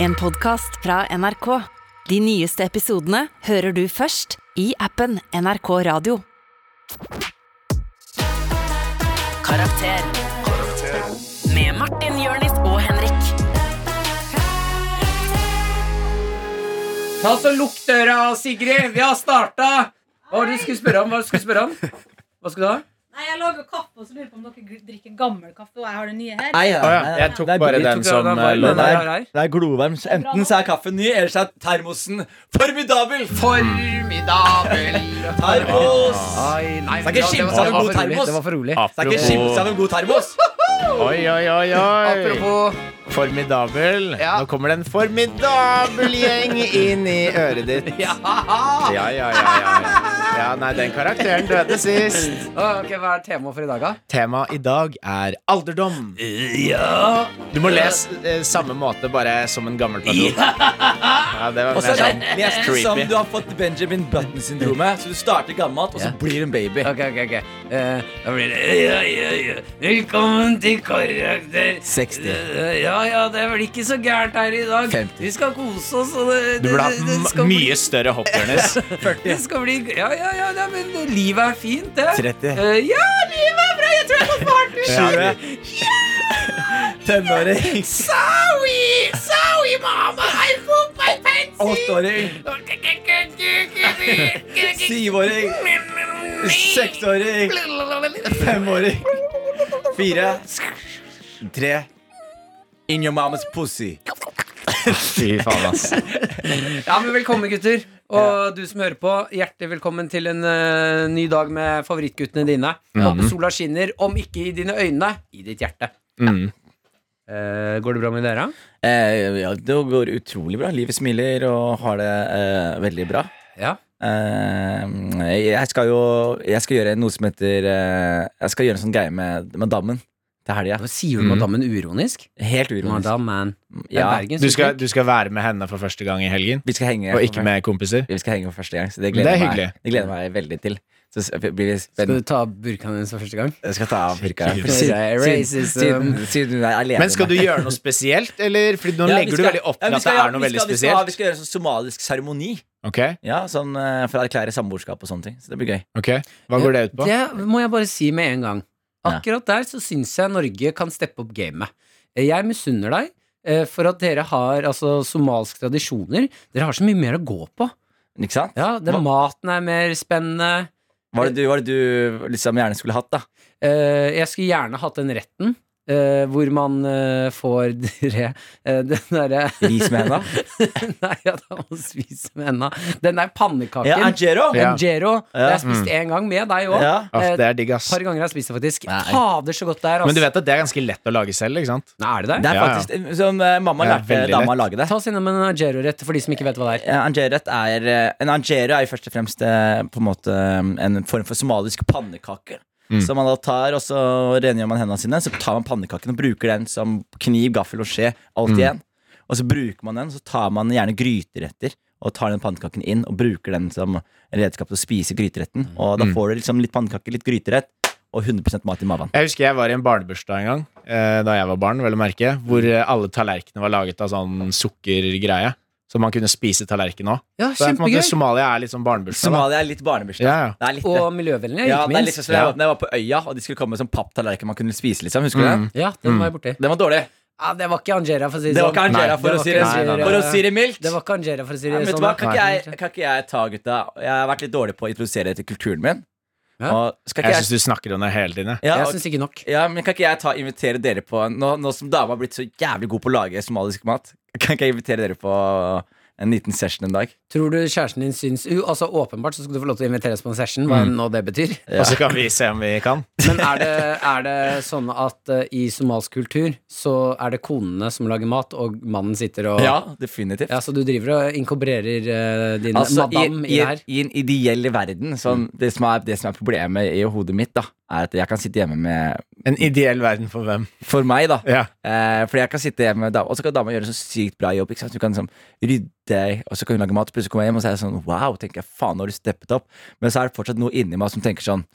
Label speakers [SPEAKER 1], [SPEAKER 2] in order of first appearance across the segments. [SPEAKER 1] En podcast fra NRK. De nyeste episodene hører du først i appen NRK Radio. Karakter. Med Martin, Jørnis og Henrik.
[SPEAKER 2] Ta så Lukk døra, Sigrid! Vi har starta! Hva var det du skulle spørre om? Hva var det du skulle spørre om? Hva skulle du ha?
[SPEAKER 3] Nei, jeg lager kaffe, og så lurer jeg på om dere gl- drikker gammel kaffe. Og jeg har det nye her.
[SPEAKER 4] Nei, ja.
[SPEAKER 5] Å ja,
[SPEAKER 4] nei,
[SPEAKER 5] jeg
[SPEAKER 4] nei,
[SPEAKER 5] tok
[SPEAKER 4] det er
[SPEAKER 5] bare
[SPEAKER 4] billig.
[SPEAKER 5] den. som, eh, lå
[SPEAKER 4] der.
[SPEAKER 2] her.
[SPEAKER 4] Det er glovarm. så Enten så er kaffen ny, eller så er termosen formidabel.
[SPEAKER 6] Formidabel.
[SPEAKER 4] Termos!
[SPEAKER 6] Nei,
[SPEAKER 4] Skal ikke
[SPEAKER 6] det
[SPEAKER 4] skimse
[SPEAKER 6] var-
[SPEAKER 4] av en god
[SPEAKER 6] det var for rolig.
[SPEAKER 4] termos.
[SPEAKER 2] Det var for rolig.
[SPEAKER 4] Det er ikke altså. skimse av
[SPEAKER 5] Apropos
[SPEAKER 4] en god termos.
[SPEAKER 5] Oi, oi, oi, oi.
[SPEAKER 6] Apropos
[SPEAKER 5] Formidabel.
[SPEAKER 6] Ja.
[SPEAKER 5] Nå kommer det en formidabel gjeng inn i øret ditt. Ja, ja, ja. ja, ja. ja nei, den karakteren døde sist.
[SPEAKER 2] Å, ok, Hva er temaet for i dag, da?
[SPEAKER 5] Temaet i dag er alderdom. Du må lese eh, samme måte, bare som en gammel person. Ja, det var
[SPEAKER 4] Og så er
[SPEAKER 5] mer sånn
[SPEAKER 4] det nesten som
[SPEAKER 5] creepy.
[SPEAKER 4] du har fått Benjamin Button-syndromet. Så du starter gammelt, og så
[SPEAKER 2] Ja.
[SPEAKER 4] blir du en baby.
[SPEAKER 2] Ok, ok, ok. Eh, da blir det ja, ja, ja. Velkommen til Karakter.
[SPEAKER 4] 60.
[SPEAKER 2] Eh, Ja, ja, det er vel ikke så gærent her i dag.
[SPEAKER 4] 50.
[SPEAKER 2] Vi skal kose oss, og det, det,
[SPEAKER 5] Du burde
[SPEAKER 2] det- det
[SPEAKER 5] hatt
[SPEAKER 2] skal
[SPEAKER 5] m-
[SPEAKER 2] bli-
[SPEAKER 5] mye større hopp, Jonis.
[SPEAKER 2] Det skal bli Ja, ja, ja, nei, men det- livet er fint, det.
[SPEAKER 4] 30.
[SPEAKER 2] Eh, ja, livet er bra! Jeg tror jeg får fart!
[SPEAKER 5] Ja.
[SPEAKER 4] Tenåring.
[SPEAKER 2] Sorry! Sorry, mama! I pooped my pants!
[SPEAKER 4] Åtteåring. Syvåring. Seksåring. Femåring. Fire. Tre. In your mama's pussy.
[SPEAKER 5] Fy faen, ass.
[SPEAKER 2] Ja, men Velkommen, gutter. Og du som hører på, hjertelig velkommen til en eh, ny dag med favorittguttene dine. Håper sola skinner, om ikke i dine øyne, i ditt hjerte.
[SPEAKER 5] Mm.
[SPEAKER 2] Eh, går det bra med dere?
[SPEAKER 4] Eh, ja, det går utrolig bra. Livet smiler og har det eh, veldig bra.
[SPEAKER 2] Ja.
[SPEAKER 4] Eh, jeg skal jo Jeg skal gjøre noe som heter eh, Jeg skal gjøre en sånn greie med, med dammen til helga.
[SPEAKER 2] Hva sier du madammen uronisk?
[SPEAKER 4] Helt uronisk.
[SPEAKER 2] Madammen.
[SPEAKER 4] Ja,
[SPEAKER 5] Du, skal, du skal være med henne for første gang i helgen,
[SPEAKER 4] vi skal henge
[SPEAKER 5] og ikke med kompiser?
[SPEAKER 4] Vi skal henge for første gang, så det
[SPEAKER 5] Men
[SPEAKER 4] gleder,
[SPEAKER 5] det er
[SPEAKER 4] meg,
[SPEAKER 5] hyggelig.
[SPEAKER 4] det gleder jeg meg veldig til. Så s- blir det
[SPEAKER 2] skal
[SPEAKER 4] spennende.
[SPEAKER 2] du ta burkaen din for første gang?
[SPEAKER 4] Jeg skal ta av burka.
[SPEAKER 5] Shit.
[SPEAKER 4] Siden, siden, siden, siden du er alene.
[SPEAKER 5] Men skal du gjøre noe spesielt, eller? Fordi nå legger du veldig opp til at det er noe veldig
[SPEAKER 4] Vi skal,
[SPEAKER 5] spesielt.
[SPEAKER 4] vi skal gjøre sånn somalisk seremoni.
[SPEAKER 5] Ok,
[SPEAKER 4] Ja, sånn eh, For å erklære samboerskap og sånne ting. Så det blir gøy.
[SPEAKER 5] ok Hva går det ut på?
[SPEAKER 2] Det må jeg bare si med en gang.
[SPEAKER 4] Ja.
[SPEAKER 2] Akkurat der så syns jeg Norge kan steppe opp gamet. Eh, Jeg misunner deg eh, for at dere har altså, somalske tradisjoner. Dere har så mye mer å gå på.
[SPEAKER 4] Ikke sant?
[SPEAKER 2] Ja, det,
[SPEAKER 4] Hva-
[SPEAKER 2] Maten er mer spennende.
[SPEAKER 4] Hva er det du, hva er det du liksom gjerne skulle hatt, da?
[SPEAKER 2] Eh, jeg skulle gjerne hatt den retten. eh, hvor man eh, får dere eh, den derre
[SPEAKER 4] Ris med henda?
[SPEAKER 2] Nei, ja, det er å spise med henda. Den der pannekaken.
[SPEAKER 4] Ja, Angero!
[SPEAKER 5] Ja.
[SPEAKER 2] Angero. Det har
[SPEAKER 4] Ja.
[SPEAKER 2] jeg spist én gang med deg òg.
[SPEAKER 4] Ja.
[SPEAKER 5] Åh, det er digg, ass.
[SPEAKER 2] Et par ganger har jeg spist det, faktisk.
[SPEAKER 4] Nei.
[SPEAKER 2] Fader, så godt det er. ass.
[SPEAKER 5] Men du vet at det er ganske lett å lage selv, ikke sant?
[SPEAKER 2] Nei, er det det?
[SPEAKER 4] Det er
[SPEAKER 5] Ja, ja.
[SPEAKER 4] faktisk som eh, mamma
[SPEAKER 5] Ja,
[SPEAKER 4] lærte
[SPEAKER 5] veldig
[SPEAKER 4] dama å lage det.
[SPEAKER 2] Ta oss innom en Angero-rett for de som ikke vet hva det er.
[SPEAKER 4] Eh, Angeret er, eh, en angero er jo først og fremst eh, på en måte eh, en form for somalisk pannekake.
[SPEAKER 5] Mm.
[SPEAKER 4] Så man da tar, og så rengjør man hendene sine, så tar man pannekaken og bruker den som kniv, gaffel og skje. Alt
[SPEAKER 5] Mm.
[SPEAKER 4] igjen. Og så bruker man den, så tar man gjerne gryteretter og tar den pannekaken inn og bruker den som redskap til å spise gryteretten.
[SPEAKER 5] Mm.
[SPEAKER 4] Og da får du liksom litt pannekake, litt gryterett og 100 mat i maven.
[SPEAKER 5] Jeg husker jeg var i en barnebursdag en gang, eh, da jeg var barn, vel å merke, hvor eh, alle tallerkenene var laget av sånn sukkergreie. Så man kunne spise tallerken òg.
[SPEAKER 2] Ja,
[SPEAKER 5] Så det er på en måte
[SPEAKER 2] kjempegøy.
[SPEAKER 5] Somalia er litt sånn barnebursdag. da.
[SPEAKER 4] Somalia er litt barnebursdag.
[SPEAKER 5] Ja, ja.
[SPEAKER 4] Det er litt
[SPEAKER 2] Og
[SPEAKER 4] det.
[SPEAKER 2] miljøvennlig,
[SPEAKER 4] Ja,
[SPEAKER 2] ikke
[SPEAKER 4] det er
[SPEAKER 2] minst.
[SPEAKER 4] liksom som jeg
[SPEAKER 5] Ja.
[SPEAKER 4] var- når jeg var på øya, og de skulle komme med sånn papptallerken man kunne spise, liksom. Husker du
[SPEAKER 5] Mm.
[SPEAKER 4] det?
[SPEAKER 2] Ja, den var jeg borti.
[SPEAKER 4] Den var dårlig.
[SPEAKER 2] Ja, det var ikke Angera, for å si
[SPEAKER 4] Det var ikke
[SPEAKER 5] Nei,
[SPEAKER 2] Sånn.
[SPEAKER 4] Angera,
[SPEAKER 2] det
[SPEAKER 4] for, å
[SPEAKER 2] var
[SPEAKER 4] si
[SPEAKER 2] ikke
[SPEAKER 4] det, sånn.
[SPEAKER 5] Angera.
[SPEAKER 4] for å si det mildt.
[SPEAKER 2] Det var ikke Angera, for å si
[SPEAKER 4] ja,
[SPEAKER 2] det
[SPEAKER 4] vet du
[SPEAKER 2] sånn.
[SPEAKER 4] hva,
[SPEAKER 2] da.
[SPEAKER 4] kan, ikke jeg, kan ikke jeg ta gutta? Jeg har vært litt dårlig på å introdusere til kulturen min.
[SPEAKER 2] Ja.
[SPEAKER 4] Og skal ikke
[SPEAKER 5] Jeg
[SPEAKER 4] jeg,
[SPEAKER 5] syns du snakker om det hele tiden. jeg.
[SPEAKER 4] ja,
[SPEAKER 2] Jeg
[SPEAKER 4] og-
[SPEAKER 2] syns ikke nok.
[SPEAKER 4] ja, men kan ikke jeg ta, invitere dere på nå, nå som dama har blitt så jævlig god på å lage somalisk mat, kan ikke jeg invitere dere på en liten session en dag?
[SPEAKER 2] Tror du kjæresten din syns u, Altså Åpenbart så skulle du få lov til å invitere oss på en session, hva enn nå det betyr.
[SPEAKER 4] Mm.
[SPEAKER 5] Og så kan vi se om vi kan.
[SPEAKER 2] Men er det, er det sånn at eh, i somalsk kultur så er det konene som lager mat, og mannen sitter og
[SPEAKER 4] Ja, definitivt.
[SPEAKER 2] Ja, Så du driver og inkorporerer eh, din
[SPEAKER 4] Altså,
[SPEAKER 2] madam i,
[SPEAKER 4] i,
[SPEAKER 2] det her? Mm.
[SPEAKER 4] i en ideell verden, sånn, det, som er, det som er problemet i hodet mitt, da, er at jeg kan sitte hjemme med
[SPEAKER 5] En ideell verden for hvem?
[SPEAKER 4] For meg, da.
[SPEAKER 5] Ja.
[SPEAKER 4] Eh, fordi jeg kan sitte hjemme med dama, og så kan dama gjøre en så sykt bra jobb. Ikke sant? Hun kan liksom rydde, og så kan hun lage mat, og plutselig kommer jeg hjem, og så er jeg sånn wow, tenker jeg, faen, nå har du steppet opp. Men så er det fortsatt noe inni meg som tenker sånn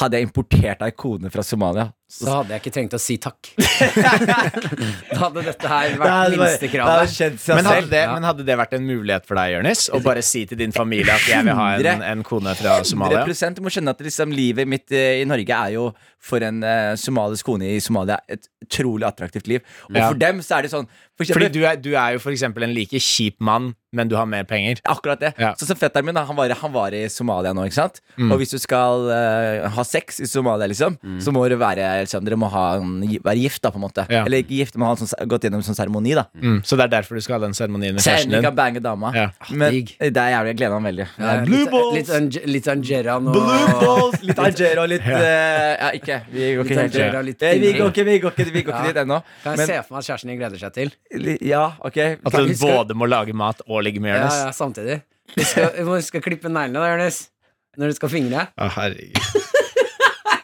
[SPEAKER 4] hadde jeg importert ei kone fra Somalia,
[SPEAKER 2] Så hadde jeg ikke trengt å si takk. da hadde dette her
[SPEAKER 4] Det
[SPEAKER 2] vært
[SPEAKER 4] hadde bare-
[SPEAKER 2] minste
[SPEAKER 4] det hadde
[SPEAKER 2] kravet.
[SPEAKER 4] kjent seg
[SPEAKER 5] Men hadde,
[SPEAKER 4] selv.
[SPEAKER 5] det,
[SPEAKER 2] Ja.
[SPEAKER 5] men hadde det vært en mulighet for deg, Jørnis, å bare si til din familie at jeg vil ha en, en kone fra Somalia?
[SPEAKER 4] 100 Du må skjønne at liksom, livet mitt eh, i Norge er jo for en eh, somalisk kone i Somalia et utrolig attraktivt liv. Og
[SPEAKER 5] Ja.
[SPEAKER 4] for dem så er det sånn for eksempel,
[SPEAKER 5] Fordi du er, du er jo for eksempel en like kjip mann, men du har mer penger.
[SPEAKER 4] Akkurat det.
[SPEAKER 5] Ja.
[SPEAKER 4] Så, som fetteren min, da, han var, han var i Somalia nå, ikke sant? Og hvis du skal eh, ha sex i Somalia, liksom, så må det være liksom, Dere må ha, en- være gift, da, på en måte.
[SPEAKER 5] Ja.
[SPEAKER 4] Eller ikke gift, men ha en sånn, gått gjennom en sånn seremoni, da.
[SPEAKER 5] Mm. Så det er derfor du skal ha den seremonien med
[SPEAKER 4] Så jeg
[SPEAKER 5] kjæresten
[SPEAKER 4] endelig
[SPEAKER 5] din.
[SPEAKER 4] kan bange dama. Ah,
[SPEAKER 5] Ja.
[SPEAKER 4] Men
[SPEAKER 2] Digg.
[SPEAKER 4] det er jævlig, jeg gleder meg veldig.
[SPEAKER 2] Ja,
[SPEAKER 4] Blue
[SPEAKER 2] Eh, litt-
[SPEAKER 4] balls!
[SPEAKER 2] Litt, Ange- litt Angera nå.
[SPEAKER 4] Blue balls! Litt Algero, litt eh, Ja, ikke. Vi går
[SPEAKER 2] Litt
[SPEAKER 4] ikke helt
[SPEAKER 2] Algero,
[SPEAKER 4] dit.
[SPEAKER 2] litt
[SPEAKER 4] Eh, Vi
[SPEAKER 2] Tinder.
[SPEAKER 4] går ikke, vi går ikke, vi går ikke
[SPEAKER 2] Ja.
[SPEAKER 4] dit ennå.
[SPEAKER 2] Kan jeg
[SPEAKER 4] Men
[SPEAKER 2] se for meg at kjæresten din gleder seg til?
[SPEAKER 4] li- ja, ok.
[SPEAKER 5] At hun
[SPEAKER 2] Skal-
[SPEAKER 5] både må lage mat og ligge med
[SPEAKER 2] Ja,
[SPEAKER 5] Jørnis.
[SPEAKER 2] ja, samtidig. Vi skal, vi må huske å klippe neglene da, Jonis. Når du skal fingre.
[SPEAKER 5] Å, herregud.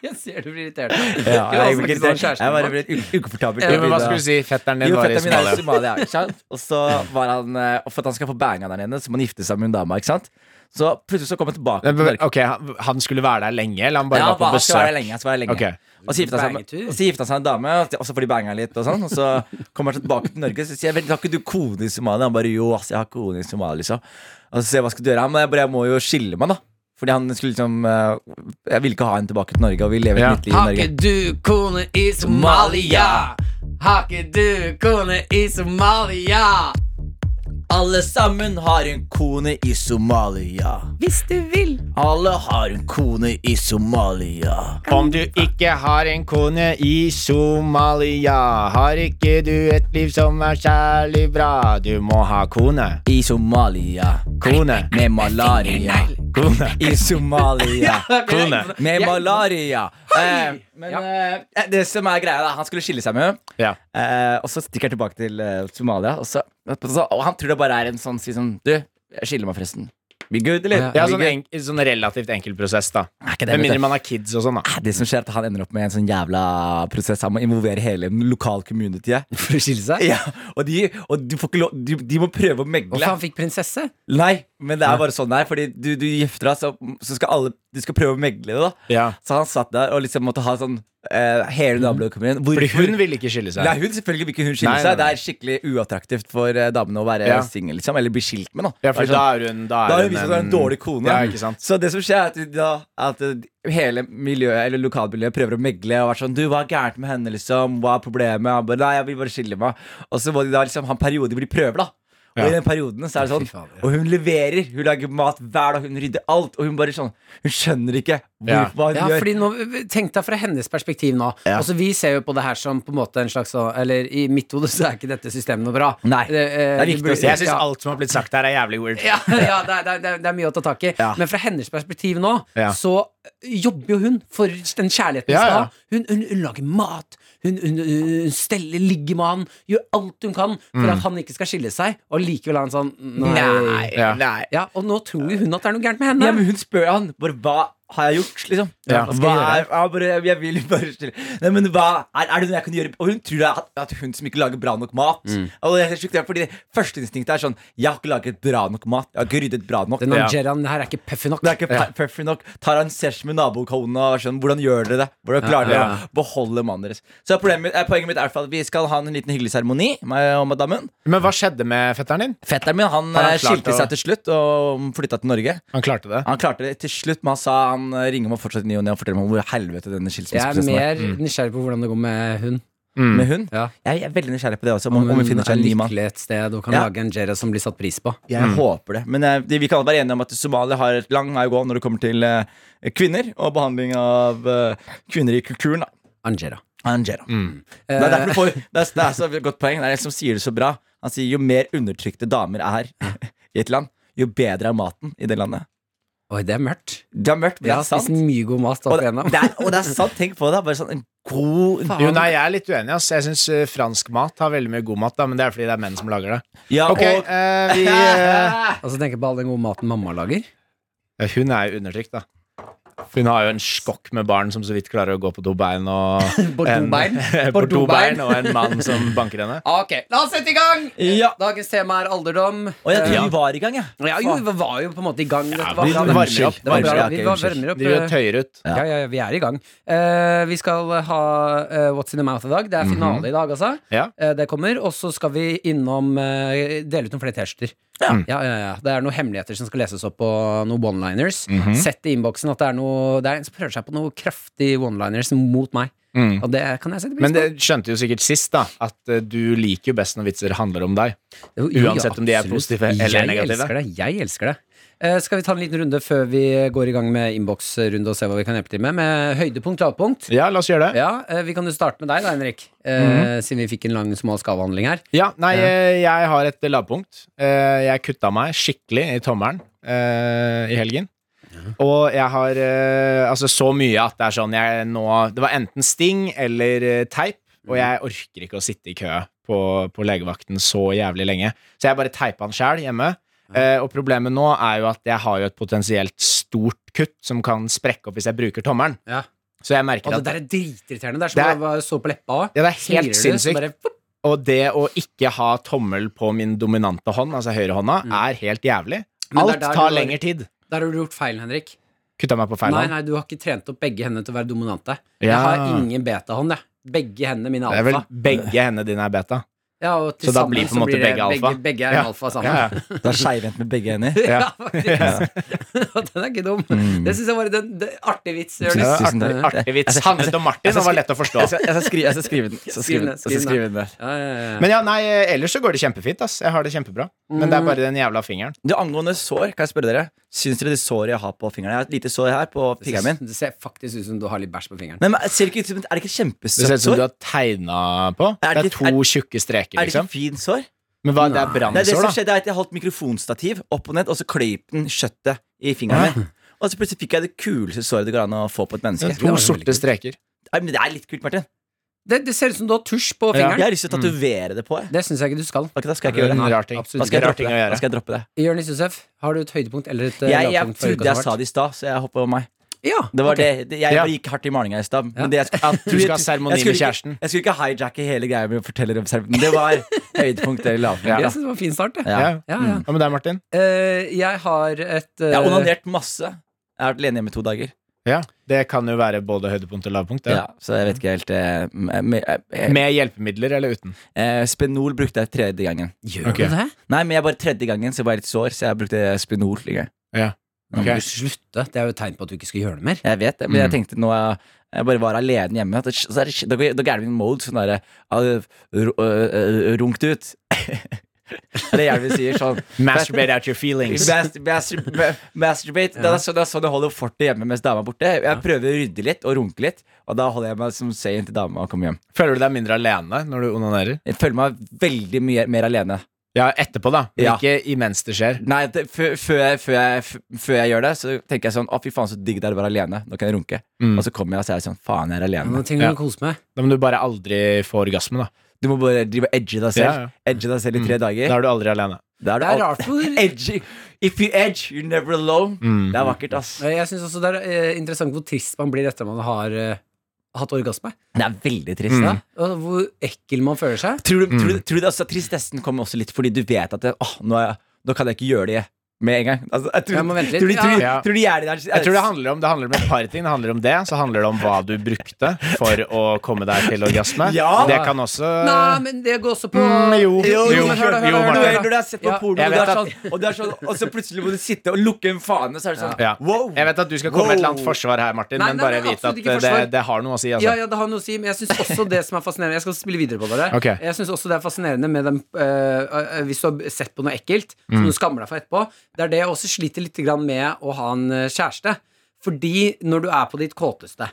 [SPEAKER 2] Jeg ser du blir irritert.
[SPEAKER 4] Ja, jeg,
[SPEAKER 2] Kunne
[SPEAKER 4] blir
[SPEAKER 2] også snakke sånn
[SPEAKER 4] irritert. jeg bare
[SPEAKER 2] kjæresten
[SPEAKER 4] ble u- ukomfortabel.
[SPEAKER 5] Jo, men hva skulle du si? Fetteren din
[SPEAKER 4] Jo,
[SPEAKER 5] var i
[SPEAKER 4] fetteren min er i
[SPEAKER 5] Somalia.
[SPEAKER 4] Somalia, ikke sant? Og så var han eh, Og for at han skal få banga der nede, så må han gifte seg med en dame, ikke sant? Så plutselig så kom han tilbake.
[SPEAKER 5] Men,
[SPEAKER 4] til Norge.
[SPEAKER 5] Ok, han- Han skulle være der lenge, eller han bare
[SPEAKER 4] Ja, han
[SPEAKER 5] var på
[SPEAKER 4] bare- han skal være
[SPEAKER 5] besøk?
[SPEAKER 4] der lenge. han Skal være der lenge.
[SPEAKER 5] Ok.
[SPEAKER 4] Og så gifta han seg med-
[SPEAKER 2] Bangetur.
[SPEAKER 4] og så gifta han seg med en dame, og så- og så får de banga litt. Og sånn Og så kommer han tilbake til Norge, så sier jeg vel, har ikke du kone i Somalia? Han bare jo, ass, jeg har kone i Somalia, liksom. Og så sier jeg hva skal du gjøre? Han bare jeg, bare, jeg må jo skille meg, da. Fordi han skulle liksom eh, Jeg ville ikke ha henne tilbake til Norge, og vi lever
[SPEAKER 5] Ja.
[SPEAKER 4] et nytt liv i
[SPEAKER 2] Har ikke
[SPEAKER 4] Norge.
[SPEAKER 2] du kone i Somalia? Har ikke du kone i Somalia?
[SPEAKER 4] Alle sammen har en kone i Somalia.
[SPEAKER 1] Hvis du vil.
[SPEAKER 4] Alle har en kone i Somalia.
[SPEAKER 5] Om du ikke har en kone i Somalia, har ikke du et liv som er særlig bra. Du må ha kone.
[SPEAKER 4] I Somalia.
[SPEAKER 5] Kone.
[SPEAKER 4] Med malaria.
[SPEAKER 5] Kone.
[SPEAKER 4] I Somalia.
[SPEAKER 5] Kone.
[SPEAKER 4] Med malaria. Eh, men
[SPEAKER 2] Ja.
[SPEAKER 4] eh, det som er greia, da han skulle skille seg med henne.
[SPEAKER 5] Ja.
[SPEAKER 4] Eh, og så stikker han tilbake til eh, Somalia, og, så, og han tror det bare er en sånn si sånn Du, jeg skiller meg forresten. Be good, eller?
[SPEAKER 5] Det er
[SPEAKER 4] Be
[SPEAKER 5] sånn,
[SPEAKER 4] good.
[SPEAKER 5] enk, sånn relativt enkel prosess, da.
[SPEAKER 4] Er ikke det, vet
[SPEAKER 5] Med mindre
[SPEAKER 4] du.
[SPEAKER 5] man har kids og sånn, da.
[SPEAKER 4] Det som skjer er at Han ender opp med en sånn jævla prosess. Han må involvere hele den lokale communityet.
[SPEAKER 2] For å skille seg?
[SPEAKER 4] Ja, og de, og du får ikke lov, de, de må prøve å megle.
[SPEAKER 2] Hvorfor han fikk prinsesse?
[SPEAKER 4] Nei, men det er bare sånn det er. Fordi du, du gifter deg, så, så skal alle Du skal prøve å megle det, da.
[SPEAKER 5] Ja.
[SPEAKER 4] Så han satt der og liksom måtte ha sånn eh, Hele nabolaget kommer inn. Hvorfor-
[SPEAKER 5] Fordi hun ville ikke skille seg.
[SPEAKER 4] Nei, hun selvfølgelig vil ikke hun skille
[SPEAKER 5] Nei, nei,
[SPEAKER 4] seg. Det
[SPEAKER 5] nei.
[SPEAKER 4] er skikkelig uattraktivt for eh, damene å være
[SPEAKER 5] Ja.
[SPEAKER 4] singel, liksom. Eller bli skilt med, da.
[SPEAKER 5] Ja,
[SPEAKER 4] Det
[SPEAKER 5] for
[SPEAKER 4] er
[SPEAKER 5] da
[SPEAKER 4] sånn-
[SPEAKER 5] er hun liksom Da
[SPEAKER 4] da har hun vist seg å være en dårlig kone.
[SPEAKER 5] Ja, ikke sant.
[SPEAKER 4] Så det som skjer, er at, de da, at eh, hele miljøet eller lokalmiljøet prøver å megle og være sånn Du, hva er gærent med henne, liksom? Hva er problemet? Han bare Nei, jeg vil bare skille meg. Og så må de da liksom ha en periode hvor de prøver, da. Og
[SPEAKER 5] Ja.
[SPEAKER 4] i den perioden så er det
[SPEAKER 2] Fy
[SPEAKER 4] sånn
[SPEAKER 2] fader.
[SPEAKER 4] Og hun leverer. Hun lager mat hver dag. Hun rydder alt. Og hun bare sånn Hun skjønner ikke hvor,
[SPEAKER 5] Ja.
[SPEAKER 4] hva hun
[SPEAKER 2] Ja,
[SPEAKER 4] gjør.
[SPEAKER 2] fordi nå, Tenk deg fra hennes perspektiv nå. Altså, vi ser jo på det her som på en måte en slags sånn- Eller i mitt hode så er ikke dette systemet noe bra. Eh,
[SPEAKER 4] Nei, det er viktig å si.
[SPEAKER 5] Jeg syns
[SPEAKER 2] ja.
[SPEAKER 5] alt som har blitt sagt her, er jævlig weird.
[SPEAKER 2] Ja, ja det, er, det, er, det er mye å ta tak i.
[SPEAKER 4] Ja.
[SPEAKER 2] Men fra hennes perspektiv nå,
[SPEAKER 5] Ja.
[SPEAKER 2] så jobber jo hun for den kjærligheten
[SPEAKER 5] Ja,
[SPEAKER 2] ja,
[SPEAKER 5] ja.
[SPEAKER 2] Hun, hun, hun lager mat, hun, hun, hun steller, ligger med han, gjør alt hun kan for
[SPEAKER 4] Mm.
[SPEAKER 2] at han ikke skal skille seg, og likevel er han sånn Nei.
[SPEAKER 5] Ja.
[SPEAKER 4] nei.
[SPEAKER 2] Ja, og nå tror jo hun at det er noe gærent med
[SPEAKER 4] Ja,
[SPEAKER 2] henne.
[SPEAKER 4] men hun spør han bare hva har jeg gjort, liksom.
[SPEAKER 5] Ja, hva
[SPEAKER 4] hva
[SPEAKER 5] skal
[SPEAKER 4] jeg,
[SPEAKER 5] jeg
[SPEAKER 4] er, ja, bare, jeg vil bare stille Nei, men hva er, er det noe jeg kan gjøre? Og hun tror det er at, at hun som ikke lager bra nok mat.
[SPEAKER 5] Mm.
[SPEAKER 4] Og det er helt sjukt, det er fordi Førsteinstinktet er sånn Jeg har ikke laget bra nok mat. Jeg har ikke ryddet bra nok.
[SPEAKER 2] Den
[SPEAKER 5] Ja.
[SPEAKER 2] Angeraen her er ikke puffy nok.
[SPEAKER 4] Det er ikke per- perfect nok. Tar han sesj med nabokona og er sånn Hvordan gjør dere det? Hvordan klarer dere
[SPEAKER 5] Ja,
[SPEAKER 4] å beholde mannen deres? Så problemet, mitt- eh, poenget mitt er i hvert fall at vi skal ha en liten hyggelig seremoni, meg og madammen.
[SPEAKER 5] Men hva skjedde med fetteren din?
[SPEAKER 4] Fetteren min han,
[SPEAKER 5] Har han
[SPEAKER 4] eh,
[SPEAKER 5] klart
[SPEAKER 4] skilte
[SPEAKER 5] å-
[SPEAKER 4] seg til slutt og flytta til Norge.
[SPEAKER 5] Han klarte det.
[SPEAKER 4] Han klarte det til slutt, men han sa han eh, ringer meg fortsatt i ny og ne og forteller meg om hvor helvete denne
[SPEAKER 2] Jeg er
[SPEAKER 4] skilsmisseprosessen er.
[SPEAKER 2] mer nysgjerrig på hvordan det går med hun.
[SPEAKER 4] Med hun?
[SPEAKER 2] Ja. Mm,
[SPEAKER 4] Jeg er veldig nysgjerrig på det også, om, om hun finner
[SPEAKER 2] er
[SPEAKER 4] seg en ny mann.
[SPEAKER 2] lykkelig et sted og kan
[SPEAKER 4] Ja.
[SPEAKER 2] lage Angera som blir satt pris på.
[SPEAKER 4] Jeg håper det. Men eh, vi kan alle være enige om at Somalia har et lang vei å gå når det kommer til eh, kvinner og behandling av eh, kvinner i kulturen. da.
[SPEAKER 2] Angera. Eh,
[SPEAKER 4] Angera.
[SPEAKER 2] Mm.
[SPEAKER 4] Det er derfor du får det er, det er så godt poeng. Det er en som sier det så bra. Han sier jo mer undertrykte damer er i et land, jo bedre er maten i det landet.
[SPEAKER 2] Oi, det er mørkt.
[SPEAKER 4] Det er mørt,
[SPEAKER 2] Jeg
[SPEAKER 4] men det
[SPEAKER 2] har
[SPEAKER 4] er sant.
[SPEAKER 2] spist mye god mat opp
[SPEAKER 4] Og det,
[SPEAKER 2] igjennom.
[SPEAKER 4] det er, og det er sant. Tenk på det. Bare sånn en god
[SPEAKER 5] Jo, nei, jeg er litt uenig. ass Jeg syns fransk mat har veldig mye god mat, da, men det er fordi det er menn som lager det.
[SPEAKER 4] Ja,
[SPEAKER 5] Ok,
[SPEAKER 4] og-
[SPEAKER 5] eh, vi eh,
[SPEAKER 2] Og så tenker jeg på all den gode maten mamma lager.
[SPEAKER 5] Hun er jo eh, undertrykt, da. For hun har jo en skokk med barn som så vidt klarer å gå på dobein og
[SPEAKER 2] På
[SPEAKER 5] en-
[SPEAKER 2] dobein?
[SPEAKER 5] på
[SPEAKER 2] På dobein?
[SPEAKER 5] dobein og en mann som banker henne.
[SPEAKER 2] Ok, la oss sette i gang!
[SPEAKER 4] Ja.
[SPEAKER 2] Dagens tema er alderdom.
[SPEAKER 4] Og jeg tror
[SPEAKER 2] Eh,
[SPEAKER 4] vi var i gang, jeg.
[SPEAKER 2] ja, jo, vi var jo på en måte i gang. Dette var
[SPEAKER 5] vi
[SPEAKER 2] bra.
[SPEAKER 5] varmer
[SPEAKER 2] Unnskyld.
[SPEAKER 5] opp,
[SPEAKER 2] Det var
[SPEAKER 4] varmer
[SPEAKER 2] bra.
[SPEAKER 4] opp.
[SPEAKER 2] Vi
[SPEAKER 4] Ok,
[SPEAKER 2] var-
[SPEAKER 4] unnskyld.
[SPEAKER 2] varmer opp.
[SPEAKER 5] Driver og
[SPEAKER 2] eh,
[SPEAKER 5] tøyer ut.
[SPEAKER 2] Ja, ja, ja, vi er i gang. Eh, vi skal ha eh, What's in the mouth i dag. Det
[SPEAKER 4] Mhm.
[SPEAKER 2] er finale i dag, altså.
[SPEAKER 5] Ja.
[SPEAKER 2] Eh, det kommer. Og så skal vi innom eh, dele ut noen flere T-skjorter. Ja.
[SPEAKER 5] Mm.
[SPEAKER 2] Ja, ja, ja. Det er noen hemmeligheter som skal leses opp, og noen one-liners.
[SPEAKER 5] Mhm.
[SPEAKER 2] Sett i innboksen at det er noe Det er en som prøver seg på noe kraftig one-liners mot meg.
[SPEAKER 5] Mm.
[SPEAKER 2] Og det kan jeg sette pris på.
[SPEAKER 5] Men det skjønte jo sikkert sist, da, at eh, du liker jo best når vitser handler om deg.
[SPEAKER 2] Jo, jo, ja,
[SPEAKER 5] uansett om de er
[SPEAKER 2] absolutt.
[SPEAKER 5] positive eller
[SPEAKER 2] jeg
[SPEAKER 5] negative.
[SPEAKER 2] Elsker det. Jeg elsker det. Eh, skal vi ta en liten runde før vi går i gang med innboksrunde og se hva vi kan hjelpe til med? Med høydepunkt, lavpunkt.
[SPEAKER 5] Ja, la oss gjøre det.
[SPEAKER 2] Ja, eh, Vi kan jo starte med deg da, Henrik. Eh,
[SPEAKER 5] Mhm.
[SPEAKER 2] Siden vi fikk en lang smal skadehandling her.
[SPEAKER 5] Ja, nei, eh, jeg har et lavpunkt. Eh, Jeg kutta meg skikkelig i tommelen eh, i helgen. Og jeg har eh, altså så mye at det er sånn jeg nå Det var enten sting eller eh, teip, og jeg orker ikke å sitte i kø på, på legevakten så jævlig lenge. Så jeg bare teipa den sjæl hjemme. Eh, og problemet nå er jo at jeg har jo et potensielt stort kutt som kan sprekke opp hvis jeg bruker tommelen.
[SPEAKER 2] Ja.
[SPEAKER 5] Så jeg merker
[SPEAKER 2] Altså,
[SPEAKER 5] at
[SPEAKER 2] det er dritirriterende. Det er som
[SPEAKER 5] Det er-
[SPEAKER 2] å være så på leppa òg.
[SPEAKER 5] Ja, det er helt sinnssykt. Og det å ikke ha tommel på min dominante hånd, altså høyrehånda,
[SPEAKER 4] Mm.
[SPEAKER 5] er helt jævlig.
[SPEAKER 2] Men det er
[SPEAKER 5] Alt
[SPEAKER 2] der
[SPEAKER 5] tar
[SPEAKER 2] du-
[SPEAKER 5] lengre tid.
[SPEAKER 2] Der har du gjort feil, Henrik.
[SPEAKER 5] Kutta meg på feil
[SPEAKER 2] Nei,
[SPEAKER 5] hånd.
[SPEAKER 2] nei, du har ikke trent opp begge hendene til å være dominante. Jeg
[SPEAKER 5] Ja.
[SPEAKER 2] har ingen betahånd, jeg. Begge hendene mine
[SPEAKER 5] Det
[SPEAKER 2] er
[SPEAKER 5] er vel
[SPEAKER 2] alfa.
[SPEAKER 5] begge hendene dine er beta.
[SPEAKER 2] Ja, og til
[SPEAKER 5] Så da
[SPEAKER 2] sammen
[SPEAKER 5] blir på en måte
[SPEAKER 2] det
[SPEAKER 5] begge alfa?
[SPEAKER 2] Begge, begge er
[SPEAKER 5] Ja.
[SPEAKER 2] alfa sammen.
[SPEAKER 5] Ja,
[SPEAKER 2] Ja,
[SPEAKER 5] ja.
[SPEAKER 4] Det er skeivhendt med begge hender.
[SPEAKER 2] faktisk. Og den er ikke dum.
[SPEAKER 5] Mm.
[SPEAKER 2] Det syns jeg var en det- artig vits.
[SPEAKER 5] Det
[SPEAKER 2] Jonis.
[SPEAKER 5] var
[SPEAKER 4] Tusen
[SPEAKER 5] artig,
[SPEAKER 4] takk.
[SPEAKER 5] artig vits. Handlet om Martin og var lett å forstå.
[SPEAKER 4] Jeg skal, jeg skal, skrive, jeg skal skrive den. Jeg skal skrive den. Jeg skal skrive den der.
[SPEAKER 2] Ja, ja, ja.
[SPEAKER 5] Men ja, nei, ellers så går det kjempefint. ass Jeg har det kjempebra. Men det
[SPEAKER 4] Mm.
[SPEAKER 5] er bare den jævla fingeren.
[SPEAKER 4] Du, Angående sår, kan jeg spørre dere Syns dere det såret jeg har på fingeren? Jeg har et lite sår her på fingeren min.
[SPEAKER 2] Det ser faktisk ut som du har litt bæsj på fingeren.
[SPEAKER 4] Nei, men ser det ikke ut som, Er det ikke et
[SPEAKER 5] Det ser ut
[SPEAKER 4] kjempesøtt
[SPEAKER 5] som
[SPEAKER 4] sår?
[SPEAKER 5] du har tegna på.
[SPEAKER 4] Er
[SPEAKER 5] Det
[SPEAKER 4] det
[SPEAKER 5] er
[SPEAKER 4] ikke- er-
[SPEAKER 5] to tjukke streker,
[SPEAKER 4] Er det ikke
[SPEAKER 5] liksom.
[SPEAKER 4] et fint sår?
[SPEAKER 5] Men hva, det
[SPEAKER 4] Nei,
[SPEAKER 5] er
[SPEAKER 4] det
[SPEAKER 5] brannsår,
[SPEAKER 4] som
[SPEAKER 5] da.
[SPEAKER 4] skjedde er at Jeg holdt mikrofonstativ opp og ned, og så kløyp den kjøttet i fingeren min. Og så plutselig fikk jeg det kuleste såret det går an å få på et menneske.
[SPEAKER 5] Det er To sorte streker.
[SPEAKER 4] Nei, men Det er litt kult, Martin.
[SPEAKER 2] Det, det ser ut som du har tusj på
[SPEAKER 5] Ja. Mm.
[SPEAKER 4] Jeg
[SPEAKER 2] fingeren.
[SPEAKER 4] har lyst til å tatovere det på. Jeg.
[SPEAKER 2] Det syns jeg ikke du skal.
[SPEAKER 4] Ok, da skal jeg
[SPEAKER 5] Det
[SPEAKER 4] ikke
[SPEAKER 5] er en
[SPEAKER 4] gjøre det.
[SPEAKER 5] rar ting.
[SPEAKER 4] Da
[SPEAKER 5] Det
[SPEAKER 4] skal
[SPEAKER 5] er
[SPEAKER 4] jeg
[SPEAKER 5] rar
[SPEAKER 4] droppe
[SPEAKER 5] ting å
[SPEAKER 4] det. Da
[SPEAKER 5] gjøre.
[SPEAKER 4] skal jeg droppe det.
[SPEAKER 2] Jonis Josef, har du et høydepunkt eller et eh,
[SPEAKER 4] Jeg, jeg
[SPEAKER 2] lavpunkt for uka
[SPEAKER 4] trodde jeg
[SPEAKER 2] som har
[SPEAKER 4] sa
[SPEAKER 2] vært?
[SPEAKER 4] det i stad, så jeg hoppa over meg.
[SPEAKER 2] Ja,
[SPEAKER 4] Det var
[SPEAKER 2] ok.
[SPEAKER 4] det, det, jeg
[SPEAKER 5] Ja.
[SPEAKER 4] gikk hardt i malinga i stad.
[SPEAKER 2] Ja.
[SPEAKER 4] men det jeg sk- at-
[SPEAKER 5] Du skal ha seremoni
[SPEAKER 4] jeg skulle
[SPEAKER 5] med
[SPEAKER 4] ikke-
[SPEAKER 5] kjæresten.
[SPEAKER 4] Jeg skulle ikke hijacke hele greia med å fortelle om seremoni. men Det var høydepunkt eller lavpunkt.
[SPEAKER 2] Jeg syns det var en fin start, jeg.
[SPEAKER 4] Ja.
[SPEAKER 5] Ja. Mm.
[SPEAKER 2] Ja, ja.
[SPEAKER 5] Hva med deg, Martin?
[SPEAKER 2] Eh, jeg har et eh,
[SPEAKER 4] Jeg har onanert masse. Jeg har vært alene hjemme i to dager.
[SPEAKER 5] Ja, Det kan jo være både høydepunkt og lavpunkt. det.
[SPEAKER 4] Ja, så jeg vet ikke helt eh, m- me- eh,
[SPEAKER 5] Med hjelpemidler eller uten?
[SPEAKER 4] eh, Spenol brukte jeg tredje gangen.
[SPEAKER 2] Gjør
[SPEAKER 5] Ok.
[SPEAKER 2] du det?
[SPEAKER 4] Nei, men jeg bare tredje gangen, så jeg var litt sår, så jeg brukte Spenol. Liksom.
[SPEAKER 2] Nå
[SPEAKER 5] Ok.
[SPEAKER 2] må du slutte. Det er jo et tegn på at du ikke skal gjøre det mer.
[SPEAKER 4] Jeg vet det, men jeg
[SPEAKER 5] Mm.
[SPEAKER 4] tenkte nå jeg, jeg bare var alene hjemme. At det, så er det, da går- da går hjernen min mode sånn derre uh, eh, Runkt ut. Eller hjernen min sier sånn
[SPEAKER 5] Masturbate out your feelings.
[SPEAKER 4] Mas- mastur- ma- Masturbate. Det er sånn det er sånn jeg holder fortet hjemme mens dama er borte. Jeg prøver å rydde litt og runke litt, og da holder jeg meg som sane til dama kommer hjem.
[SPEAKER 5] Føler du deg mindre alene når du onanerer?
[SPEAKER 4] Jeg føler meg veldig mye mer alene.
[SPEAKER 5] Ja, etterpå, da. Men
[SPEAKER 4] Ja.
[SPEAKER 5] ikke imens det skjer.
[SPEAKER 4] Nei, det, før, før, jeg, før, jeg, f- før jeg gjør det, så tenker jeg sånn Å, fy faen, så digg det er å være alene. Nå kan jeg runke. Og så kommer jeg og så er jeg sånn Faen, jeg er alene.
[SPEAKER 2] Noen ting du
[SPEAKER 5] Ja.
[SPEAKER 2] må kose med.
[SPEAKER 5] Da må du bare aldri få orgasme, da.
[SPEAKER 4] Du må bare drive og edge deg selv.
[SPEAKER 5] Ja, ja.
[SPEAKER 4] Edge deg selv i tre dager.
[SPEAKER 5] Da er du aldri alene.
[SPEAKER 4] Da er du
[SPEAKER 2] Det er
[SPEAKER 4] alt-
[SPEAKER 2] rart hvor
[SPEAKER 4] Edgy. If you edge, you're never alone.
[SPEAKER 5] Mm.
[SPEAKER 4] Det er vakkert, ass.
[SPEAKER 2] Jeg syns også det er eh, interessant hvor trist man blir etter man har eh, hatt orgasme.
[SPEAKER 4] Det er veldig trist.
[SPEAKER 2] Ja. Og hvor ekkel man føler seg.
[SPEAKER 4] Tror, du,
[SPEAKER 5] Mm.
[SPEAKER 4] tror, du, tror du det også Tristessen kommer også litt fordi du vet at det, åh, nå, er, jeg- nå kan jeg ikke gjøre det med en gang. Altså, jeg tror,
[SPEAKER 2] Jeg må vente litt.
[SPEAKER 4] Tror, du- tror, du-
[SPEAKER 5] Ja.
[SPEAKER 4] tror du hjernen din er
[SPEAKER 5] Jeg tror det handler om Det handler om et par ting. Det handler om det, så handler det om hva du brukte for å komme deg til orgasme.
[SPEAKER 4] Ja.
[SPEAKER 5] Det kan også
[SPEAKER 4] Eh.
[SPEAKER 2] Nei, men det går også på
[SPEAKER 5] Mm, jo. Jo,
[SPEAKER 2] men hør da, hør
[SPEAKER 5] jo,
[SPEAKER 2] da, hør da,
[SPEAKER 4] du vet,
[SPEAKER 5] Martin.
[SPEAKER 2] hør da.
[SPEAKER 4] når du har sett på
[SPEAKER 2] Ja.
[SPEAKER 4] porno, og,
[SPEAKER 5] Jeg
[SPEAKER 4] det er
[SPEAKER 5] vet
[SPEAKER 4] sånn, og, det er sånn, og så plutselig må du sitte og lukke en fane, så er det sånn
[SPEAKER 5] ja.
[SPEAKER 4] wow.
[SPEAKER 5] Jeg vet at du skal komme med et eller annet forsvar her, Martin,
[SPEAKER 2] Nei,
[SPEAKER 5] men
[SPEAKER 2] nei,
[SPEAKER 5] bare
[SPEAKER 2] nei,
[SPEAKER 5] vite at eh,
[SPEAKER 2] absolutt ikke
[SPEAKER 5] det,
[SPEAKER 2] forsvar.
[SPEAKER 5] det har noe å si.
[SPEAKER 2] Ja,
[SPEAKER 5] Altså.
[SPEAKER 2] ja, det har noe å si, men jeg syns også det som er fascinerende Jeg skal spille videre på dere.
[SPEAKER 5] Ok.
[SPEAKER 2] Jeg synes også det er fascinerende med dem eh, eh, Hvis du har sett på noe ekkelt
[SPEAKER 5] Mm.
[SPEAKER 2] som du skammer deg for etterpå, det er det jeg også sliter litt grann med å ha en eh, kjæreste. Fordi når du er på ditt kåteste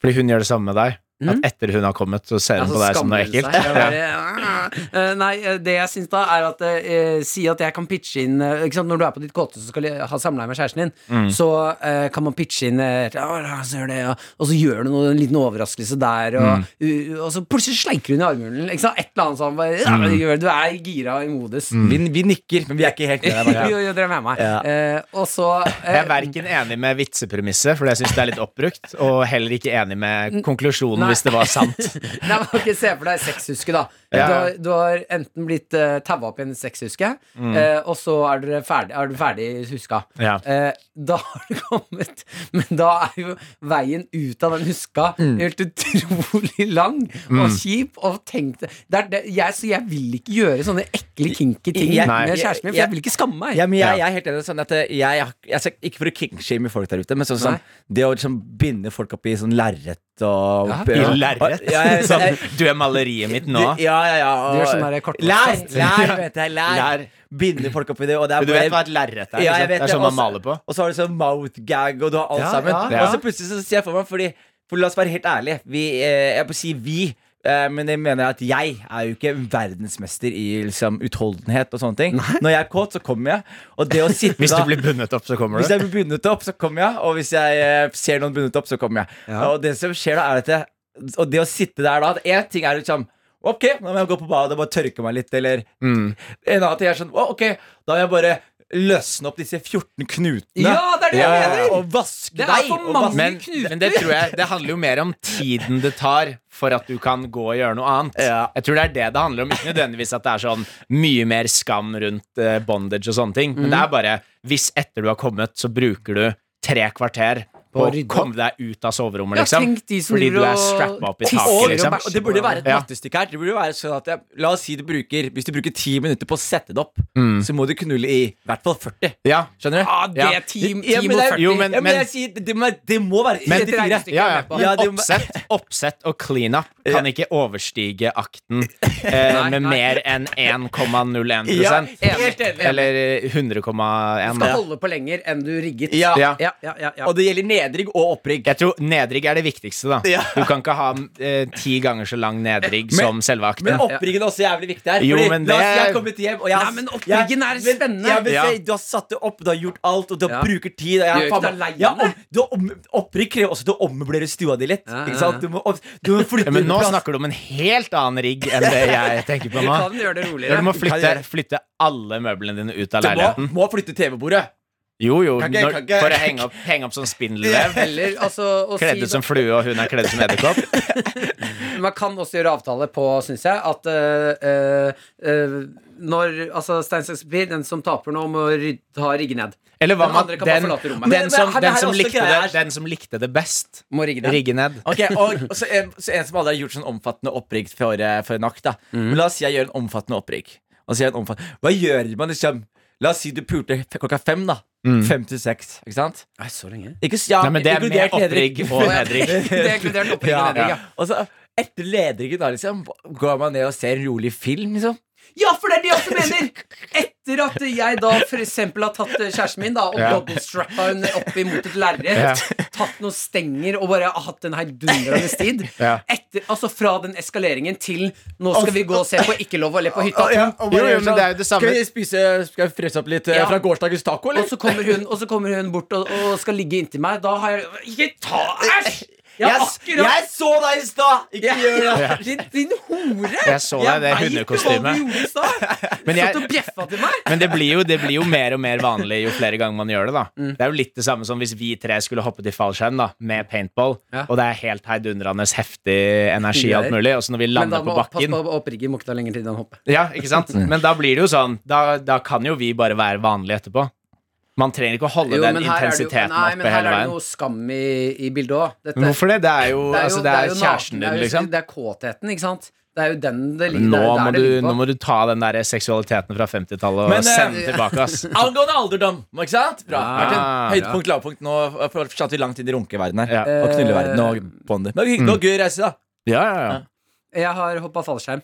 [SPEAKER 5] Fordi hun gjør det samme med deg. At etter hun har kommet, Mm. så ser hun
[SPEAKER 2] Altså,
[SPEAKER 5] på deg som noe
[SPEAKER 2] skammer
[SPEAKER 5] ekkelt.
[SPEAKER 2] seg. Jeg
[SPEAKER 5] Ja.
[SPEAKER 2] bare, «Ah». Eh, Nei, eh, det jeg syns da, er at eh, Si at jeg kan pitche inn eh, ikke sant, Når du er på ditt kåte og skal jeg ha samleie med kjæresten din,
[SPEAKER 5] Mm.
[SPEAKER 2] så eh, kan man pitche inn eh, «Ja, la oss gjøre det, ja. Og så gjør du noe, en liten overraskelse der,
[SPEAKER 5] Mm.
[SPEAKER 2] og, uh, og så plutselig sleiker hun i armhulen. Ikke sant? Et eller annet sånn. Bare, ja,
[SPEAKER 5] Mm.
[SPEAKER 2] men gjør det, du er gira i modus.
[SPEAKER 4] Vi, vi nikker, men vi er ikke helt med deg. Martin.
[SPEAKER 2] Jo, jo, dere er med meg.
[SPEAKER 4] Ja.
[SPEAKER 2] Eh, og så eh,
[SPEAKER 5] Jeg er verken enig med vitsepremisset, for det syns jeg er litt oppbrukt, og heller ikke enig med konklusjonen
[SPEAKER 2] Nei.
[SPEAKER 5] hvis det var sant.
[SPEAKER 2] Nei, men ok, Se for deg sexhuske, da.
[SPEAKER 5] Ja.
[SPEAKER 2] Du, har, du har enten blitt uh, taua opp i en sexhuske,
[SPEAKER 4] Mm.
[SPEAKER 2] eh, og så er dere ferdig, er du ferdig huska.
[SPEAKER 5] Ja.
[SPEAKER 2] Eh, da har du kommet Men da er jo veien ut av den huska
[SPEAKER 4] Mm.
[SPEAKER 2] helt utrolig lang og kjip. Og tenk det det er det, jeg, Så jeg vil ikke gjøre sånne ekle, kinky ting
[SPEAKER 4] Jeg-
[SPEAKER 2] med
[SPEAKER 5] Nei.
[SPEAKER 2] kjæresten min, for
[SPEAKER 4] Jeg-
[SPEAKER 2] jeg vil ikke skamme meg.
[SPEAKER 4] Ja, men jeg,
[SPEAKER 5] Ja.
[SPEAKER 4] jeg er helt enig. Sånn at eh, jeg, jeg, ikke for å kinkshame folk der ute, men sånn som
[SPEAKER 2] Nei.
[SPEAKER 4] det å liksom binde folk opp i sånn lerret og
[SPEAKER 2] Ja.
[SPEAKER 5] I
[SPEAKER 4] og-
[SPEAKER 5] lerret.
[SPEAKER 4] Ja, jeg,
[SPEAKER 5] Sånn,
[SPEAKER 4] jeg,
[SPEAKER 5] du er maleriet mitt nå.
[SPEAKER 4] Ja, ja, ja. og-
[SPEAKER 2] Du gjør sånn der kort-
[SPEAKER 4] Lær! Lær, vet jeg, lær.
[SPEAKER 5] Lær.
[SPEAKER 4] Binde folk opp i det. Og det er
[SPEAKER 5] Du vet
[SPEAKER 4] bare-
[SPEAKER 5] hva et lerret er? ikke
[SPEAKER 4] Ja, jeg vet
[SPEAKER 5] sant? det er
[SPEAKER 4] det,
[SPEAKER 5] sånn man
[SPEAKER 4] også-
[SPEAKER 5] maler på.
[SPEAKER 4] Og så har du sånn mouthgag, og du har alt
[SPEAKER 2] Ja,
[SPEAKER 4] sammen.
[SPEAKER 2] ja,
[SPEAKER 5] ja.
[SPEAKER 4] Og så plutselig så ser jeg for meg, fordi, for la oss være helt ærlige, vi, eh, jeg må si vi, eh, men jeg mener at jeg er jo ikke verdensmester i liksom, utholdenhet og sånne ting. Når jeg er kåt, så kommer jeg. Og det å sitte
[SPEAKER 5] Hvis
[SPEAKER 4] da
[SPEAKER 5] du blir bundet opp, så kommer
[SPEAKER 4] hvis
[SPEAKER 5] du.
[SPEAKER 4] jeg blir bundet opp, så kommer jeg. Og hvis jeg eh, ser noen bundet opp, så kommer jeg. Og det som skjer da, er at jeg, Og det å sitte der da at Én ting er liksom Ok, nå må jeg gå på badet og bare tørke meg litt, eller
[SPEAKER 2] Mm.
[SPEAKER 4] En annen ting er sånn «Å, Ok, da må jeg bare løsne opp disse 14 knutene.
[SPEAKER 2] Ja, det er det jeg mener!
[SPEAKER 4] Og vaske
[SPEAKER 2] Det er
[SPEAKER 4] deg.
[SPEAKER 2] for
[SPEAKER 4] og
[SPEAKER 2] mange
[SPEAKER 4] vaske-
[SPEAKER 5] Men, men det tror jeg Det handler jo mer om tiden det tar for at du kan gå og gjøre noe annet.
[SPEAKER 4] Ja.
[SPEAKER 5] Jeg tror det er det det handler om. Ikke nødvendigvis at det er sånn mye mer skam rundt eh, bondage og sånne ting.
[SPEAKER 2] Mm.
[SPEAKER 5] Men det er bare hvis etter du har kommet, så bruker du tre kvarter på å
[SPEAKER 2] rydde opp.
[SPEAKER 5] komme deg ut av soverommet,
[SPEAKER 2] Ja,
[SPEAKER 5] liksom.
[SPEAKER 2] tenk de som
[SPEAKER 5] Fordi du
[SPEAKER 2] driver
[SPEAKER 5] er
[SPEAKER 2] og
[SPEAKER 5] strappa opp i
[SPEAKER 2] tisser
[SPEAKER 5] taket,
[SPEAKER 4] og,
[SPEAKER 5] liksom.
[SPEAKER 2] bæsjer.
[SPEAKER 4] og det burde være et
[SPEAKER 5] Ja.
[SPEAKER 4] mattestykke her. Det burde være sånn at jeg, La oss si du bruker Hvis du bruker 10 minutter på å sette det opp,
[SPEAKER 2] Mm.
[SPEAKER 4] så må du knulle i hvert fall 40.
[SPEAKER 5] Ja.
[SPEAKER 4] Skjønner du?
[SPEAKER 2] Ah, det
[SPEAKER 5] Ja.
[SPEAKER 2] er team,
[SPEAKER 4] Ja,
[SPEAKER 2] team
[SPEAKER 4] men
[SPEAKER 2] og
[SPEAKER 4] det er-
[SPEAKER 2] 40.
[SPEAKER 5] Jo, men-
[SPEAKER 4] ja, men jeg sier, det, må- det må være
[SPEAKER 5] Men-
[SPEAKER 4] 34.
[SPEAKER 5] Ja, ja.
[SPEAKER 2] på.
[SPEAKER 4] Ja,
[SPEAKER 5] Men
[SPEAKER 4] det-
[SPEAKER 5] oppsett, oppsett og cleanup kan ikke overstige akten eh,
[SPEAKER 2] Nei,
[SPEAKER 5] med
[SPEAKER 2] nei.
[SPEAKER 5] mer enn 1,01
[SPEAKER 4] Ja,
[SPEAKER 2] helt enig.
[SPEAKER 5] Eller eh, 100,1.
[SPEAKER 2] Skal
[SPEAKER 5] da.
[SPEAKER 2] holde på lenger enn du rigget.
[SPEAKER 4] Ja.
[SPEAKER 5] Ja.
[SPEAKER 2] Ja, ja, ja, ja.
[SPEAKER 4] Og det gjelder nedrigg og opprigg.
[SPEAKER 5] Jeg tror nedrigg er det viktigste, da.
[SPEAKER 4] Ja.
[SPEAKER 5] Du kan ikke ha eh, ti ganger så lang nedrigg
[SPEAKER 4] Men-
[SPEAKER 5] som selve akten.
[SPEAKER 4] Men oppriggen er også jævlig viktig her.
[SPEAKER 5] Jo,
[SPEAKER 4] fordi,
[SPEAKER 5] men
[SPEAKER 4] la oss,
[SPEAKER 5] det-
[SPEAKER 4] jeg har kommet hjem, og jeg
[SPEAKER 2] Nei, men oppriggen er spennende.
[SPEAKER 4] Ja, men,
[SPEAKER 5] Ja.
[SPEAKER 4] se, du har satt det opp, du har gjort alt, og du har
[SPEAKER 2] Ja.
[SPEAKER 4] bruker tid. Og jeg,
[SPEAKER 2] Du gjør ikke deg
[SPEAKER 4] faen,
[SPEAKER 2] lei
[SPEAKER 4] ja,
[SPEAKER 2] av det.
[SPEAKER 4] om, du har om, opprigg krever også at du ommøblerer stua di litt.
[SPEAKER 2] Ja, ja,
[SPEAKER 4] Ikke sant? Du må, opp- du må flytte
[SPEAKER 5] Ja, men nå
[SPEAKER 4] plass.
[SPEAKER 5] snakker du om en helt annen rigg enn det jeg tenker på
[SPEAKER 2] Du
[SPEAKER 5] nå.
[SPEAKER 2] kan gjøre det roligere.
[SPEAKER 5] Når du må
[SPEAKER 4] Kan
[SPEAKER 5] flytte,
[SPEAKER 4] gjøre.
[SPEAKER 5] flytte alle møblene dine ut av
[SPEAKER 4] du må,
[SPEAKER 5] leiligheten.
[SPEAKER 4] må flytte TV-bordet.
[SPEAKER 5] Jo, jo,
[SPEAKER 4] Kan ikke-
[SPEAKER 5] når,
[SPEAKER 4] kan ikke-
[SPEAKER 5] for å henge opp, henge opp som spindelvev.
[SPEAKER 2] Eller altså å
[SPEAKER 5] Kledd
[SPEAKER 2] si
[SPEAKER 5] ut som flue, og hun er kledd ut som edderkopp.
[SPEAKER 2] Man kan også gjøre avtale på, syns jeg, at eh, eh, eh, når Altså, stein, saks, papir, den som taper nå, må ryd- ta rigge ned.
[SPEAKER 5] Eller hva
[SPEAKER 2] Den
[SPEAKER 5] med
[SPEAKER 2] andre
[SPEAKER 5] at
[SPEAKER 2] kan bare
[SPEAKER 5] den,
[SPEAKER 2] forlate rommet.
[SPEAKER 4] Men- men
[SPEAKER 5] den, som,
[SPEAKER 4] her er
[SPEAKER 5] den, som
[SPEAKER 4] også
[SPEAKER 5] likte
[SPEAKER 4] greia
[SPEAKER 5] det,
[SPEAKER 4] her.
[SPEAKER 5] den som likte det best,
[SPEAKER 2] Må rigge ned.
[SPEAKER 5] rigge ned.
[SPEAKER 4] Ok, og, og så, en, så en som aldri har gjort sånn omfattende opprigg for, eh, for en akt. da
[SPEAKER 2] Mm.
[SPEAKER 4] Men La oss si jeg gjør en omfattende opprigg. Og så gjør jeg en omfattende. Hva gjør man liksom? La oss si du pulte f- klokka fem. da
[SPEAKER 5] Mm.
[SPEAKER 4] Fem til seks. Ikke sant?
[SPEAKER 2] Nei, så lenge.
[SPEAKER 4] Ikke, s- ja,
[SPEAKER 5] Nei, men det er
[SPEAKER 4] inkludert
[SPEAKER 5] med opprigg
[SPEAKER 4] nedrigg.
[SPEAKER 5] og nedrigg.
[SPEAKER 2] Det er inkludert opprigg og
[SPEAKER 4] Ja.
[SPEAKER 2] nedrigg, ja.
[SPEAKER 4] Og så etter ledringen da liksom Går man ned og ser en rolig film liksom
[SPEAKER 2] Ja, for det er det jeg også mener! Etter at jeg da for eksempel har tatt eh, kjæresten min da og
[SPEAKER 5] Ja.
[SPEAKER 2] dobbeltstrappa henne opp imot et lerret,
[SPEAKER 5] Ja.
[SPEAKER 2] tatt noen stenger og bare hatt en heidundrende strid
[SPEAKER 5] Ja.
[SPEAKER 2] Etter, Altså fra den eskaleringen til nå skal vi gå og se på Ikke lov å le på hytta.
[SPEAKER 5] Jo, jo, men det er jo det samme.
[SPEAKER 4] Skal vi spise Skal vi frese opp litt eh,
[SPEAKER 2] Ja.
[SPEAKER 4] fra gårsdagens taco eller?
[SPEAKER 2] Og så kommer hun, og så kommer hun bort og, og skal ligge inntil meg. Da har jeg Ikke ta Æsj! Jeg har
[SPEAKER 4] jeg, s- jeg
[SPEAKER 2] akkurat
[SPEAKER 4] så deg i stad! Ikke gjør det
[SPEAKER 2] Din, din hore!
[SPEAKER 5] Jeg så deg i det
[SPEAKER 2] vet hva du
[SPEAKER 5] hundekostymet.
[SPEAKER 2] gjorde i stad!
[SPEAKER 5] Men jeg-
[SPEAKER 2] Satt og bjeffa til meg!
[SPEAKER 5] Men det blir, jo, det blir jo mer og mer vanlig jo flere ganger man gjør det. da
[SPEAKER 2] Mm.
[SPEAKER 5] Det er jo litt det samme som hvis vi tre skulle hoppet i fallskjerm da med paintball,
[SPEAKER 2] Ja.
[SPEAKER 5] og det er helt heidundrende heftig energi og alt mulig, og så når vi
[SPEAKER 2] Men da
[SPEAKER 5] lander
[SPEAKER 2] må
[SPEAKER 5] på
[SPEAKER 2] pass
[SPEAKER 5] bakken
[SPEAKER 2] på Mm. å opprigge mokta lenger til den hopper.
[SPEAKER 5] Ja, ikke sant? Men da blir det jo sånn Da, da kan jo vi bare være vanlige etterpå. Man trenger ikke å holde
[SPEAKER 2] Jo,
[SPEAKER 5] den
[SPEAKER 2] men her er det jo-
[SPEAKER 5] intensiteten
[SPEAKER 2] nei, men
[SPEAKER 5] oppe
[SPEAKER 2] her
[SPEAKER 5] hele
[SPEAKER 2] er det
[SPEAKER 5] veien.
[SPEAKER 2] noe skam i, i bildet òg.
[SPEAKER 5] Men hvorfor det? Det er jo, altså, det er jo kjæresten din, liksom.
[SPEAKER 2] Det er kåtheten, ikke sant? Det er jo den det ligger
[SPEAKER 5] Nå
[SPEAKER 2] det er
[SPEAKER 5] må,
[SPEAKER 2] der
[SPEAKER 5] du,
[SPEAKER 2] det ligger på.
[SPEAKER 5] nå må du ta den der seksualiteten fra 50-tallet og
[SPEAKER 4] Men, eh,
[SPEAKER 5] sende den tilbake, ass.
[SPEAKER 4] Angående alderdom Ikke sant? Bra
[SPEAKER 5] Ah,
[SPEAKER 4] Martin,
[SPEAKER 5] ja.
[SPEAKER 4] Høydepunkt, lavpunkt Nå eh, fortsatt vi langt inn i runkeverdenen her
[SPEAKER 5] Ja. Eh. Mm.
[SPEAKER 4] Og knulleverden og bånder Men det var hyggelig og gøy reise da
[SPEAKER 5] Ja, ja, ja.
[SPEAKER 2] Jeg har hoppa fallskjerm.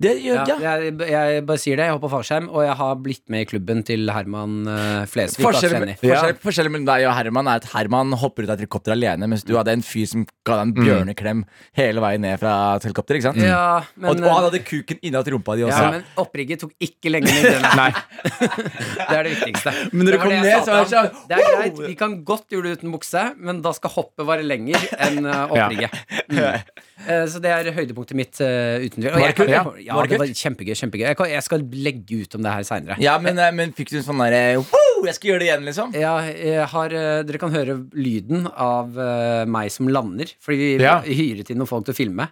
[SPEAKER 4] Det gjør
[SPEAKER 2] Ja,
[SPEAKER 4] ja.
[SPEAKER 2] jeg, jeg bare sier det. Jeg hopper fallskjerm, og jeg har blitt med i klubben til Herman eh, Flesvig. da,
[SPEAKER 4] Forskjellen,
[SPEAKER 2] trener.
[SPEAKER 4] forskjell, forskjellen mellom deg og Herman er at Herman hopper ut av et helikopter alene, mens du hadde en fyr som ga deg en bjørneklem hele veien ned fra et helikopter. ikke sant?
[SPEAKER 2] Ja,
[SPEAKER 4] og,
[SPEAKER 2] men, eh,
[SPEAKER 4] og han hadde kuken innat i rumpa di
[SPEAKER 2] ja,
[SPEAKER 4] også.
[SPEAKER 2] men opprigget tok ikke lenge med den.
[SPEAKER 5] Nei.
[SPEAKER 2] Det er det viktigste.
[SPEAKER 4] Men når
[SPEAKER 2] Det
[SPEAKER 4] du
[SPEAKER 2] var
[SPEAKER 4] kom
[SPEAKER 2] det
[SPEAKER 4] ned,
[SPEAKER 2] jeg sa
[SPEAKER 4] så var det
[SPEAKER 2] til ham.
[SPEAKER 4] sånn,
[SPEAKER 2] Det er
[SPEAKER 4] wow!
[SPEAKER 2] greit, vi kan godt gjøre det uten bukse, men da skal hoppet vare lenger enn eh, opprigget. Mm. Eh, Så det er høydepunktet mitt eh, uten tvil. Og
[SPEAKER 4] Var
[SPEAKER 2] jeg
[SPEAKER 4] det
[SPEAKER 2] kan-
[SPEAKER 4] kult?
[SPEAKER 2] Ja,
[SPEAKER 4] Var
[SPEAKER 2] ja,
[SPEAKER 4] det
[SPEAKER 2] det var kjempegøy. kjempegøy Jeg kan- Jeg skal legge ut om det her seinere.
[SPEAKER 4] Ja, men, eh, men fikk du en sånn derre wow, Jeg skal gjøre det igjen, liksom?
[SPEAKER 2] Ja, jeg har, eh, dere kan høre lyden av eh, meg som lander, fordi vi
[SPEAKER 5] Ja.
[SPEAKER 2] hyret inn noen folk til å filme.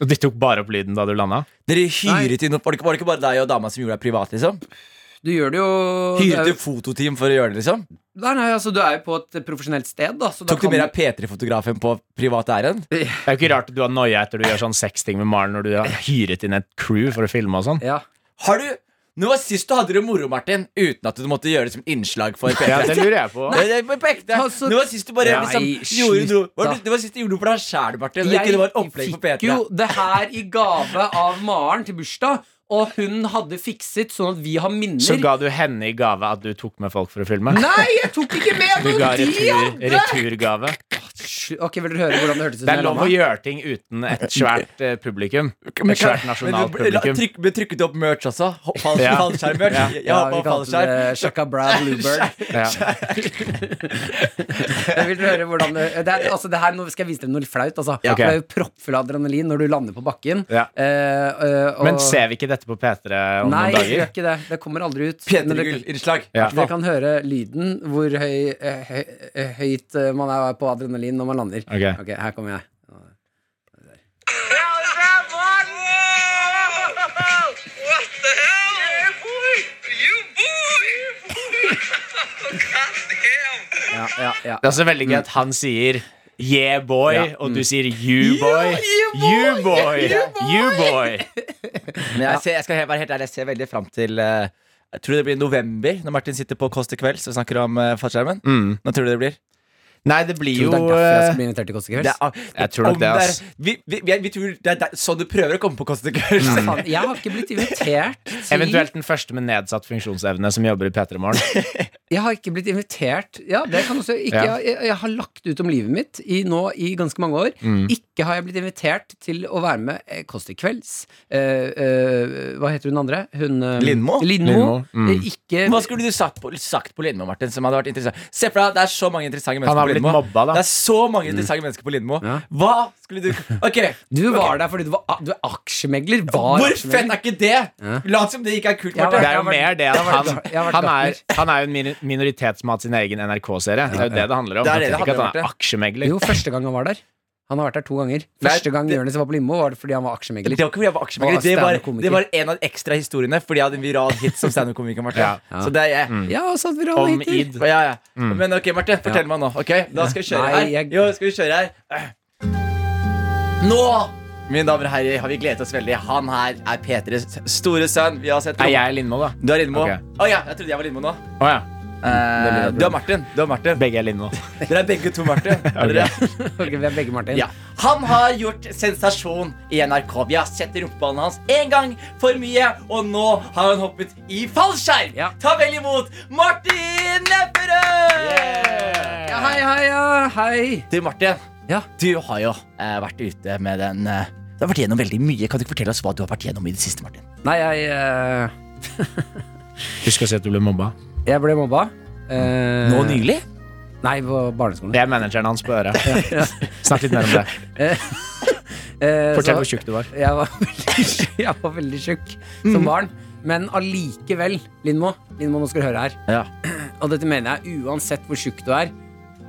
[SPEAKER 5] Og de tok bare opp lyden da du landa?
[SPEAKER 4] Dere hyret inn Var det ikke- var det ikke bare deg og dama som gjorde deg privat, liksom?
[SPEAKER 2] Du gjør det jo
[SPEAKER 4] Hyret
[SPEAKER 2] det er-
[SPEAKER 4] du fototeam for å gjøre det, liksom?
[SPEAKER 2] Nei, nei, altså Du er jo på et profesjonelt sted, da. Så da
[SPEAKER 4] Tok du
[SPEAKER 2] kan-
[SPEAKER 4] med deg P3-fotografen på privat ærend?
[SPEAKER 5] Det er jo ikke rart at du har noia etter du gjør sånn sexting med Maren når du har hyret inn et crew for å filme og sånn.
[SPEAKER 2] Ja.
[SPEAKER 4] Har du Nå var sist du hadde det moro, Martin, uten at du måtte gjøre det som innslag for P3.
[SPEAKER 5] Ja, det lurer jeg på.
[SPEAKER 4] Det, det, er på ekte.
[SPEAKER 2] Altså,
[SPEAKER 4] det var sist du bare
[SPEAKER 2] nei,
[SPEAKER 4] liksom, gjorde noe
[SPEAKER 2] slutt,
[SPEAKER 4] var
[SPEAKER 2] da.
[SPEAKER 4] det, det var sist du gjorde noe for deg sjæl, Martin. Ikke det var et opplegg for
[SPEAKER 2] fikk
[SPEAKER 4] P3.
[SPEAKER 2] jo det her i gave av Maren til bursdag, og hun hadde fikset sånn at vi har minner.
[SPEAKER 5] Så ga du henne i gave at du tok med folk for å filme?
[SPEAKER 2] Nei, jeg tok ikke med
[SPEAKER 5] Du
[SPEAKER 2] noe!
[SPEAKER 5] ga retur, returgave.
[SPEAKER 2] Sj- Ok, Vil dere høre hvordan det hørtes ut?
[SPEAKER 5] Det
[SPEAKER 2] når
[SPEAKER 5] er
[SPEAKER 2] jeg
[SPEAKER 5] lov å
[SPEAKER 2] landet?
[SPEAKER 5] gjøre ting uten et svært eh, publikum. Et svært nasjonalt
[SPEAKER 4] Men- men- la-
[SPEAKER 5] publikum.
[SPEAKER 4] Trykk, ble trykket opp merch også? Ho- fall-
[SPEAKER 5] Ja.
[SPEAKER 4] Fallskjerm-merch?
[SPEAKER 5] Ja.
[SPEAKER 4] Jeg
[SPEAKER 2] Ja,
[SPEAKER 4] hoppa
[SPEAKER 2] vi
[SPEAKER 4] av
[SPEAKER 2] kalte
[SPEAKER 4] fallskjerm.
[SPEAKER 2] det Shaka Brad Bluebird.
[SPEAKER 5] Ja.
[SPEAKER 2] Jeg vil høre hvordan det, det, er, altså det her, Nå skal jeg vise dere noe litt flaut. Altså.
[SPEAKER 5] Ja.
[SPEAKER 2] For Det er jo proppfull av adrenalin når du lander på bakken.
[SPEAKER 5] Ja.
[SPEAKER 2] Eh, eh, og-
[SPEAKER 5] Men ser vi ikke dette på P3 om
[SPEAKER 2] Nei,
[SPEAKER 5] noen
[SPEAKER 2] jeg gjør
[SPEAKER 5] dager?
[SPEAKER 2] ikke det. Det kommer aldri ut. Men dere,
[SPEAKER 4] P3-gull-innslag.
[SPEAKER 5] Ja.
[SPEAKER 2] dere kan høre lyden, hvor høy, eh, høy, eh, høyt eh, man er på adrenalin når man lander.
[SPEAKER 5] Ok.
[SPEAKER 2] Ok, Her kommer jeg.
[SPEAKER 7] What the hell? Yeah, boy! You boy! God damn!
[SPEAKER 2] Ja, ja, ja.
[SPEAKER 5] Det er også veldig gøy at han sier Yeah, boy, og du sier you, boy. You, boy! You, boy!
[SPEAKER 4] Men jeg, ser, jeg skal he- være helt ærlig, jeg ser veldig fram til eh, jeg tror det blir november, når Martin sitter på Kåss til kvelds og snakker om uh, fallskjermen.
[SPEAKER 5] Mm.
[SPEAKER 4] Nå tror du det blir?
[SPEAKER 5] Nei, det blir
[SPEAKER 2] Jo,
[SPEAKER 5] jo eh,
[SPEAKER 2] det er derfor jeg skal bli invitert til Kåss til
[SPEAKER 4] eh, Det
[SPEAKER 2] kvelds.
[SPEAKER 4] er,
[SPEAKER 5] Jeg tror nok
[SPEAKER 4] om
[SPEAKER 5] det, ass.
[SPEAKER 4] er- vi, vi, vi, vi tror det er der, sånn du prøver å komme på Kåss til kvelds.
[SPEAKER 5] Mm.
[SPEAKER 2] Faen, Jeg har ikke blitt invitert til
[SPEAKER 5] Eventuelt den første med nedsatt funksjonsevne som jobber i P3 Morgen.
[SPEAKER 2] Jeg har ikke blitt invitert Ja, det kan også ikke,
[SPEAKER 5] Ja.
[SPEAKER 2] jeg, jeg har lagt ut om livet mitt i, nå i ganske mange år.
[SPEAKER 4] Mm.
[SPEAKER 2] Ikke har jeg blitt invitert til å være med eh, Kåss til kvelds. Eh, eh, hva heter hun andre? Hun eh,
[SPEAKER 4] Lindmo?
[SPEAKER 2] Lindmo.
[SPEAKER 5] Lindmo, mm.
[SPEAKER 2] Eh, Ikke
[SPEAKER 4] Hva skulle du sagt på, sagt på Lindmo, Martin? Som hadde vært interessant Se for deg, Det er så mange interessante
[SPEAKER 5] Han
[SPEAKER 4] mennesker
[SPEAKER 5] har
[SPEAKER 4] på
[SPEAKER 5] blitt
[SPEAKER 4] Lindmo.
[SPEAKER 5] mobba, da. Mm.
[SPEAKER 4] Det er så mange interessante mennesker på Lindmo.
[SPEAKER 2] Ja.
[SPEAKER 4] Hva skulle du Ok,
[SPEAKER 2] Du var der fordi du, var, a- du er aksjemegler. Var
[SPEAKER 4] Hvor fett
[SPEAKER 2] aksjemegler.
[SPEAKER 4] er ikke det? Lat som det ikke er kult,
[SPEAKER 2] Ja,
[SPEAKER 5] Det
[SPEAKER 4] Martin.
[SPEAKER 5] er jo mer det at
[SPEAKER 2] Jeg har vært-
[SPEAKER 5] han,
[SPEAKER 2] jeg har vært
[SPEAKER 5] han, er,
[SPEAKER 2] gartner.
[SPEAKER 5] han er jo en min- minoritet som har hatt sin egen NRK-serie. Det er jo det det handler om.
[SPEAKER 4] Det er
[SPEAKER 5] Jeg
[SPEAKER 4] det
[SPEAKER 5] tenker
[SPEAKER 4] det
[SPEAKER 5] ikke at han
[SPEAKER 4] handler
[SPEAKER 5] er
[SPEAKER 4] om,
[SPEAKER 5] aksjemegler.
[SPEAKER 2] Jo, første gang han var der. Han har vært der to ganger.
[SPEAKER 4] Nei,
[SPEAKER 2] Første gang
[SPEAKER 4] det-
[SPEAKER 2] Jonis var på Lindmo, var det fordi han var
[SPEAKER 4] Det
[SPEAKER 2] aksjemegler.
[SPEAKER 4] var ikke fordi jeg var aksjemegler.
[SPEAKER 2] Og
[SPEAKER 4] Det var,
[SPEAKER 2] stand-up-komiker.
[SPEAKER 4] det var en av de ekstra historiene fordi jeg hadde en viral hit som standup-komiker. Martin
[SPEAKER 5] Ja. Mm.
[SPEAKER 4] Så det er jeg
[SPEAKER 2] Ja, og så hadde vi
[SPEAKER 5] Om
[SPEAKER 2] rally
[SPEAKER 5] id. Mm.
[SPEAKER 4] ja, ja. Men ok, Martin, fortell meg nå. Ok, Da skal vi kjøre
[SPEAKER 2] Nei,
[SPEAKER 4] her.
[SPEAKER 2] jeg-
[SPEAKER 4] Jo, skal vi kjøre her. Nå, mine damer og herrer, har vi gledet oss veldig. Han her er P3s store sønn. Vi har sett
[SPEAKER 5] Er jeg Lindmo, da?
[SPEAKER 4] Du er Lindmo. Å
[SPEAKER 5] Ok.
[SPEAKER 4] ja, jeg trodde jeg var Lindmo nå.
[SPEAKER 5] Å ja.
[SPEAKER 2] Mm,
[SPEAKER 4] Eh, du er Martin. Du er Martin.
[SPEAKER 5] Begge er Lindmo.
[SPEAKER 4] Dere er begge to Martin. Er dere?
[SPEAKER 2] Ok, vi er begge Martin.
[SPEAKER 4] Ja. Han har gjort sensasjon i NRK. Vi har sett rumpeballene hans én gang for mye, og nå har han hoppet i fallskjerm.
[SPEAKER 2] Ja.
[SPEAKER 4] Ta vel imot Martin Lepperød!
[SPEAKER 2] Ja, hei, hei, ja, hei.
[SPEAKER 4] Du, Martin.
[SPEAKER 2] Ja.
[SPEAKER 4] Du har jo eh, vært ute med den eh, Du har vært gjennom veldig mye. Kan du ikke fortelle oss hva du har vært gjennom i det siste, Martin?
[SPEAKER 2] Nei, jeg eh,
[SPEAKER 5] Husk å si at du ble mobba.
[SPEAKER 2] Jeg ble mobba. Eh,
[SPEAKER 4] Nå nylig?
[SPEAKER 2] Nei, på barneskolen.
[SPEAKER 5] Det er manageren hans på øret. Snakk litt mer om det.
[SPEAKER 2] Eh,
[SPEAKER 5] Fortell
[SPEAKER 2] så-
[SPEAKER 5] hvor tjukk du var.
[SPEAKER 2] Jeg var veldig, jeg var veldig tjukk som
[SPEAKER 5] Mm.
[SPEAKER 2] barn. Men allikevel, Lindmo, Lindmo, nå skal du høre her.
[SPEAKER 4] Ja.
[SPEAKER 2] Og dette mener jeg, uansett hvor tjukk du er,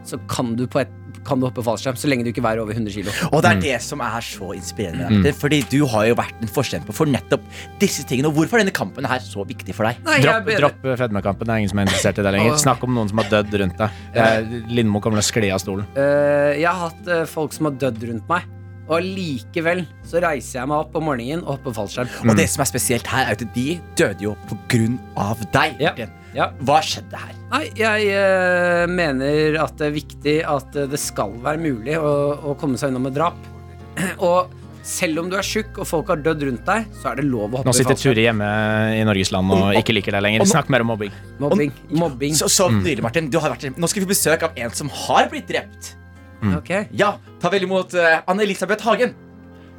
[SPEAKER 2] så kan du, på et, kan du hoppe fallskjerm så lenge du ikke veier over 100 kilo.
[SPEAKER 4] Og det er det som er så inspirerende. Martin, Fordi du har jo vært en forkjemper for nettopp disse tingene. Og hvorfor er denne kampen her så viktig for deg?
[SPEAKER 2] Nei,
[SPEAKER 5] Dropp, dropp eh, fedmekampen. Det er ingen som er interessert i det lenger. Snakk om noen som har dødd rundt deg. Eh, Lindmo kommer til å skli av stolen.
[SPEAKER 2] Eh, jeg har hatt eh, folk som har dødd rundt meg. Og allikevel så reiser jeg meg opp om morgenen og hopper fallskjerm.
[SPEAKER 4] Og det som er spesielt her, er at de døde jo på grunn av deg.
[SPEAKER 2] Ja.
[SPEAKER 4] Martin.
[SPEAKER 2] Ja.
[SPEAKER 4] Hva skjedde her?
[SPEAKER 2] Nei, jeg eh, mener at det er viktig at eh, det skal være mulig å, å komme seg unna med drap. Og Selv om du er tjukk og folk har dødd rundt deg, så er det lov å hoppe
[SPEAKER 5] Nå sitter
[SPEAKER 2] i fallskjerm.
[SPEAKER 5] Ture hjemme i Norges land og ikke liker deg lenger. Snakk mer om mobbing.
[SPEAKER 2] Mobbing. Mobbing.
[SPEAKER 4] Så, så nydelig, Martin. Du har vært, nå skal vi få besøk av en som har blitt drept.
[SPEAKER 5] Mm.
[SPEAKER 2] Ok.
[SPEAKER 4] Ja, ta vel imot eh, Anne-Elisabeth Hagen.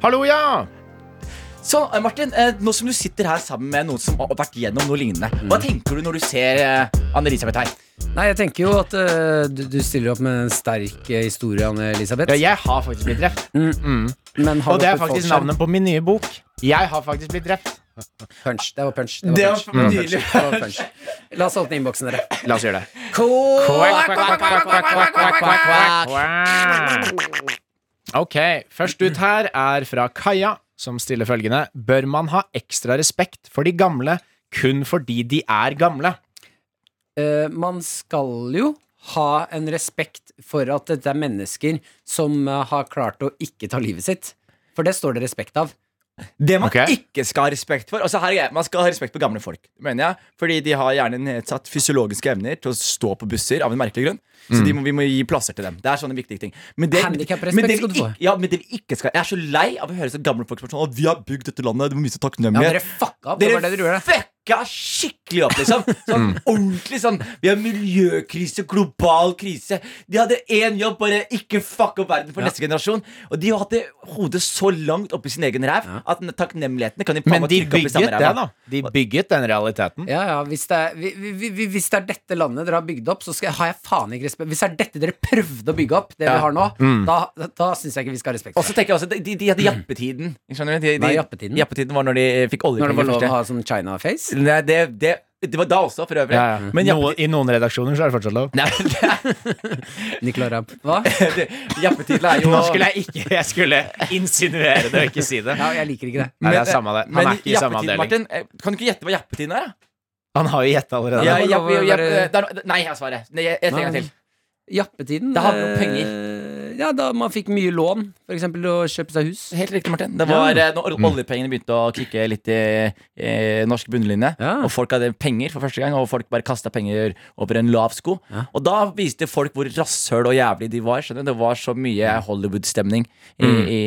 [SPEAKER 5] Hallo, ja!
[SPEAKER 4] Så eh, Martin, eh, nå som du sitter her sammen med noen som har vært gjennom noe lignende, hva tenker du når du ser eh, Anne-Elisabeth her?
[SPEAKER 2] Nei, jeg tenker jo at eh, du, du stiller opp med en sterk eh, historie, Anne-Elisabeth.
[SPEAKER 5] Ja, jeg har faktisk blitt drept.
[SPEAKER 2] Men har
[SPEAKER 5] Og
[SPEAKER 2] du
[SPEAKER 5] det er
[SPEAKER 2] fått
[SPEAKER 5] faktisk
[SPEAKER 2] fallskjerm?
[SPEAKER 5] navnet på min nye bok. Jeg har faktisk blitt drept.
[SPEAKER 2] Punch. Det var punch.
[SPEAKER 4] Det
[SPEAKER 2] punch.
[SPEAKER 4] var
[SPEAKER 2] punch.
[SPEAKER 4] nydelig.
[SPEAKER 2] Det var punch. La oss åpne innboksen, dere.
[SPEAKER 5] La oss gjøre det. Ok, først ut her er fra Kaja, som stiller følgende Bør man ha ekstra respekt for de gamle kun fordi de er gamle?
[SPEAKER 2] Eh, man skal jo ha en respekt for at dette er mennesker som eh, har klart å ikke ta livet sitt. For det står det respekt av.
[SPEAKER 4] Det man
[SPEAKER 5] Ok.
[SPEAKER 4] ikke skal ha respekt for altså her er greia, Man skal ha respekt for gamle folk, mener jeg. Fordi de har gjerne nedsatt fysiologiske evner til å stå på busser av en merkelig grunn. Så de må, vi må gi plasser til dem. Det er sånne viktige ting. Men det,
[SPEAKER 2] Handicap-respekt
[SPEAKER 4] men det
[SPEAKER 2] skal du
[SPEAKER 4] vi
[SPEAKER 2] få.
[SPEAKER 4] ikke- Ja, men det vi ikke skal Jeg er så lei av å høre så gamle folk som er sånn «Å, Vi har bygd dette landet, det må vise
[SPEAKER 2] Ja,
[SPEAKER 4] takknemlighet.
[SPEAKER 2] dere fucka opp. Det
[SPEAKER 4] Dere
[SPEAKER 2] var det dere gjorde.
[SPEAKER 4] fucka skikkelig opp, liksom. Sånn
[SPEAKER 5] Mm.
[SPEAKER 4] ordentlig sånn Vi har miljøkrise, global krise. De hadde én jobb, bare ikke fucke opp verden for neste generasjon. Og de hadde hodet så langt oppi sin egen ræv at den takknemligheten kan de faen
[SPEAKER 5] Men
[SPEAKER 4] meg
[SPEAKER 5] de
[SPEAKER 4] trykke opp i
[SPEAKER 5] bygget
[SPEAKER 4] samme
[SPEAKER 5] det,
[SPEAKER 4] ræva.
[SPEAKER 5] da. De bygget den realiteten.
[SPEAKER 2] Ja, ja, hvis det, er, vi, vi, vi, hvis det er dette landet dere har bygd opp, så skal, har jeg faen ikke respekt Hvis det er dette dere prøvde å bygge opp, det vi har nå, da, da syns jeg ikke vi skal ha respekt
[SPEAKER 4] Mm. Og
[SPEAKER 2] for
[SPEAKER 4] så
[SPEAKER 2] det.
[SPEAKER 4] tenker jeg også, de, de hadde jappetiden. Skjønner du? De, de,
[SPEAKER 2] Hva er jappetiden?
[SPEAKER 4] Jappetiden var når de eh, fikk
[SPEAKER 2] Når det var lov
[SPEAKER 4] oljekrigen
[SPEAKER 2] å
[SPEAKER 4] først.
[SPEAKER 2] ha sånn China-face.
[SPEAKER 4] Nei, det, det, det var da også, for øvrig.
[SPEAKER 5] Ja, ja.
[SPEAKER 4] Men jappetiden
[SPEAKER 5] Noe- I noen redaksjoner så er det fortsatt lov.
[SPEAKER 4] Nei, det,
[SPEAKER 2] Nicolai Rapp. Hva?
[SPEAKER 4] det- jappetiden er jo
[SPEAKER 5] Nå skulle jeg ikke Jeg skulle insinuere det og ikke si det.
[SPEAKER 2] Ja, jeg liker ikke det.
[SPEAKER 5] Nei, det
[SPEAKER 4] Men-
[SPEAKER 5] er samme det.
[SPEAKER 4] Men
[SPEAKER 5] Han er ikke i samme
[SPEAKER 4] jappetiden,
[SPEAKER 5] avdeling.
[SPEAKER 4] Martin, eh, kan du ikke gjette hva jappetiden er? da?
[SPEAKER 5] Han har jo gjetta allerede.
[SPEAKER 4] Ja,
[SPEAKER 2] det
[SPEAKER 4] ja,
[SPEAKER 2] var lov å
[SPEAKER 4] ja, ja,
[SPEAKER 2] være-
[SPEAKER 4] eh, det er no- Nei, jeg svarer. Nei, jeg, jeg trenger en til.
[SPEAKER 2] Jappetiden
[SPEAKER 4] Det handler om
[SPEAKER 2] eh,
[SPEAKER 4] penger.
[SPEAKER 2] Ja, da man fikk mye lån, f.eks. å kjøpe seg hus.
[SPEAKER 4] Helt riktig, Martin. Det var eh, når oljepengene begynte å kicke litt i eh, norsk bunnlinje.
[SPEAKER 2] Ja.
[SPEAKER 4] Og folk hadde penger for første gang, og folk bare kasta penger over en lav sko. Og da viste folk hvor rasshøl og jævlig de var. skjønner du? Det var så mye Hollywood-stemning i, i,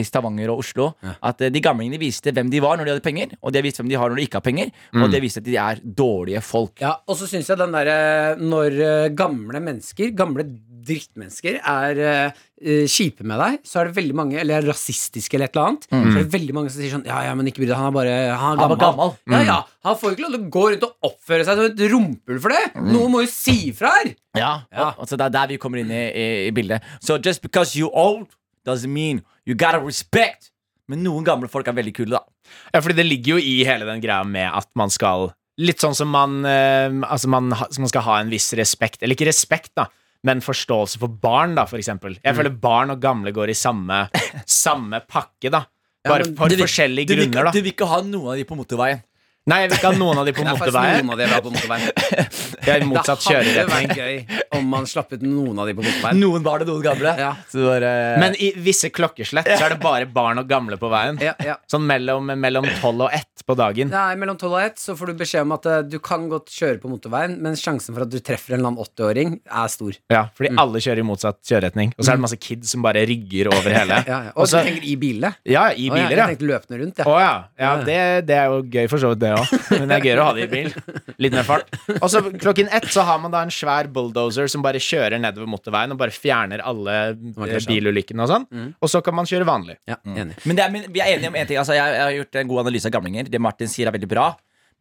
[SPEAKER 4] i Stavanger og Oslo at eh, de gamlingene viste hvem de var når de hadde penger, og de har vist hvem de har når de ikke har penger, og de har vist at de er dårlige folk.
[SPEAKER 2] Ja, og så syns jeg den derre når eh, gamle mennesker, gamle drittmennesker, er eh, eh, kjipe med deg, så er det veldig mange, eller er rasistiske eller et eller annet, så er det veldig mange som sier sånn Ja, ja, men ikke bry deg, han er bare Han er
[SPEAKER 4] Mm. Han var
[SPEAKER 2] gammel.
[SPEAKER 4] gammel. Mm.
[SPEAKER 2] Ja, ja, han får jo ikke lov til å gå rundt og oppføre seg som et rumpehull for det!
[SPEAKER 4] Mm.
[SPEAKER 2] Noen må jo si ifra her!
[SPEAKER 4] Ja,
[SPEAKER 2] Ja.
[SPEAKER 4] Og, altså det er der vi kommer inn i, i, i bildet. So just because you're old doesn't mean you gotta respect. Men noen gamle folk er veldig kule, da.
[SPEAKER 5] Ja, fordi det ligger jo i hele den greia med at man skal Litt sånn som man eh, Altså, man, ha- som man skal ha en viss respekt Eller ikke respekt, da, men forståelse for barn, da, for eksempel. Jeg
[SPEAKER 2] Mm.
[SPEAKER 5] føler barn og gamle går i samme, samme pakke, da. Bare
[SPEAKER 2] men
[SPEAKER 5] for
[SPEAKER 4] du vil-
[SPEAKER 5] forskjellige
[SPEAKER 4] Du vil, ikke,
[SPEAKER 5] grunner,
[SPEAKER 4] du
[SPEAKER 5] da.
[SPEAKER 4] vil ikke ha noen av de på motorveien.
[SPEAKER 5] Nei, jeg vil ikke ha noen av de på
[SPEAKER 2] Det er faktisk
[SPEAKER 5] motorveien.
[SPEAKER 2] noen av de bra på motorveien.
[SPEAKER 5] Jeg er i motsatt
[SPEAKER 2] Det hadde
[SPEAKER 5] kjøreretning.
[SPEAKER 2] vært gøy om man slapp ut noen av de på motorveien.
[SPEAKER 4] Noen var det, noen gamle.
[SPEAKER 2] Ja.
[SPEAKER 4] Så det var, eh,
[SPEAKER 5] Men i visse klokkeslett så er det bare barn og gamle på veien.
[SPEAKER 2] Ja, ja.
[SPEAKER 5] Sånn mellom mellom tolv og ett på dagen.
[SPEAKER 2] Nei, mellom 12 og 1 så får du beskjed om at eh, du kan godt kjøre på motorveien, men sjansen for at du treffer en eller annen 80-åring, er stor.
[SPEAKER 5] Ja, fordi
[SPEAKER 2] Mm.
[SPEAKER 5] alle kjører i motsatt kjøreretning. Og så er det masse kids som bare rygger over hele.
[SPEAKER 2] Ja, ja. Og
[SPEAKER 5] Og så,
[SPEAKER 2] du tenker i bilene?
[SPEAKER 5] ja,
[SPEAKER 2] Å, ja,
[SPEAKER 5] i biler,
[SPEAKER 2] jeg
[SPEAKER 5] ja.
[SPEAKER 2] tenkte løpende rundt,
[SPEAKER 5] Å
[SPEAKER 2] jeg.
[SPEAKER 5] ja. ja det, det er jo gøy for så vidt, det òg. Men det er gøyere å ha det i bil. Litt mer fart. Og så klokken ett så har man da en svær bulldoser som bare kjører nedover motorveien og bare fjerner alle
[SPEAKER 2] har
[SPEAKER 5] eh,
[SPEAKER 2] krasjet.
[SPEAKER 5] bilulykkene og sånn.
[SPEAKER 2] Mm.
[SPEAKER 5] Og så kan man kjøre vanlig.
[SPEAKER 2] Ja, enig.
[SPEAKER 4] men, det er, men vi er enige om én ting. Altså, jeg, jeg har gjort en god analyse av gamlinger. Det Martin sier, er veldig bra.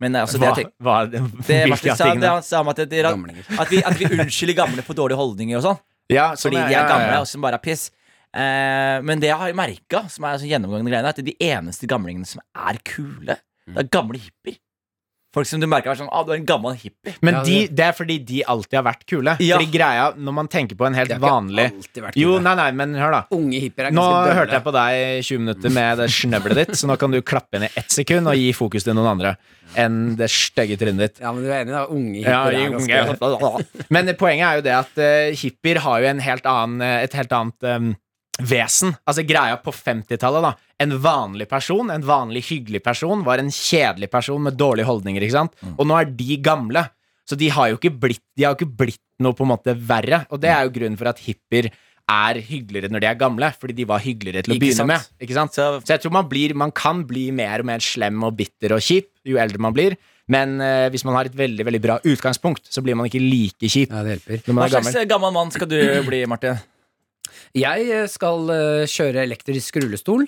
[SPEAKER 4] Men eh, altså, det,
[SPEAKER 5] Hva,
[SPEAKER 4] jeg tenk-
[SPEAKER 5] hva,
[SPEAKER 4] det
[SPEAKER 5] hvilke
[SPEAKER 4] Martin
[SPEAKER 5] av
[SPEAKER 4] sa, det
[SPEAKER 5] tingene?
[SPEAKER 4] han sa om at, det,
[SPEAKER 2] Gamlinger.
[SPEAKER 4] at, vi, at vi unnskylder gamle for dårlige holdninger og sånn.
[SPEAKER 5] Ja, sånn,
[SPEAKER 4] Fordi
[SPEAKER 5] ja,
[SPEAKER 4] de
[SPEAKER 5] ja,
[SPEAKER 4] er gamle
[SPEAKER 5] ja.
[SPEAKER 2] altså.
[SPEAKER 4] og som bare er piss. Eh, men det jeg har merka, som er sånn gjennomgående greiene, er at de eneste gamlingene som er kule, det er gamle hippier. Folk som du merker er sånn ah, du er en gammel hippie.
[SPEAKER 5] Men
[SPEAKER 2] Ja,
[SPEAKER 5] de, det er fordi de alltid har vært kule.
[SPEAKER 4] Ja.
[SPEAKER 5] Fordi greia, når man tenker på en helt
[SPEAKER 2] Det har ikke
[SPEAKER 5] vanlig
[SPEAKER 2] alltid vært
[SPEAKER 5] Jo,
[SPEAKER 2] kule.
[SPEAKER 5] nei, nei, men hør, da.
[SPEAKER 2] Unge hippier er
[SPEAKER 5] Nå
[SPEAKER 2] ganske dølle.
[SPEAKER 5] hørte jeg på deg i 20 minutter med det snøvlet ditt, så nå kan du klappe inn i ett sekund og gi fokus til noen andre enn det stygge trynet ditt.
[SPEAKER 2] Ja, men du er enig, da. Unge hippier
[SPEAKER 5] Ja,
[SPEAKER 2] er
[SPEAKER 5] unge.
[SPEAKER 2] ganske
[SPEAKER 5] Men poenget er jo det at eh, hippier har jo en helt annen, eh, et helt annet em, vesen. Altså greia på 50-tallet, da. En vanlig person, en vanlig hyggelig person, var en kjedelig person med dårlige holdninger, ikke sant. Og nå er de gamle. Så de har jo ikke blitt, de har jo ikke blitt noe på en måte verre. Og det er jo grunnen for at hippier er hyggeligere når de er gamle, fordi de var hyggeligere til å
[SPEAKER 4] Ikke
[SPEAKER 5] begynne
[SPEAKER 4] sant?
[SPEAKER 5] med. Ikke sant?
[SPEAKER 4] Så-
[SPEAKER 5] Så jeg tror man, blir, man kan bli mer og mer slem og bitter og kjip jo eldre man blir. Men eh, hvis man har et veldig veldig bra utgangspunkt, så blir man ikke like kjip
[SPEAKER 2] Ja, det hjelper.
[SPEAKER 5] når man
[SPEAKER 4] Hva
[SPEAKER 5] er
[SPEAKER 4] slags
[SPEAKER 5] gammel.
[SPEAKER 4] eh, gammel mann skal du bli, Martin?
[SPEAKER 2] Jeg eh, skal eh, kjøre elektrisk rullestol.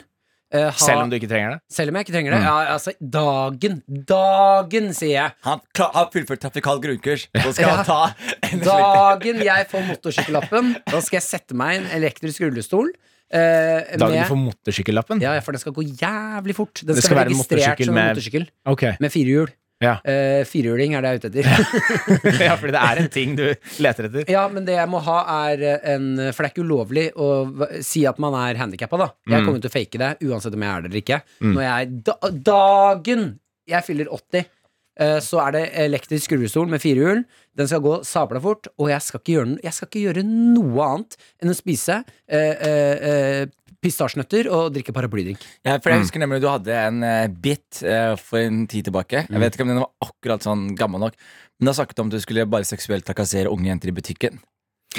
[SPEAKER 2] eh, ha-
[SPEAKER 5] Selv om du Mm. ikke trenger det.
[SPEAKER 2] selv om jeg ikke trenger det. Ja, altså, dagen, dagen, sier jeg.
[SPEAKER 4] Han kla- har fullført trafikalt grunnkurs. Så skal han ta en
[SPEAKER 2] Dagen jeg får motorsykkellappen, da skal jeg sette meg i en elektrisk rullestol. eh,
[SPEAKER 5] Dagen
[SPEAKER 2] med-
[SPEAKER 5] du får motorsykkellappen.
[SPEAKER 2] Ja, ja, for den skal gå jævlig fort. Den
[SPEAKER 5] Det
[SPEAKER 2] skal,
[SPEAKER 5] skal
[SPEAKER 2] være
[SPEAKER 5] være en
[SPEAKER 2] registrert
[SPEAKER 5] motorsykkel
[SPEAKER 2] som en
[SPEAKER 5] med-
[SPEAKER 2] motorsykkel
[SPEAKER 5] Ok.
[SPEAKER 2] med fire hjul.
[SPEAKER 5] Ja.
[SPEAKER 2] Eh, firehjuling er det jeg er ute etter.
[SPEAKER 5] ja, fordi det er en ting du leter etter.
[SPEAKER 2] Ja, men det jeg må ha er eh, en For det er ikke ulovlig å v- si at man er handikappa, da.
[SPEAKER 5] Mm.
[SPEAKER 2] Jeg kommer til å fake det, uansett om jeg er det eller ikke. Når jeg da, Dagen jeg fyller 80, eh, så er det elektrisk rullestol med firehjul. Den skal gå sabla fort, og jeg skal ikke gjøre, n- jeg skal ikke gjøre noe annet enn å spise eh, eh, eh, pistasjenøtter og drikke paraplydrink.
[SPEAKER 4] Ja, for jeg husker nemlig du hadde en eh, bit eh, for en tid tilbake. Jeg vet ikke om den var akkurat sånn gammel nok. Men da snakket du om at du skulle bare seksuelt trakassere unge jenter i butikken.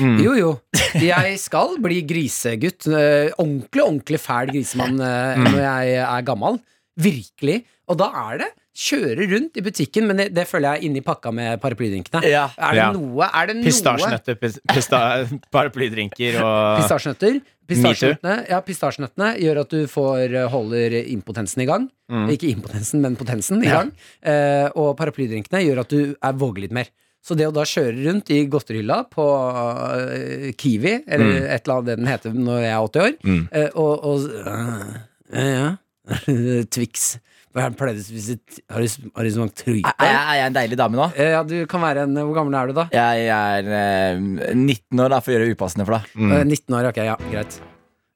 [SPEAKER 2] Jo, jo. Jeg skal bli grisegutt. eh, Ordentlig, ordentlig fæl grisemann eh, når jeg er gammel. Virkelig. Og da er det kjøre rundt i butikken, men det, det føler jeg er inni pakka med paraplydrinkene.
[SPEAKER 4] Ja.
[SPEAKER 2] Er det
[SPEAKER 5] Ja.
[SPEAKER 2] noe Er det noe
[SPEAKER 5] Pistasjenøtter, pis- pista- paraplydrinker og
[SPEAKER 2] Pistasjenøtter. Pistasjenøttene, ja, pistasjenøttene gjør at du får, eh, holder impotensen i gang. Ikke impotensen, men potensen i gang. Eh, og paraplydrinkene gjør at du er våger litt mer. Så det å da kjøre rundt i godterihylla på eh, Kiwi, eller et eller annet det den heter når jeg er 80 år, eh, og, og eh, ja, ja. Twix. Hva er det pleide du å spise? T- Har du, har du smakt
[SPEAKER 4] Er, er,
[SPEAKER 2] Twix?
[SPEAKER 4] jeg- er jeg en deilig dame nå?
[SPEAKER 2] Eh, Ja, du kan være en Hvor gammel er du, da?
[SPEAKER 4] Jeg er eh, 19 år da, for å gjøre det upassende for deg.
[SPEAKER 2] Eh, 19 år, ok, ja, greit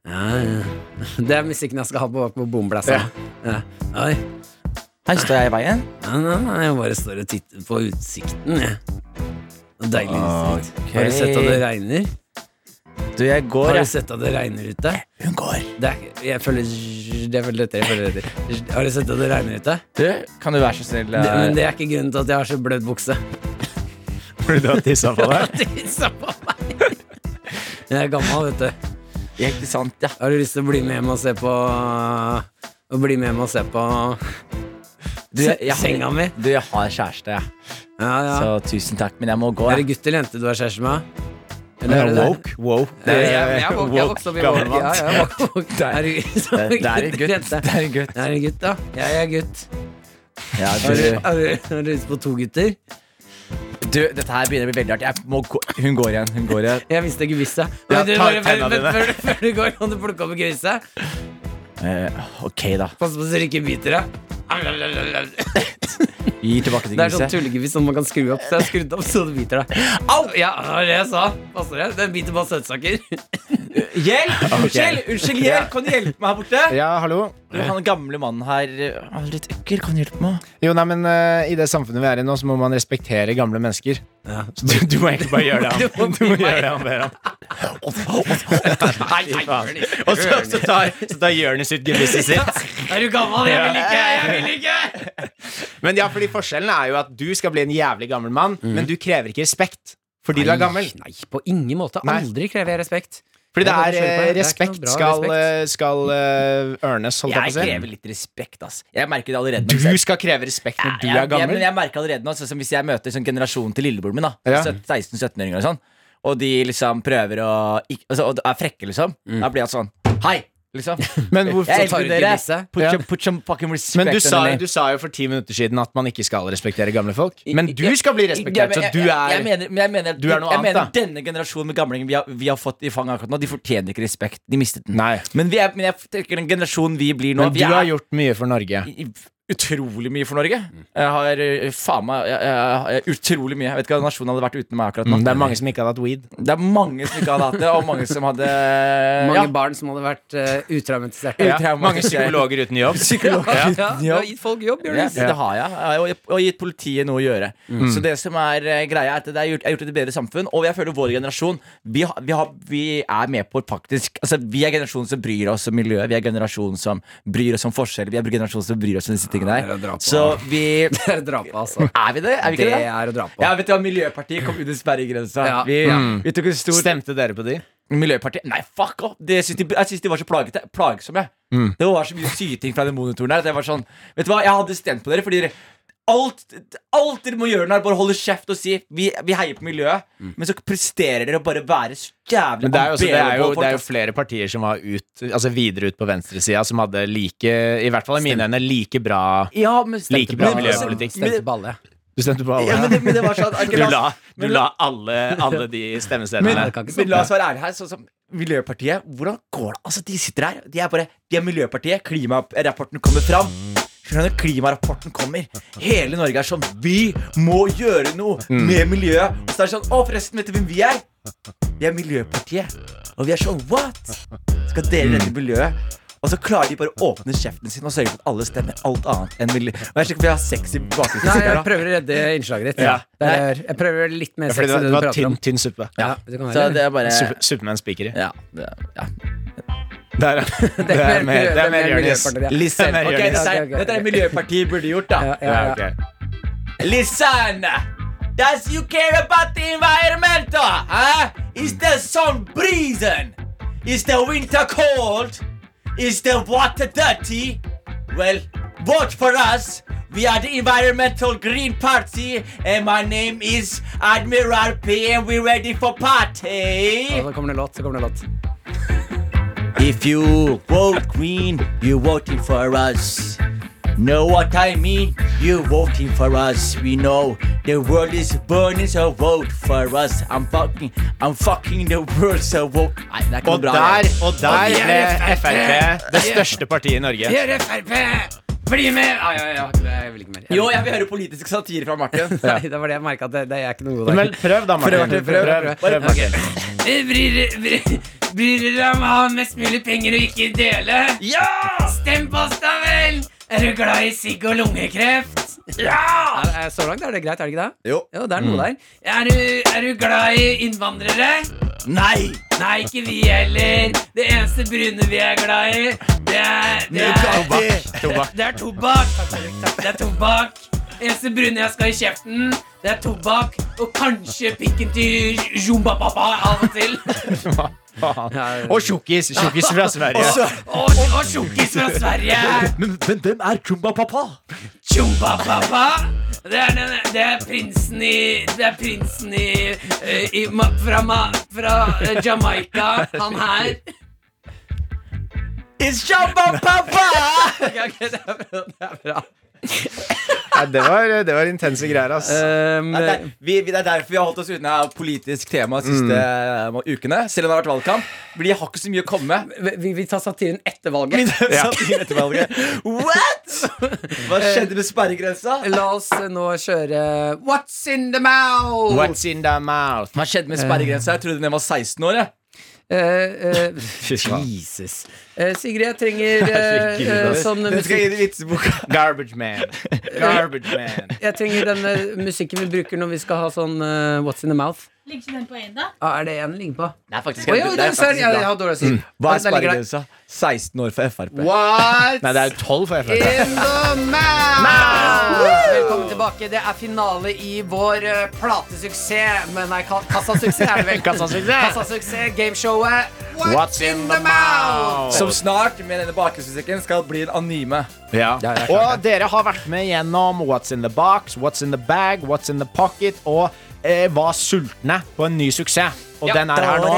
[SPEAKER 2] ja, ja. Det er musikken jeg skal ha på, på bomblassa ja. Oi,
[SPEAKER 4] Her står jeg i veien.
[SPEAKER 2] ja, nå, jeg bare står og titter på utsikten jeg. Det er Deilig utsikt
[SPEAKER 4] Ok.
[SPEAKER 2] Har du sett at det regner?
[SPEAKER 4] Du, jeg går.
[SPEAKER 2] Har
[SPEAKER 4] jeg.
[SPEAKER 2] du sett at det regner ute?
[SPEAKER 4] Hun går.
[SPEAKER 2] Det er, jeg føler Det er veldig lettere, jeg føler lettere. Har du sett at det regner ute?
[SPEAKER 4] Du, kan du være så snill?
[SPEAKER 2] Det,
[SPEAKER 4] eh,
[SPEAKER 2] men det er ikke grunnen til at jeg har så blødd bukse
[SPEAKER 5] Fordi du har tissa på deg?
[SPEAKER 2] Tissa på meg Jeg er gammel, vet du
[SPEAKER 4] ja, Ikke sant, ja.
[SPEAKER 2] Har du lyst til å bli med hjem og se på Å bli med hjem og se på
[SPEAKER 4] Du, jeg, jeg,
[SPEAKER 2] senga mi
[SPEAKER 4] du, jeg har kjæreste, jeg.
[SPEAKER 2] Ja, ja
[SPEAKER 4] Så tusen takk, men jeg må gå.
[SPEAKER 2] Er det
[SPEAKER 4] jeg.
[SPEAKER 2] gutt eller jente du er kjæreste med? Eller er det det?
[SPEAKER 5] Woke. woke. Eh,
[SPEAKER 2] Nei, jeg, jeg, jeg, vok- jeg vokste opp i
[SPEAKER 5] gammel
[SPEAKER 2] woke. Ja,
[SPEAKER 5] mann.
[SPEAKER 2] jeg vok- vok-
[SPEAKER 4] Det er-
[SPEAKER 2] Er det gutt
[SPEAKER 4] Det, det er en
[SPEAKER 2] eller
[SPEAKER 4] gutt.
[SPEAKER 2] jente?
[SPEAKER 4] Det er en gutt.
[SPEAKER 2] Det er en gutt, da. Jeg er gutt.
[SPEAKER 4] Ja,
[SPEAKER 2] Har du,
[SPEAKER 4] du,
[SPEAKER 2] har du, har du lyst på to gutter?
[SPEAKER 4] du, dette her begynner å bli veldig hardt. Jeg må gå. Hun går igjen. Hun går igjen.
[SPEAKER 2] Jeg visste ikke hvis jeg
[SPEAKER 5] Ja,
[SPEAKER 2] Men du,
[SPEAKER 5] ta
[SPEAKER 2] bare-
[SPEAKER 5] tennene
[SPEAKER 2] men-
[SPEAKER 5] dine.
[SPEAKER 2] Før du- før du går, kan du plukke opp griset?
[SPEAKER 4] Eh, ok, da.
[SPEAKER 2] Pass på så du ikke biter deg.
[SPEAKER 4] Gi tilbake til
[SPEAKER 2] Det er sånn
[SPEAKER 4] gruset.
[SPEAKER 2] tullegeviss som man kan skru opp. Så jeg har skrudd opp så det biter deg. Au! Ja, det var det jeg sa. Passer det? Den biter bare søtsaker.
[SPEAKER 4] Hjelp! Unnskyld! Unnskyld, hjelp! Kan du hjelpe meg her borte?
[SPEAKER 5] Ja, hallo.
[SPEAKER 4] Du, han gamle mannen her eh, han er litt ekkel. Kan du hjelpe meg?
[SPEAKER 5] Jo, nei, men eh, I det samfunnet vi er i nå, så må man respektere gamle mennesker. Så du, du må egentlig bare gjøre det han,
[SPEAKER 2] Du må
[SPEAKER 5] du må gjøre det han ber om.
[SPEAKER 2] Nei, nei,
[SPEAKER 5] Og så, så tar, så tar Jonis ut gebisset sitt.
[SPEAKER 2] Er du gammel? Jeg vil ikke! Jeg vil ikke!
[SPEAKER 5] Men ja, fordi Forskjellen er jo at du skal bli en jævlig gammel mann, men du krever ikke respekt fordi du er gammel.
[SPEAKER 2] Nei, nei, på ingen måte.
[SPEAKER 5] Nei.
[SPEAKER 2] Aldri krever jeg respekt.
[SPEAKER 5] Fordi det
[SPEAKER 2] Jeg
[SPEAKER 5] er,
[SPEAKER 2] bare kjører på,
[SPEAKER 5] eh,
[SPEAKER 2] det er ikke
[SPEAKER 5] respekt
[SPEAKER 2] noe bra
[SPEAKER 5] skal,
[SPEAKER 2] respekt.
[SPEAKER 5] eh, skal eh, ørnes, holdt jeg
[SPEAKER 4] Jeg
[SPEAKER 5] på å si.
[SPEAKER 4] krever litt respekt, ass. Jeg merker det allerede. når jeg
[SPEAKER 5] Du
[SPEAKER 4] ser-
[SPEAKER 5] skal kreve respekt når du
[SPEAKER 4] jeg,
[SPEAKER 5] er
[SPEAKER 4] Jeg,
[SPEAKER 5] gammel.
[SPEAKER 4] men jeg merker allerede nå, sånn som hvis jeg møter sånn generasjonen til lillebroren min, da
[SPEAKER 5] Ja.
[SPEAKER 4] 16-17-åringer og sånn, og de liksom prøver å ikk- altså, Og er frekke, liksom, da blir jeg sånn Hei! Liksom.
[SPEAKER 5] Men hvorfor
[SPEAKER 4] jeg
[SPEAKER 5] tar
[SPEAKER 4] elsker
[SPEAKER 5] du ikke
[SPEAKER 4] dere.
[SPEAKER 2] disse?
[SPEAKER 4] Put,
[SPEAKER 5] Ja.
[SPEAKER 4] some, put some fucking respect
[SPEAKER 5] Men du
[SPEAKER 4] on
[SPEAKER 5] sa,
[SPEAKER 4] the name.
[SPEAKER 5] du sa jo for ti minutter siden at man ikke skal respektere gamle folk. Men du
[SPEAKER 4] Jeg-
[SPEAKER 5] skal bli
[SPEAKER 4] Ja,
[SPEAKER 5] respektert,
[SPEAKER 4] men
[SPEAKER 5] så
[SPEAKER 4] jeg-
[SPEAKER 5] du
[SPEAKER 4] jeg- Jeg
[SPEAKER 5] er
[SPEAKER 4] mener, men jeg mener,
[SPEAKER 5] du er noe
[SPEAKER 4] jeg
[SPEAKER 5] annet,
[SPEAKER 4] mener
[SPEAKER 5] da.
[SPEAKER 4] denne generasjonen med gamlinger vi, har- vi har fått i fanget akkurat nå, de fortjener ikke respekt. De mistet den.
[SPEAKER 5] Nei.
[SPEAKER 4] Men, vi er, men jeg tenker den generasjonen vi blir nå
[SPEAKER 5] Men
[SPEAKER 4] vi er,
[SPEAKER 5] du har gjort mye for Norge.
[SPEAKER 4] i- utrolig mye for Norge.
[SPEAKER 2] Mm.
[SPEAKER 4] Jeg har eh, faen meg jeg, jeg, jeg, utrolig mye. Jeg vet ikke hva nasjonen hadde vært uten meg akkurat nå.
[SPEAKER 2] Mm.
[SPEAKER 5] Det er mange som ikke hadde hatt weed.
[SPEAKER 4] Det er mange som ikke hadde hatt det, og mange som hadde
[SPEAKER 2] Mange
[SPEAKER 4] ja,
[SPEAKER 2] barn som hadde vært eh, utraumatiserte.
[SPEAKER 5] Ja,
[SPEAKER 2] Ja.
[SPEAKER 5] mange psykologer uten jobb.
[SPEAKER 2] Ja, du har gitt folk jobb,
[SPEAKER 4] ja,
[SPEAKER 2] Jonis.
[SPEAKER 4] det har jeg. Jeg har jo- Og gitt politiet noe å gjøre.
[SPEAKER 2] Mm.
[SPEAKER 4] Så det som er eh, greia, er at det er gjort, er gjort et bedre samfunn. Og jeg føler vår generasjon vi, har, vi, har, vi er med på faktisk Altså, vi er generasjonen som bryr oss om miljøet. Vi er generasjonen som bryr oss om forskjeller. Vi er generasjonen som bryr oss om disse tingene
[SPEAKER 2] Ja, det er å dra
[SPEAKER 4] der.
[SPEAKER 2] på.
[SPEAKER 4] Så vi
[SPEAKER 2] Det er å dra på, altså.
[SPEAKER 4] Er vi det? Er vi
[SPEAKER 2] Det
[SPEAKER 4] ikke det?
[SPEAKER 2] er å dra på.
[SPEAKER 4] Ja, vet du hva, Miljøpartiet kom under sperregrensa.
[SPEAKER 2] Ja.
[SPEAKER 4] Vi,
[SPEAKER 2] Mm.
[SPEAKER 4] vi tok en stor
[SPEAKER 5] Stemte dere på de?
[SPEAKER 4] Miljøpartiet Nei, fuck off! Det syns de, jeg syns de var så plagete. Plagsomme. jeg
[SPEAKER 5] Mm.
[SPEAKER 4] Det var så mye syting fra den monitoren der. At jeg var sånn Vet du hva, jeg hadde stemt på dere fordi dere Alt, alt dere må gjøre nå, er bare holde kjeft og si vi, vi heier på miljøet. Men så presterer dere å bare være så jævlig
[SPEAKER 5] Mm. Men det er, jo også, det, er jo,
[SPEAKER 4] unbearable
[SPEAKER 5] det er jo
[SPEAKER 4] folk,
[SPEAKER 5] flere partier som var ut, altså videre ut på venstresida, som hadde like, i hvert fall i mine øyne, like bra
[SPEAKER 4] ass. Ja, men stemte
[SPEAKER 5] Like bra
[SPEAKER 4] men-
[SPEAKER 5] miljøpolitikk.
[SPEAKER 4] men-
[SPEAKER 2] Stemte på alle.
[SPEAKER 5] Du stemte på
[SPEAKER 4] Ja, men det, men det var sånn
[SPEAKER 5] Du
[SPEAKER 4] ok, la oss-
[SPEAKER 5] la, du
[SPEAKER 4] men
[SPEAKER 5] la alle, alle de
[SPEAKER 4] Men,
[SPEAKER 5] stemmestedene.
[SPEAKER 4] men la oss være ærlige her. Sånn som Miljøpartiet, hvordan går det? Altså, De sitter her. De er bare De er Miljøpartiet. Klimarapporten kommer fram. Skjønner du? Klimarapporten kommer. Hele Norge er sånn Vi må gjøre noe
[SPEAKER 2] Mm.
[SPEAKER 4] med miljøet. Og så er det sånn Å, forresten, vet du hvem vi er? Vi er Miljøpartiet. Og vi er sånn What? Skal dere
[SPEAKER 2] Mm.
[SPEAKER 4] redde miljøet? Og så klarer de bare å åpne kjeften sin og sørge for at alle stemmer alt annet enn miljø. Og jeg er sikker på at vi har sexy
[SPEAKER 2] Nei, jeg
[SPEAKER 4] bakgrunnsmusikk.
[SPEAKER 2] prøver å redde innslaget ditt.
[SPEAKER 5] Ja.
[SPEAKER 2] Det er, jeg prøver litt mer
[SPEAKER 5] Ja, fordi
[SPEAKER 2] sex
[SPEAKER 5] det,
[SPEAKER 2] enn det
[SPEAKER 5] det
[SPEAKER 2] du
[SPEAKER 5] var
[SPEAKER 2] prater
[SPEAKER 5] tynn,
[SPEAKER 2] om.
[SPEAKER 5] tynn suppe.
[SPEAKER 2] Ja, det kan
[SPEAKER 4] Så
[SPEAKER 2] være det.
[SPEAKER 4] det er bare
[SPEAKER 5] Suppe- Suppemenn spiker i.
[SPEAKER 4] Ja, det, ja.
[SPEAKER 5] Det er, det er mer, det er mer Jonis.
[SPEAKER 2] Miljøpartiet, ja.
[SPEAKER 4] Listen.
[SPEAKER 5] Mer
[SPEAKER 4] Ok,
[SPEAKER 5] Jonis.
[SPEAKER 4] dette,
[SPEAKER 2] ok,
[SPEAKER 4] er,
[SPEAKER 2] ok,
[SPEAKER 4] dette er
[SPEAKER 2] ok.
[SPEAKER 4] Miljøpartiet burde gjort, da.
[SPEAKER 2] Ja, ja,
[SPEAKER 5] Ja,
[SPEAKER 2] ja.
[SPEAKER 5] ok.
[SPEAKER 4] Listen! Does you care about the environment? Huh? Is the sun breezing? Is the winter cold? Is the water dirty? Well, vote for us. We are the Environmental Green Party, and my name is Admiral P, and we're ready for party.
[SPEAKER 2] Og så kommer det låt, så kommer det låt.
[SPEAKER 4] If you vote green, you're voting for us. Know what I mean? You're voting for us. We know the world is burning, so vote for us. I'm fucking, I'm fucking the world, so vote. Nei, det er ikke
[SPEAKER 5] Og
[SPEAKER 4] noe bra.
[SPEAKER 5] der,
[SPEAKER 4] det.
[SPEAKER 5] og der ble Frp det største partiet i Norge.
[SPEAKER 2] Gjør Frp! Bli med! Ah, ja, ja, det jeg vil ikke mer.
[SPEAKER 4] Jo, jeg vil høre politisk satire fra Martin.
[SPEAKER 2] Nei, det var det jeg merket at det, det er ikke noe god
[SPEAKER 5] Men prøv, da, Martin.
[SPEAKER 2] Prøv, prøv, prøv.
[SPEAKER 5] Martin.
[SPEAKER 2] Bryr dere om å ha mest mulig penger og ikke dele?
[SPEAKER 4] Ja!
[SPEAKER 2] Stem på oss, da vel! Er du glad i sigg og lungekreft? Ja! så langt er det greit, er det ikke det?
[SPEAKER 4] Jo.
[SPEAKER 2] Jo, det er noe der. Er du, er du glad i innvandrere?
[SPEAKER 4] Nei!
[SPEAKER 2] Nei, ikke vi heller. Det eneste brune vi er glad i, det er, det er,
[SPEAKER 4] Bugatti.
[SPEAKER 2] det er tobakk. Det er tobakk. Eneste brune jeg skal i kjeften, det er tobakk. Og kanskje pikken til Jumba Papa av og til.
[SPEAKER 5] Og tjukkis. Tjukkis fra Sverige.
[SPEAKER 4] Så-
[SPEAKER 2] Og, og tjukkis fra Sverige.
[SPEAKER 4] Men, men hvem er Chumba Papa?
[SPEAKER 2] Tjomba Papa. Det er, den, det er prinsen i Det er prinsen i, eh, i ma, fra, ma, fra eh, Jamaica. Han her.
[SPEAKER 4] It's Chumba Papa!
[SPEAKER 5] Ja, det, var, det var intense greier, ass.
[SPEAKER 2] Ehm,
[SPEAKER 4] Nei, Det er, vi, vi- det er derfor vi har holdt oss unna politisk tema de siste eh, ukene. Selv om det har vært valgkamp. Fordi jeg har ikke så mye å komme med.
[SPEAKER 2] vi, tar satiren etter valget.
[SPEAKER 4] Min samtidig etter valget. What?! Eh, Hva skjedde med sperregrensa?
[SPEAKER 2] La oss nå kjøre What's in the mouth?
[SPEAKER 5] What's in the mouth?
[SPEAKER 4] Hva skjedde med sperregrensa? Jeg trodde den var 16 år. jeg.
[SPEAKER 2] Eh, eh,
[SPEAKER 5] Fy faen.
[SPEAKER 2] Jesus. Eh, Sigrid, jeg trenger eh,
[SPEAKER 5] Herregud,
[SPEAKER 2] eh,
[SPEAKER 5] ass.
[SPEAKER 2] sånn
[SPEAKER 4] Den skal
[SPEAKER 2] musikk.
[SPEAKER 4] inn i vitseboka.
[SPEAKER 5] Garbage man. Garbage man.
[SPEAKER 2] Jeg trenger den eh, musikken vi bruker når vi skal ha sånn eh, What's in the mouth.
[SPEAKER 3] Ligger ikke den på én, da?
[SPEAKER 2] Ah, er det en ligger på?
[SPEAKER 4] Nei, faktisk,
[SPEAKER 2] Å, jo,
[SPEAKER 4] det er
[SPEAKER 2] den ser
[SPEAKER 4] faktisk
[SPEAKER 2] jeg, jeg
[SPEAKER 4] bra.
[SPEAKER 2] har dårlig å si.
[SPEAKER 5] Mm.
[SPEAKER 4] Hva er
[SPEAKER 2] Den ligger der.
[SPEAKER 4] sperregrensa? 16 år for Frp.
[SPEAKER 2] What
[SPEAKER 5] Nei, det er tolv for Frp.
[SPEAKER 2] in the mouth? Velkommen tilbake. Det er finale i vår eh, platesuksess. Men nei, ka- kassasuksess er det vel.
[SPEAKER 5] Kassasuksess.
[SPEAKER 2] Kassasuksess, Gameshowet.
[SPEAKER 5] What's in the mouth?
[SPEAKER 4] Som snart, med denne bakgrunnsmusikken, skal bli en anime.
[SPEAKER 5] Ja. Og dere har vært med gjennom What's in the box, What's in the bag, What's in the pocket og eh, Var sultne på en ny suksess. Og den er her nå.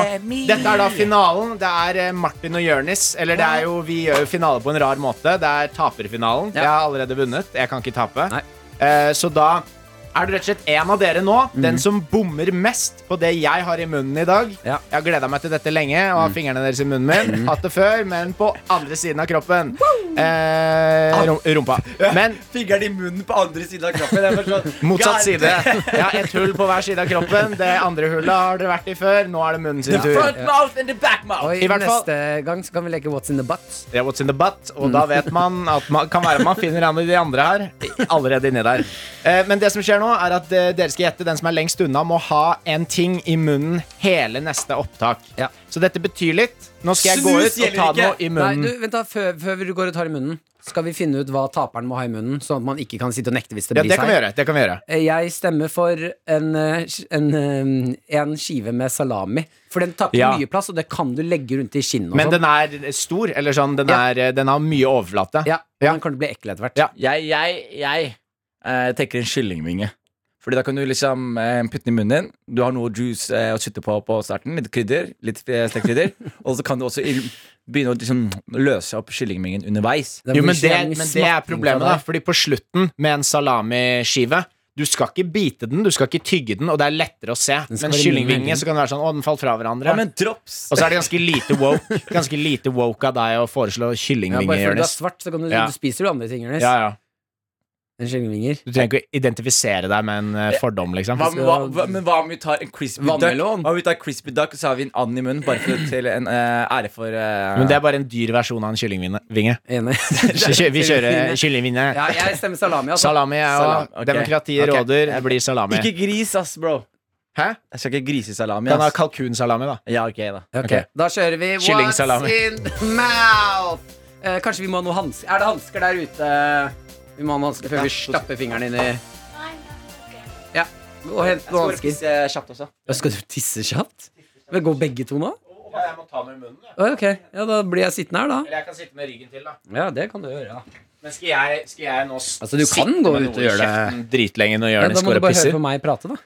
[SPEAKER 5] Dette er da finalen. Det er eh, Martin og Jørnis. Eller det er jo, vi gjør jo finale på en rar måte. Det er taperfinalen. Jeg har allerede vunnet. Jeg kan ikke tape.
[SPEAKER 2] Nei.
[SPEAKER 5] Eh, så da er det rett og slett en av dere nå,
[SPEAKER 2] Mhm.
[SPEAKER 5] den som bommer mest på det jeg har i munnen i dag.
[SPEAKER 2] Ja. Mhm.
[SPEAKER 5] Jeg har gleda meg til dette lenge og har fingrene deres i munnen min. Hatt det før, men på andre siden av kroppen. Eh, rum- rumpa. Men
[SPEAKER 4] Fingeren i munnen på andre siden av kroppen. Jeg er bare sånn,
[SPEAKER 5] motsatt
[SPEAKER 4] God
[SPEAKER 5] side. Ja, et hull på hver side av kroppen. Det andre hullet har dere vært i før. Nå er det munnen sin tur.
[SPEAKER 4] Front mouth and the back mouth.
[SPEAKER 2] Og
[SPEAKER 5] I
[SPEAKER 2] i
[SPEAKER 5] hvert fall-
[SPEAKER 2] neste gang så kan vi leke What's in the butt.
[SPEAKER 5] Ja, what's in the butt? Og da vet man at man kan være at man finner en av de andre her. Allerede inni der. Eh, Men det som skjer nå, er at eh, dere skal gjette den som er lengst unna, må ha en ting i munnen hele neste opptak.
[SPEAKER 2] Ja.
[SPEAKER 5] Så dette betyr litt. Nå skal jeg gå
[SPEAKER 4] Snus
[SPEAKER 5] ut og
[SPEAKER 4] gjelder
[SPEAKER 5] ta
[SPEAKER 4] ikke.
[SPEAKER 5] noe i
[SPEAKER 2] Nei, du,
[SPEAKER 5] munnen.
[SPEAKER 2] vent da, før, før du går og tar har i munnen, skal vi finne ut hva taperen må ha i munnen, sånn at man ikke kan sitte og nekte hvis det
[SPEAKER 5] Ja,
[SPEAKER 2] blir
[SPEAKER 5] det kan vi
[SPEAKER 2] seg.
[SPEAKER 5] gjøre. Det kan vi gjøre.
[SPEAKER 2] Eh, Jeg stemmer for en, eh, sk- en, eh, en skive med salami. For den tar ikke
[SPEAKER 5] Ja.
[SPEAKER 2] mye plass, og det kan du legge rundt i kinnet. og
[SPEAKER 5] Men
[SPEAKER 2] sånn.
[SPEAKER 5] den er stor, eller sånn, den,
[SPEAKER 2] Ja.
[SPEAKER 5] er, den har mye overflate.
[SPEAKER 2] Ja,
[SPEAKER 5] Ja.
[SPEAKER 2] Den kan bli ekkel etter hvert.
[SPEAKER 5] Ja.
[SPEAKER 4] Jeg, jeg, jeg eh, tenker en kyllingvinge. Fordi da kan du liksom eh, putte den i munnen din. Du har noe juice eh, å sytte på på starten. Litt krydder. Litt eh, stekekrydder. og så kan du også i, begynne å liksom, løse opp kyllingvingen underveis.
[SPEAKER 2] Den
[SPEAKER 5] Jo,
[SPEAKER 2] blir
[SPEAKER 5] men det,
[SPEAKER 2] ikke-
[SPEAKER 5] men det er problemet, da. Fordi på slutten, med en salamiskive Du skal ikke bite den, du skal ikke tygge den, og det er lettere å se.
[SPEAKER 2] skal
[SPEAKER 5] Men
[SPEAKER 2] være mindre.
[SPEAKER 5] kyllingvinge, så kan det være sånn Å, den falt fra
[SPEAKER 4] Ja,
[SPEAKER 5] hverandre.
[SPEAKER 4] men drops!
[SPEAKER 5] Og så er det ganske lite woke Ganske lite woke av deg å foreslå
[SPEAKER 2] Ja,
[SPEAKER 5] kyllingvinge,
[SPEAKER 2] bare fordi du er
[SPEAKER 5] Jonis.
[SPEAKER 2] svart, så kan du,
[SPEAKER 5] Ja.
[SPEAKER 2] du spiser jo andre ting. Jonis.
[SPEAKER 5] Ja, ja.
[SPEAKER 2] En kyllingvinger.
[SPEAKER 5] Du trenger ikke å identifisere deg med en eh, fordom, liksom.
[SPEAKER 4] Hva, hva, hva, men hva om vi tar en crispy duck?
[SPEAKER 2] Vannmelon.
[SPEAKER 4] Hva om vi tar crispy duck, og så har vi en and i munnen, bare for, til en eh, ære for eh,
[SPEAKER 5] Men det er bare en dyr versjon av en kyllingvinge.
[SPEAKER 2] Enig.
[SPEAKER 5] Kjø- Vi kjører kyllingvinge.
[SPEAKER 2] Ja, jeg stemmer salami. Altså.
[SPEAKER 5] Salami, ja.
[SPEAKER 4] Salam, ok.
[SPEAKER 5] Demokratiet
[SPEAKER 4] Ok.
[SPEAKER 5] råder. Det blir salami.
[SPEAKER 4] Ikke gris, ass, bro.
[SPEAKER 5] Hæ?
[SPEAKER 4] Jeg skal ikke grisesalami,
[SPEAKER 5] Kan ha
[SPEAKER 4] ass.
[SPEAKER 5] kalkunsalami, da.
[SPEAKER 4] Ja, ok, da.
[SPEAKER 2] Ok,
[SPEAKER 5] Ok.
[SPEAKER 2] Da kjører vi
[SPEAKER 5] Kyllingsalami.
[SPEAKER 2] What's in mouth? Eh, kanskje vi må ha noe hansker Er det hansker der ute? Vi må ha noe hansker før vi stapper fingeren inn i Ja. Og hent noen hansker.
[SPEAKER 4] eh, kjapt også.
[SPEAKER 2] Skal du tisse kjapt? Vi går begge to nå?
[SPEAKER 5] Jeg må ta med munnen,
[SPEAKER 2] Å, Ok, ja, Da blir jeg sittende her, da.
[SPEAKER 5] Eller jeg kan sitte med ryggen til, da.
[SPEAKER 2] Ja, det kan du gjøre. ja.
[SPEAKER 5] Men skal jeg, skal jeg nå s-
[SPEAKER 2] Altså, du kan gå ut og gjøre det.
[SPEAKER 5] dritlenge når
[SPEAKER 2] Ja, da
[SPEAKER 5] Jonis
[SPEAKER 2] må
[SPEAKER 5] går
[SPEAKER 2] du
[SPEAKER 5] og
[SPEAKER 2] bare høre
[SPEAKER 5] pisser?
[SPEAKER 2] på meg prate, da.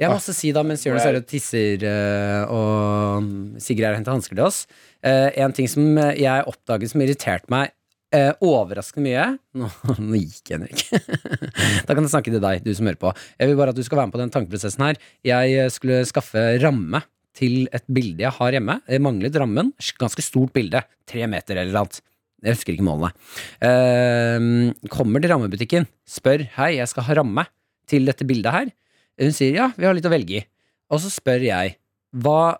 [SPEAKER 2] Jeg har masse å si da mens Jonis er og tisser eh, og mm, Sigrid er og henter hansker til oss. Eh, en ting som eh, jeg oppdaget som irriterte meg eh, overraskende mye Nå, nå gikk Henrik. da kan jeg snakke til deg, du som hører på. Jeg vil bare at du skal være med på den tankeprosessen her. Jeg eh, skulle skaffe ramme til et bilde jeg har hjemme. Jeg manglet rammen. Ganske stort bilde. Tre meter eller noe annet. Jeg husker ikke målene. Eh, kommer til rammebutikken, spør 'Hei, jeg skal ha ramme' til dette bildet her. Hun sier ja, vi har litt å velge i. Og så spør jeg hva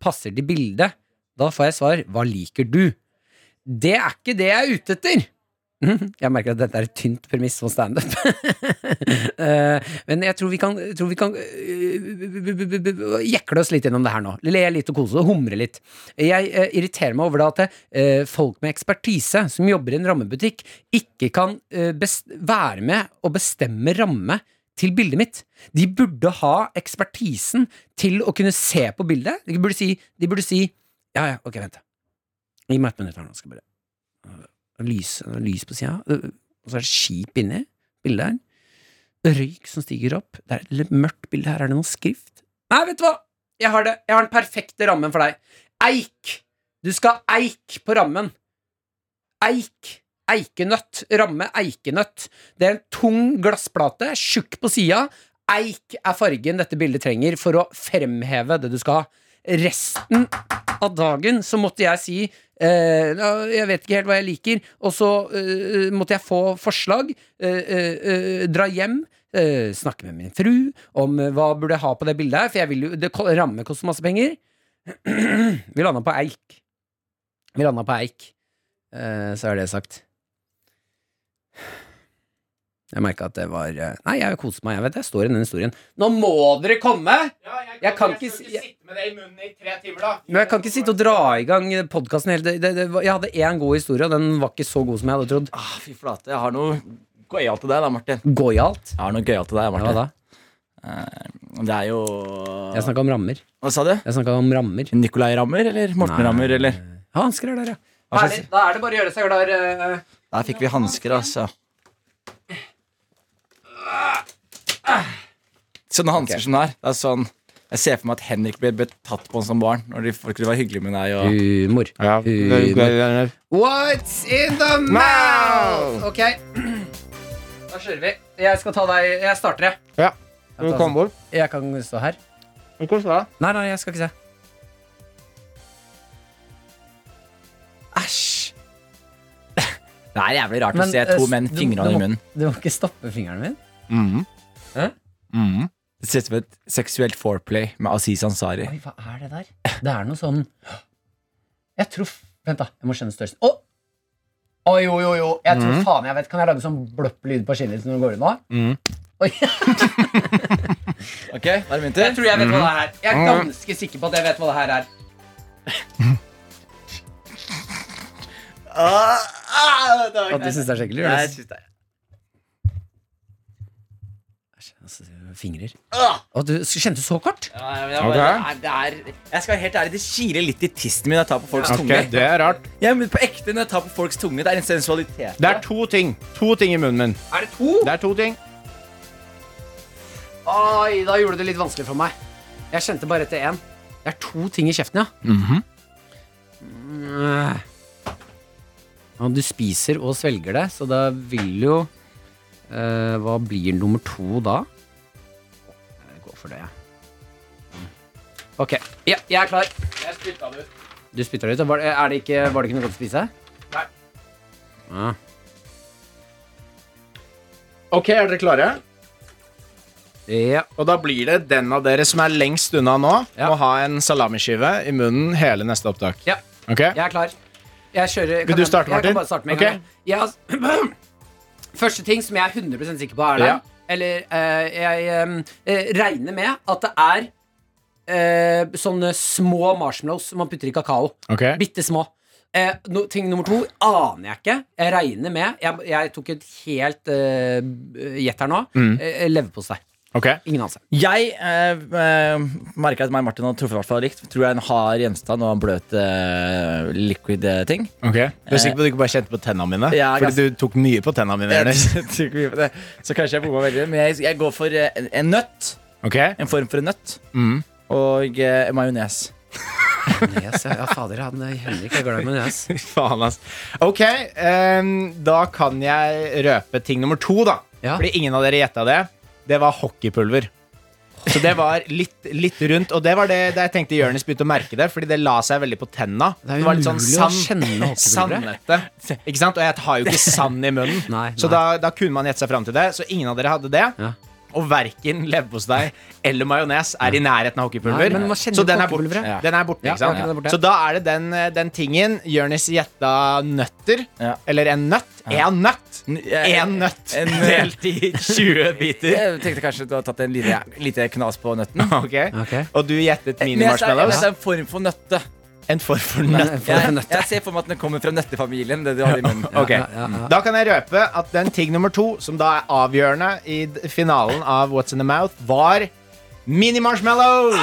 [SPEAKER 2] passer til bildet? Da får jeg svar hva liker du? Det er ikke det jeg er ute etter! Mhm, Jeg merker at dette er et tynt premiss for standup. Eh, Men jeg tror vi kan, jeg tror vi kan eh, jekle oss litt gjennom det her nå. Le litt og kose og humre litt. Jeg eh, irriterer meg over da at eh, folk med ekspertise som jobber i en rammebutikk, ikke kan eh, best være med og bestemme ramme til bildet mitt. De burde ha ekspertisen til å kunne se på bildet. De burde si, de burde si Ja, ja, ok, vent. Gi meg et minutt her nå, skal jeg bare øh, Lys, øh, lys på sida, og så er det skip inni bildet her. Røyk som stiger opp. Det er et litt mørkt bilde her. Er det noe skrift? Nei, vet du hva! Jeg har det. Jeg har den perfekte rammen for deg. Eik! Du skal ha eik på rammen. Eik. Eikenøtt. Ramme eikenøtt. Det er en tung glassplate, tjukk på sida. Eik er fargen dette bildet trenger for å fremheve det du skal ha. Resten av dagen så måtte jeg si eh, «Ja, Jeg vet ikke helt hva jeg liker, og så eh, måtte jeg få forslag. Eh, eh, eh, dra hjem. eh, snakke med min fru om eh, hva burde jeg ha på det bildet her, for jeg vil jo, det ko- ramme koster masse penger. Vi landa på eik. Vi landa på eik. Eh, så er det sagt. Jeg merka at det var eh, Nei, jeg koser meg. Jeg vet det. Jeg står i den historien. Nå må dere komme! Jeg kan ikke si- jeg-
[SPEAKER 5] sitte med det i munnen i tre timer, da.
[SPEAKER 2] Men jeg kan ikke sitte og dra i gang podkasten hele det, det, det, var- Jeg hadde én god historie, og den var ikke så god som jeg hadde trodd.
[SPEAKER 4] Ah, fy flate. Jeg har noe gøyalt til deg, da, Martin.
[SPEAKER 2] Gøyalt.
[SPEAKER 4] Jeg har noe gøyalt til deg,
[SPEAKER 2] Hva
[SPEAKER 4] Martin.
[SPEAKER 2] da?
[SPEAKER 4] det er jo
[SPEAKER 2] Jeg snakka om rammer.
[SPEAKER 4] Hva sa du?
[SPEAKER 2] Jeg snakka om rammer.
[SPEAKER 4] Nicolai Rammer eller Morten
[SPEAKER 2] Nei.
[SPEAKER 4] Rammer, eller?
[SPEAKER 2] Ja, hansker er der, ja.
[SPEAKER 4] Hva slags-
[SPEAKER 2] Herlig. Da er det bare å gjøre seg klar. eh,
[SPEAKER 4] Der fikk vi hansker, altså. Sånne hansker som det her. Det er sånn Jeg ser for meg at Henrik ble ble tatt på som barn. Når de folk var hyggelige med deg. Og...
[SPEAKER 2] Humor.
[SPEAKER 5] Ja,
[SPEAKER 2] det- det- What's in the mouth?
[SPEAKER 5] Mouth!
[SPEAKER 2] Ok. Da kjører vi. Jeg skal ta deg Jeg starter, jeg. sånn.
[SPEAKER 5] ja. Skal du komme bort?
[SPEAKER 2] Jeg kan stå her.
[SPEAKER 5] Men Hvordan da?
[SPEAKER 2] Nei, nei, jeg skal ikke se. Æsj.
[SPEAKER 4] Det er jævlig rart
[SPEAKER 2] Men,
[SPEAKER 4] å se
[SPEAKER 2] eh,
[SPEAKER 4] to menn
[SPEAKER 2] du-
[SPEAKER 4] fingrene
[SPEAKER 2] du
[SPEAKER 4] i
[SPEAKER 2] må-
[SPEAKER 4] munnen.
[SPEAKER 2] Du må ikke stoppe fingeren min.
[SPEAKER 5] Mhm.
[SPEAKER 2] Hæ?
[SPEAKER 5] Mhm.
[SPEAKER 4] Det ser ut som et seksuelt foreplay med Aziz Ansari.
[SPEAKER 2] Oi, hva er det der? Det er noe sånn Jeg tror Vent, da. Jeg må skjønne størrelsen. Å! Å, jo, jo, jo. Jeg tror faen jeg vet. Kan jeg lage sånn bløpp lyd på kinnet ditt når du går ut nå? Oi.
[SPEAKER 4] Ok, da er det min
[SPEAKER 2] Jeg
[SPEAKER 4] tur.
[SPEAKER 2] tror jeg vet hva det er. Jeg er ganske sikker på at jeg vet hva det her er.
[SPEAKER 4] Ah, ah, det var
[SPEAKER 2] At du syns det er skikkelig?
[SPEAKER 4] Nei, jeg
[SPEAKER 2] Jonas?
[SPEAKER 4] synes det er
[SPEAKER 2] Altså, fingrer. Å, du kjente så kort?
[SPEAKER 4] Ja, ja, men jeg, bare, det er, jeg skal være helt ærlig, det kiler litt i tissen min når jeg tar på folks
[SPEAKER 5] Ok,
[SPEAKER 4] tunge.
[SPEAKER 5] Det er rart.
[SPEAKER 4] Ja, men på ekte når jeg tar på folks tunge, det er en sensualitet.
[SPEAKER 5] Det er to ting. To ting i munnen min.
[SPEAKER 2] Er det to?
[SPEAKER 5] Det er to ting.
[SPEAKER 2] Oi, da gjorde du det litt vanskelig for meg. Jeg kjente bare etter én. Det er to ting i kjeften, ja. Mhm. Mm. Ja, Du spiser og svelger det, så da vil jo eh, Hva blir nummer to da? Jeg går for det, jeg. Ok. Ja, jeg er klar.
[SPEAKER 5] Jeg spytta det ut.
[SPEAKER 2] Du spytter det ut. og Var, det- er det ikke, var det ikke noe godt å spise?
[SPEAKER 5] Nei.
[SPEAKER 2] Ja.
[SPEAKER 5] Ok, er dere klare?
[SPEAKER 2] ja.
[SPEAKER 5] Og da blir det den av dere som er lengst unna nå,
[SPEAKER 2] Ja.
[SPEAKER 5] må ha en salamiskive i munnen hele neste opptak.
[SPEAKER 2] Ja.
[SPEAKER 5] Ok?
[SPEAKER 2] Jeg er klar. Jeg kjører, kan
[SPEAKER 5] Vil du
[SPEAKER 2] jeg-
[SPEAKER 5] starte,
[SPEAKER 2] Jeg kan
[SPEAKER 5] Martin?
[SPEAKER 2] bare starte med en
[SPEAKER 5] Ok.
[SPEAKER 2] gang. Jeg- første ting som jeg er 100 sikker på, er det
[SPEAKER 5] Ja.
[SPEAKER 2] Eller eh, jeg em, eh, regner med at det er eh, sånne små marshmallows som man putter i kakao.
[SPEAKER 5] Ok.
[SPEAKER 2] Bitte små. Eh, no, ting nummer to aner jeg ikke. Jeg regner med Jeg, jeg tok et helt eh, gjett her nå. Eh, Leverpostei.
[SPEAKER 5] Ok.
[SPEAKER 2] Ingen anelse.
[SPEAKER 4] Jeg eh, eh, merker at meg og Martin har truffet hvertfall likt. Tror jeg er en hard gjenstand og en bløt eh, liquid eh, ting.
[SPEAKER 5] ok. Du er sikker på at du ikke bare kjente på tennene mine?
[SPEAKER 4] Ja, jeg
[SPEAKER 5] Fordi du tok mye på tennene mine. Ernest.
[SPEAKER 4] Jeg tror ikke mye på det. Så kanskje jeg bomma veldig, men jeg, jeg går for eh, en, en nøtt.
[SPEAKER 5] Ok?
[SPEAKER 4] En form for en nøtt.
[SPEAKER 5] Mm.
[SPEAKER 4] Og eh, majones.
[SPEAKER 2] Yes, ja, ja, fader, han eh, Henrik er glad i majones.
[SPEAKER 5] Fy Faen, ass. Ok, ehm, da kan jeg røpe ting nummer to, da.
[SPEAKER 2] Ja.
[SPEAKER 5] Fordi ingen av dere gjetta det. Det var hockeypulver. Så det var litt, litt rundt, og det var det, det jeg tenkte Jonis begynte å merke det, fordi det la seg veldig på tenna.
[SPEAKER 2] Det er
[SPEAKER 5] var litt sånn
[SPEAKER 2] umulig å
[SPEAKER 5] sand,
[SPEAKER 2] kjenne hockeypulveret.
[SPEAKER 5] sandete. Ikke sant? Og jeg har jo ikke sand i munnen,
[SPEAKER 2] Nei,
[SPEAKER 5] så da, da kunne man gjette seg fram til det. Så ingen av dere hadde det.
[SPEAKER 2] Ja.
[SPEAKER 5] Og verken leverpostei eller majones er i nærheten av hockeypulver.
[SPEAKER 2] Nei, men man kjenner
[SPEAKER 5] så den er borte.
[SPEAKER 2] hockeypulveret.
[SPEAKER 5] Den er borte,
[SPEAKER 2] Ja,
[SPEAKER 5] ikke sant?
[SPEAKER 2] ja, den er borte.
[SPEAKER 5] Så da er det den, eh, den tingen Jørnis gjetta nøtter.
[SPEAKER 4] Ja.
[SPEAKER 5] Eller en nøtt. En nøtt!
[SPEAKER 4] N- jeg-
[SPEAKER 5] En nøtt
[SPEAKER 4] en- eh,
[SPEAKER 5] delt i 20 biter.
[SPEAKER 4] Jeg tenkte kanskje du hadde tatt en lite, lite knas på nøtten.
[SPEAKER 5] Ok.
[SPEAKER 2] Ok.
[SPEAKER 5] Og du gjettet
[SPEAKER 4] Men jeg sa- jeg
[SPEAKER 5] mini-marshmallows.
[SPEAKER 4] sa en form for nøtte.
[SPEAKER 5] En form for nøtt.
[SPEAKER 4] Jeg, jeg ser for meg at den kommer fra nøttefamilien. Det du har i munnen
[SPEAKER 5] Ok.
[SPEAKER 2] Ja, ja, ja.
[SPEAKER 5] Da kan jeg røpe at den ting nummer to, som da er avgjørende i d- finalen av What's in the Mouth, var mini-marshmallows.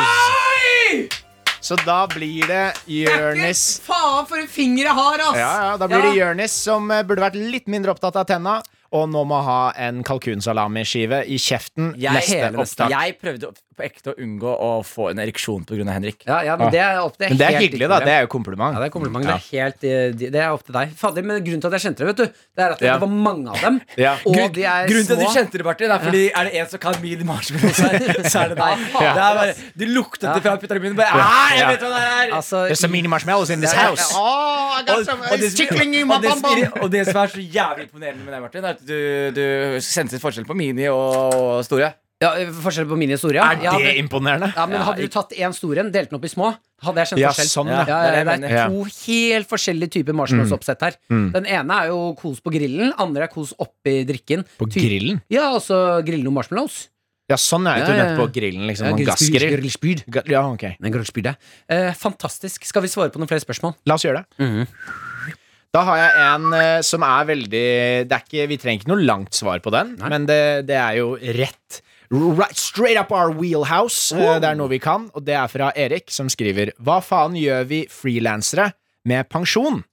[SPEAKER 5] Så da blir det Jørnis
[SPEAKER 2] Faen, for en finger jeg har, ass!
[SPEAKER 5] Ja, ja, da blir det Jørnis som eh, burde vært litt mindre opptatt av tenna. Og nå må ha en kalkunsalamiskive i kjeften neste
[SPEAKER 2] hele neste-
[SPEAKER 5] opptak.
[SPEAKER 4] Jeg prøvde å- på ekte å unngå å få en ereksjon pga. Henrik.
[SPEAKER 2] Ja, ja, men det er opp til
[SPEAKER 5] Ah. Men det er
[SPEAKER 2] helt
[SPEAKER 5] hyggelig, da.
[SPEAKER 2] ditt
[SPEAKER 5] Det
[SPEAKER 2] problem.
[SPEAKER 5] er jo kompliment.
[SPEAKER 2] Ja, det er kompliment. Det er, helt, eh, de- det er opp til deg. Fader, men grunnen til at jeg kjente det, vet du, det er at
[SPEAKER 5] Ja.
[SPEAKER 2] det var mange av dem.
[SPEAKER 5] Ja.
[SPEAKER 2] Og
[SPEAKER 4] Grunn-
[SPEAKER 2] de er
[SPEAKER 4] Grunnen til
[SPEAKER 2] små.
[SPEAKER 4] at du kjente det, Martin, er fordi er det en som kan min marshmallows her, så er det deg.
[SPEAKER 2] Ja.
[SPEAKER 4] Det er bare, du luktet det fra putta i munnen. Bare, «Ah, jeg vet hva det er
[SPEAKER 2] altså,
[SPEAKER 5] There's some mini marshmallows in this
[SPEAKER 2] Ja, ja,
[SPEAKER 5] house.
[SPEAKER 2] ja.
[SPEAKER 4] og, og, det, som- og, det, som irri- og det som er så jævlig imponerende med deg, Martin, er at du, du sendte forskjell på mini og, og store.
[SPEAKER 2] ja, forskjell på mine store, ja.
[SPEAKER 5] Er
[SPEAKER 2] ja,
[SPEAKER 5] det
[SPEAKER 2] men-
[SPEAKER 5] imponerende?
[SPEAKER 2] ja, men Hadde du tatt én stor en, delt den opp i små, hadde jeg kjent
[SPEAKER 5] Ja,
[SPEAKER 2] forskjell.
[SPEAKER 5] sånn, ja.
[SPEAKER 2] ja,
[SPEAKER 4] Det er
[SPEAKER 2] ja,
[SPEAKER 4] det jeg
[SPEAKER 2] det
[SPEAKER 5] mener. Mm.
[SPEAKER 2] er to helt forskjellige typer marshmallows-oppsett her. Den ene er jo kos på grillen, andre er kos oppi drikken.
[SPEAKER 5] På
[SPEAKER 2] Ty-
[SPEAKER 5] grillen?
[SPEAKER 2] Ja, og så grille noen marshmallows.
[SPEAKER 5] Ja, sånn er
[SPEAKER 2] Ja,
[SPEAKER 5] det jo
[SPEAKER 2] ja,
[SPEAKER 5] nødt
[SPEAKER 2] ja.
[SPEAKER 5] på grillen. liksom
[SPEAKER 2] Ja,
[SPEAKER 5] en
[SPEAKER 2] grillspyd,
[SPEAKER 5] Gassgrill.
[SPEAKER 2] grillspyd.
[SPEAKER 5] Ga- Ja, ok.
[SPEAKER 2] Den grillspydet. Eh, fantastisk. Skal vi svare på noen flere spørsmål?
[SPEAKER 5] La oss gjøre det. Da har jeg en eh, som er veldig det er ikke, Vi trenger ikke noe langt svar på den, men det, det er jo rett. Right, straight up our wheelhouse. Eh, Det er noe vi kan, og det er fra Erik, som skriver Hva faen gjør vi frilansere med pensjon?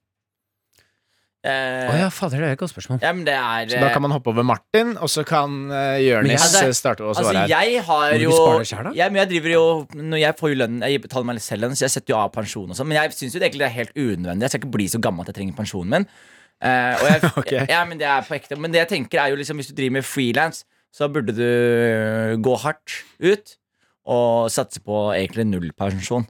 [SPEAKER 2] Å ja, fader, det er et godt spørsmål.
[SPEAKER 4] Eh, ja, men det er
[SPEAKER 5] Så da kan man hoppe over Martin, og så kan uh, Jørnis
[SPEAKER 4] Men jeg-
[SPEAKER 5] eh, starte å svare
[SPEAKER 4] Altså,
[SPEAKER 5] her.
[SPEAKER 4] jeg har
[SPEAKER 2] Må du
[SPEAKER 4] jo
[SPEAKER 2] ikke spare deg selv, da?
[SPEAKER 4] jeg, men jeg driver jo Når jeg får jo lønn Jeg betaler meg selv lønn, så jeg setter jo av pensjon og sånn. Men jeg syns jo det egentlig er helt unødvendig. Jeg skal ikke bli så gammel at jeg trenger pensjonen min. Eh, og jeg,
[SPEAKER 5] Ok.
[SPEAKER 4] ja, men det er på ekte. Men det jeg tenker er jo liksom hvis du driver med frilans, så burde du øh, gå hardt ut og satse på egentlig nullpensjon.